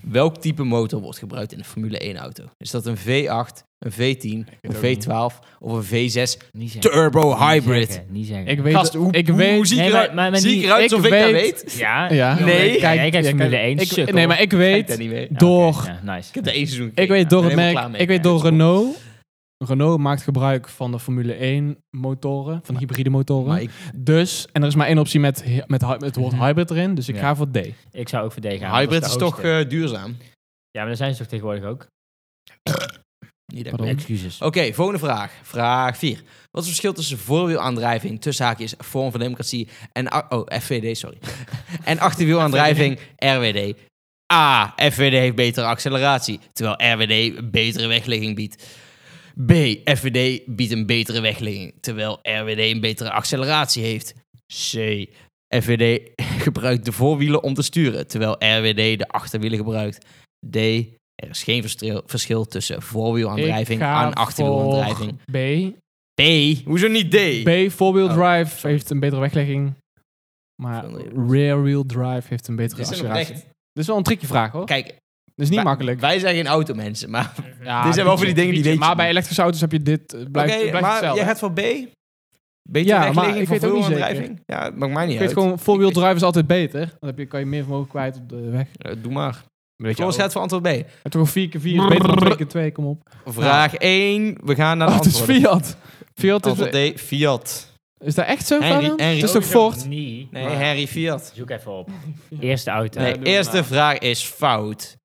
S3: Welk type motor wordt gebruikt in een Formule 1-auto? Is dat een V8, een V10, een
S4: ook
S3: V12 of een V6
S2: Niet zeggen.
S3: Turbo
S2: Niet
S3: Hybrid?
S2: zeggen, Niet zeggen.
S4: Ik weet...
S3: Gast, hoe,
S4: ik
S3: hoe-
S4: weet...
S3: hoe zie ik
S2: Nee,
S3: eruit,
S2: maar- maar- maar
S3: zie ik
S2: niet-
S3: eruit
S4: ik
S3: alsof ik dat
S4: weet-
S3: weet? Ik
S2: Ja.
S4: Ja.
S3: Nee.
S2: Ja, jij kijkt Formule 1
S4: ik,
S2: sukkel.
S4: Nee, maar ik
S3: weet dat
S4: weet...
S3: niet meer. Ik
S4: Door...
S2: Ja, oké. Ja, nice.
S3: heb de één seizoen
S4: Ik
S3: gekeken.
S4: weet door
S3: ben
S4: het
S3: helemaal
S4: merk,
S3: klaar mee.
S4: ik weet
S3: Ja,
S4: door
S3: dat is
S4: Renault. Renault maakt gebruik van de Formule 1 motoren, van hybride
S3: cool. Maar
S4: motoren.
S3: ik,
S4: Dus, en er is maar één optie met, hy- met, hy- met het woord
S2: Mhm.
S4: hybrid erin, dus ik
S2: Ja.
S4: ga voor D.
S2: Ik zou ook voor D gaan. want
S3: hybrid
S2: dat
S3: is
S2: de
S3: toch
S2: hoogste.
S3: eh, duurzaam?
S2: Ja, maar daar zijn ze toch tegenwoordig ook.
S3: Niet dat ik
S4: Pardon.
S3: weet.
S2: Excuses.
S3: Oké, volgende vraag. Vraag 4. Wat is het verschil tussen voorwielaandrijving, tussen haakjes, vorm van democratie en... a- Oh, FVD, sorry. en achterwielaandrijving, RWD. A. FVD heeft betere acceleratie, terwijl RWD betere wegligging biedt. B. FVD biedt een betere wegligging, terwijl RWD een betere acceleratie heeft. C. FVD gebruikt de voorwielen om te sturen, terwijl RWD de achterwielen gebruikt. D. Er is geen verstreel- verschil tussen voorwielaandrijving
S4: Ik ga
S3: en achterwielaandrijving.
S4: voor B.
S3: B. Hoezo niet D?
S4: B, four-wheel
S3: Oh,
S4: drive
S3: sorry.
S4: heeft een betere weglegging. Maar
S3: Four-wheel
S4: rear-wheel drive heeft een betere
S3: Dit is een
S4: acceleratie.
S3: oprecht-
S4: Dit is wel een tricky vraag hoor.
S3: Kijk,
S4: Dit is niet
S3: wij-
S4: makkelijk.
S3: Wij zijn geen automensen, maar
S4: Ja,
S3: dit zijn wel
S4: beetje,
S3: van die dingen die
S4: beetje.
S3: weet je
S4: Maar bij
S3: niet.
S4: elektrische auto's heb je dit, eh, blijft,
S3: Oké,
S4: blijft
S3: maar
S4: hetzelfde.
S3: jij gaat voor B? Beter
S4: Ja,
S3: ja,
S4: maar ik
S3: weglegging voor
S4: weet ook niet
S3: voorwielaandrijving? Ja, dat maakt mij niet
S4: ik
S3: uit.
S4: weet gewoon, four-wheel drive is altijd beter. Want Dan heb je, kan je meer vermogen kwijt op de weg.
S3: Eh, doe maar.
S4: Weet
S3: Floris gaat voor antwoord B.
S4: En toch een 4x4 is beter dan 2x2, kom op.
S3: Vraag 1. We gaan naar de
S4: Oh, het is
S3: antwoorden.
S4: Fiat. Fiat is...
S3: Antwoord D. Fiat.
S4: Is dat echt zo,
S3: Henry-
S4: Fabian?
S3: Henry-
S4: Het is toch Ford?
S2: Nee.
S3: Nee, Harry Fiat.
S2: Zoek even op. Eerste auto.
S3: Nee,
S4: doe maar
S3: eerste
S4: na.
S3: vraag is fout.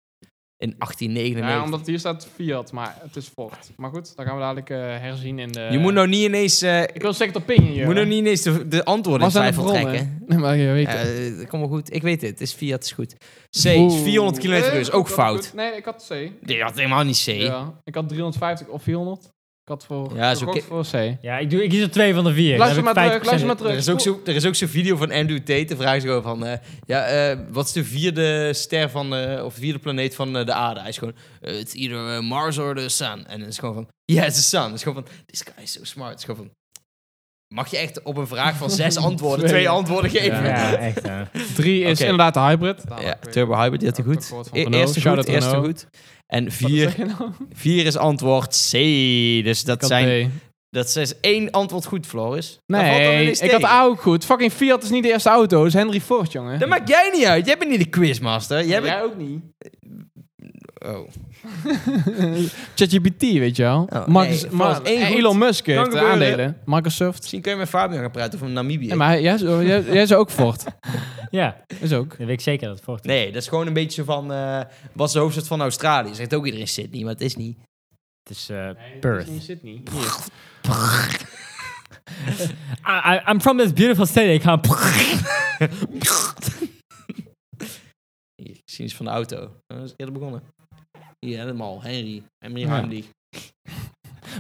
S3: In
S4: Nou Ja,
S3: 1899.
S4: omdat hier staat Fiat, maar het is Ford. Maar goed, dan gaan we dadelijk eh, herzien in de...
S3: je moet nou niet ineens, eh,
S4: Ik wil second opinion,
S3: je
S4: joh.
S3: moet nou niet ineens de, de antwoorden in
S4: Waar zijn de
S3: twijfel
S4: bronnen?
S3: trekken.
S4: Nee, maar je weet
S3: Ja,
S4: het.
S3: eh, kom maar goed. Ik weet het. Het is Fiat. is goed. C.
S4: Oeh.
S3: 400 km
S4: Nee,
S3: is ook
S4: ik had-
S3: fout.
S4: Nee, ik had C.
S3: Nee, dat helemaal niet C.
S4: Ja. Ik had 350 of 400. Kat voor,
S3: Ja,
S4: ja,
S3: zo ki-
S4: voor C.
S2: Ja, ik, doe, ik kies er twee van de vier. Dan heb
S4: Luister
S2: ik
S4: maar
S2: 50%
S4: terug, luister maar
S3: Er
S4: terug.
S3: is ook zo- er is ook zo'n video van Andrew Tate. De vraag is gewoon van... eh, ja, eh, wat is de vierde ster van... eh, of de vierde planeet van eh, de aarde? Hij is gewoon... eh, It's either eh, Mars or the Sun. En het is gewoon van... Yeah, it's the Sun. Het is gewoon van... This guy is so smart. Het is gewoon van... Mag je echt op een vraag van zes antwoorden...
S4: Twee.
S3: twee antwoorden geven?
S2: Ja, echt. hè.
S4: Drie is
S3: Oké.
S4: inderdaad de hybrid.
S3: Ja, Turbo Hybrid, die had hij
S4: Ook
S3: goed.
S4: tekort van
S3: E-
S4: Renault.
S3: Eerste goed,
S4: Shout-out
S3: eerste
S4: Renault.
S3: goed. En
S4: Wat
S3: vier,
S4: zeg je nou?
S3: vier is antwoord C. Dus dat
S4: Kat
S3: zijn...
S4: B.
S3: Dat is één antwoord goed, Floris. Daar valt dan weer
S4: Nee,
S3: niks
S4: ik had
S3: tegen.
S4: A ook goed. Fucking Fiat is niet de eerste auto, het is Henry Ford, jongen.
S3: Dat maakt jij niet uit. Jij bent niet de quizmaster. Jij bent...
S4: ook niet.
S3: Oh.
S4: ChatGPT, weet je wel.
S3: Oh,
S4: Mark-
S3: nee,
S4: Mark-
S3: vast één
S4: eh,
S3: goed.
S4: Elon Musk heeft de
S3: gebeuren.
S4: aandelen. Microsoft.
S3: Misschien kun je met Fabian gaan praten over Namibië.
S4: Ja, maar hij- jij, is- oh, jij, jij is ook Ford.
S2: Ja,
S4: Is ook.
S2: dat weet ik zeker dat het voort.
S3: Nee, dat is gewoon een beetje zo van... eh, wat is de hoofdstad van Australië? Zegt ook iedereen Sydney, maar het is niet.
S2: Het is eh, Perth.
S4: Sydney.
S2: I- I- I'm from this beautiful city. Ik ga...
S3: Hier, Geschiedenis van de auto. Dat is eerder begonnen. Hier, helemaal. Henry. Henry
S4: Ja.
S3: Heimlich.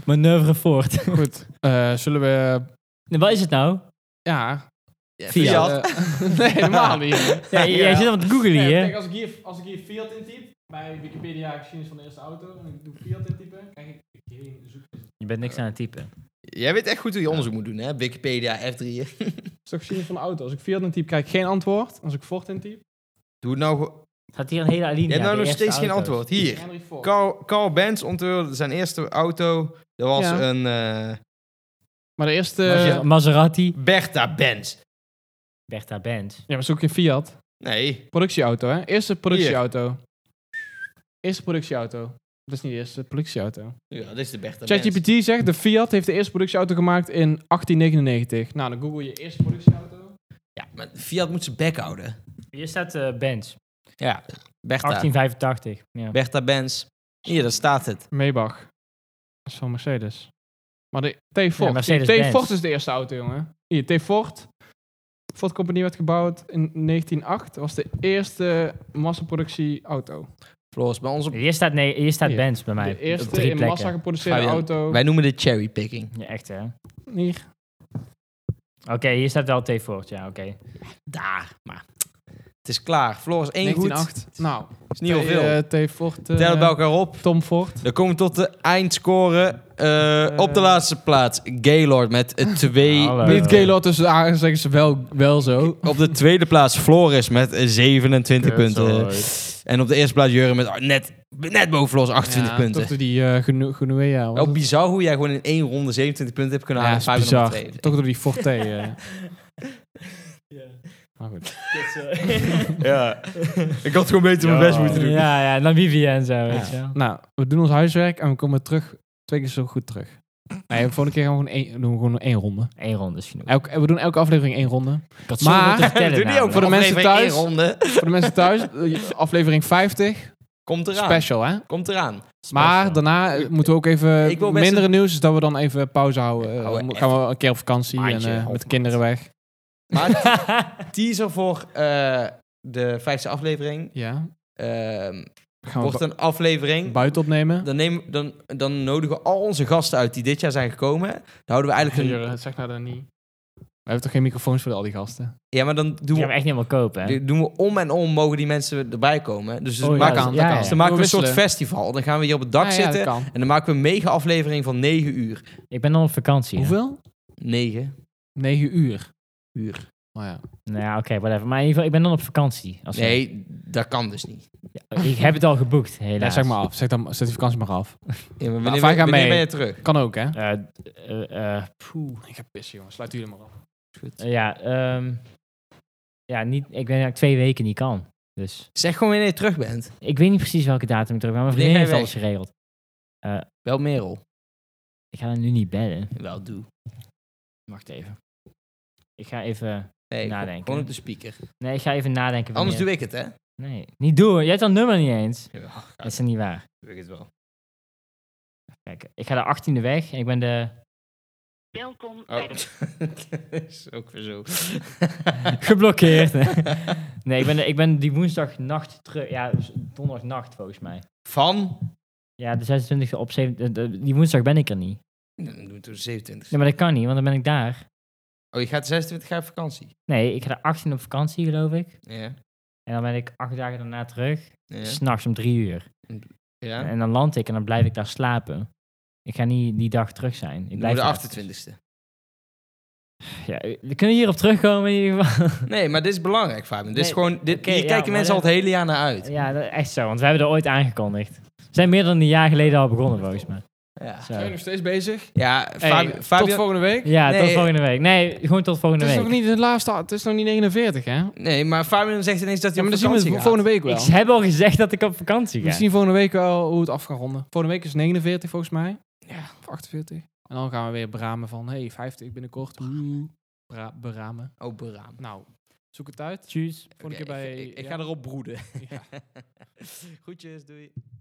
S2: Manoeuvre voort.
S4: Goed. Eh, zullen we...
S2: Nee, Wat is het nou?
S4: Ja.
S3: Ja,
S2: Fiat.
S4: eh, nee, helemaal niet.
S2: Ja, jij zit aan het googelen
S4: Nee,
S2: hier.
S4: kijk, als ik, hier, als ik hier Fiat intyp, bij Wikipedia geschiedenis van de eerste auto, en ik doe Fiat intypen, krijg ik geen zoek.
S2: Je bent niks aan het typen.
S3: Jij weet echt goed hoe je onderzoek moet doen, hè? Wikipedia, F3.
S4: Dat is toch geschiedenis van de auto. Als ik Fiat intyp, krijg ik geen antwoord. Als ik Ford intyp,
S3: Doe het nou... gewoon-
S2: Had hier een hele alinea.
S3: Je hebt nou
S2: de
S3: nog
S2: eerste
S3: steeds geen
S2: auto's.
S3: antwoord. Hier.
S4: Henry Ford.
S3: Carl, Carl Benz ontwikkelde zijn eerste auto. Dat was
S4: Ja.
S3: een eh,
S4: Maar de eerste...
S2: Maser- Maserati.
S3: Bertha Benz.
S2: Bertha Benz.
S4: Ja, maar zoek je Fiat.
S3: Nee.
S4: Productieauto, hè? Eerste productieauto. Eerste productieauto. Dat is niet de eerste productieauto.
S3: Ja, dit is de Bertha Benz.
S4: ChatGPT zegt, de Fiat heeft de eerste productieauto gemaakt in 1899. Nou, dan google je eerste productieauto.
S3: Ja, maar Fiat moet zijn bek houden.
S2: Hier staat eh, Benz.
S3: Ja. Bertha.
S2: 1885. Ja.
S3: Bertha Benz. Hier, daar staat het.
S4: Maybach. Dat is van Mercedes. Maar de T
S2: Ja,
S4: Ford.
S2: Mercedes-Benz.
S4: T Ford is de eerste auto, jongen. Hier, T Ford. Ford Company werd gebouwd in 1908. was de eerste massaproductieauto.
S3: Floris, bij onze...
S2: Hier staat, nee, hier staat
S4: Hier.
S2: Benz bij mij.
S4: De
S2: Op
S4: eerste
S2: drie
S4: in
S2: plekken.
S4: massa geproduceerde
S3: Fabian,
S4: auto.
S3: Wij noemen dit cherrypicking.
S2: Ja, echt hè. Oké,
S4: Hier.
S2: hier staat wel T Ford. Ja, oké.
S3: Daar, maar... Het is klaar. Floris, één goed.
S4: 1908.
S3: Het
S4: Nou,
S3: is niet heel veel.
S4: eh, T. Ford. eh,
S3: Tel het bij elkaar op.
S4: Tom Ford.
S3: Dan komen we tot de eindscore. eh,
S4: Eh.
S3: op de laatste plaats. Gaylord met eh, twee...
S2: Hallo.
S4: Niet Gaylord tussen de A zeggen ze wel, wel zo.
S3: Op de tweede plaats Floris met eh, 27 punten. En op de eerste plaats Jurre met ah, net, net boven Floris 28
S4: Ja,
S3: punten.
S4: Toch door die eh Geno- Genoea. was
S3: Wel
S4: het?
S3: bizar hoe jij gewoon in één ronde 27 punten hebt kunnen
S4: Ja,
S3: halen.
S4: is bizar. Toch door die Forte. eh. Maar goed.
S3: Ja. Ik had gewoon beter mijn best moeten doen.
S2: Ja, ja, Namibia en zo, weet je
S4: Ja.
S2: wel.
S4: Nou, we doen ons huiswerk en we komen terug twee keer zo goed terug. Nee, de volgende keer gaan we gewoon één, doen we gewoon één ronde.
S2: Eén ronde is genoeg.
S4: Elk, we doen elke aflevering één ronde.
S2: Ik had
S4: Maar-
S2: zoveel te vertellen
S3: Doe die ook
S4: nou,
S2: namelijk.
S3: voor de mensen thuis. ronde.
S4: Voor de mensen thuis, eh, aflevering 50.
S3: Komt eraan.
S4: Special, hè?
S3: Komt eraan.
S4: Maar daarna eh, moeten we ook even
S3: Ik wil best
S4: mindere nieuws, dus dat we dan even pauze houden. Eh,
S3: Hou
S4: mo-
S3: echt
S4: gaan we een keer op vakantie en
S3: maandje,
S4: eh, met de
S3: half maand.
S4: kinderen weg.
S3: Maar teaser voor eh, de vijfde aflevering.
S4: Ja.
S3: Ehm
S4: Gaan we
S3: wordt een aflevering.
S4: bu- buiten opnemen.
S3: Dan, neem, dan, dan nodigen we al onze gasten uit die dit jaar zijn gekomen. Dan houden we eigenlijk een...
S4: zeg nou dan niet. We hebben toch geen microfoons voor al die gasten?
S3: Ja, maar dan doen
S2: Die
S3: we
S2: gaan we echt niet helemaal kopen, hè?
S3: Die doen we om en om mogen die mensen erbij komen. Dus
S2: Oh,
S3: we
S2: ja,
S3: maken,
S2: dat kan, dat kan.
S3: dus dan maken we een soort
S4: Wisselen.
S3: festival. Dan gaan we hier op het dak
S4: Ah, ja,
S3: zitten.
S4: dat kan.
S3: en dan maken we een mega aflevering van 9 uur.
S2: Ik ben dan op vakantie. hè.
S4: Hoeveel?
S3: 9
S4: 9 uur.
S3: uur.
S4: Oh ja.
S2: Nou ja, oké, whatever. Maar in ieder geval, ik ben dan op vakantie. Als we-
S3: Nee, dat kan dus niet.
S2: Ik heb het al geboekt, helaas.
S4: Ja, zeg maar af. Zeg, dan, zet die vakantie maar af.
S3: Ja, maar
S4: wij
S3: wanneer
S4: gaan
S3: wanneer
S4: mee.
S3: ben je terug?
S4: Kan ook, hè?
S2: Eh, eh, eh, poeh.
S4: Ik ga pissen, jongen. Sluit jullie maar af.
S2: Eh, ja, ehm, ja niet, ik ben eigenlijk twee weken niet kan. Dus
S3: Zeg gewoon wanneer je terug bent.
S2: ik weet niet precies welke datum ik terug ben. Mijn
S3: Wanneer
S2: vriendin heeft
S3: ga je
S2: alles geregeld.
S3: Wel Merel.
S2: Ik ga haar nu niet bellen.
S3: Wel doe.
S2: Wacht even. Ik ga even...
S3: Nee,
S2: Nadenken.
S3: gewoon op de speaker.
S2: Nee, ik ga even nadenken.
S3: Anders
S2: wanneer-
S3: doe ik het, hè?
S2: Nee, niet doen. Jij hebt dat nummer niet eens.
S3: Ja,
S2: Dat is niet waar.
S3: doe ik het wel.
S2: Kijk, ik ga de 18e weg en ik ben de...
S5: Welkom bij
S3: Oh.
S5: de
S3: dat is ook weer zo.
S2: Geblokkeerd. nee, ik ben, de- ik ben die woensdagnacht terug. Ja, dus donderdagnacht volgens mij.
S3: Van?
S2: Ja, de 26e op 7. Die woensdag ben ik er niet.
S3: Dan doen we het door de 27.
S2: Nee, maar dat kan niet, want dan ben ik daar.
S3: Oh, je gaat 26 jaar op vakantie.
S2: Nee, ik ga er 18 op vakantie, geloof ik.
S3: Ja.
S2: En dan ben ik acht dagen daarna terug.
S3: Ja.
S2: S'nachts om drie uur.
S3: ja.
S2: En dan land ik en dan blijf ik daar slapen. Ik ga niet die dag terug zijn. Ik
S3: Dan
S2: blijf
S3: de
S2: daar.
S3: 28ste.
S2: Ja, we kunnen hierop terugkomen in ieder geval.
S3: Nee, maar dit is belangrijk, Fabian. Dit is
S2: Nee,
S3: gewoon, dit,
S2: oké,
S3: hier
S2: ja,
S3: kijken
S2: maar
S3: mensen al
S2: dat-
S3: het hele jaar naar uit.
S2: Ja, dat, echt zo, want we hebben er ooit aangekondigd. We zijn meer dan een jaar geleden al begonnen, volgens mij.
S3: Ja,
S2: Zo.
S4: Zijn we nog steeds bezig?
S3: ja
S4: Hey,
S3: Fabi-
S4: tot
S3: Fabian...
S4: volgende week.
S2: Ja, tot
S3: Nee.
S2: volgende week. Nee, gewoon tot volgende
S4: Het is
S2: week.
S4: nog niet het laatste. Het is nog niet 49, hè? Ja,
S3: Nee, maar Fabian zegt ineens dat hij
S4: maar
S3: op
S4: dan zien we
S3: vakantie
S4: het
S3: gaat.
S4: volgende week wel.
S2: Ik heb al gezegd dat ik op vakantie ga.
S4: Misschien volgende week wel hoe het af kan ronden. Volgende week is 49 volgens mij.
S3: Ja.
S4: Of 48. En dan gaan we weer bramen van, hey, 50 binnenkort. Bra- beramen.
S3: Oh, beraam.
S4: Nou, zoek het uit.
S2: Tjus.
S4: Volgende
S3: Oké,
S4: keer bij...
S3: ik, ik, ik
S4: ja.
S3: ga erop broeden.
S4: Ja.
S3: Groetjes, doei.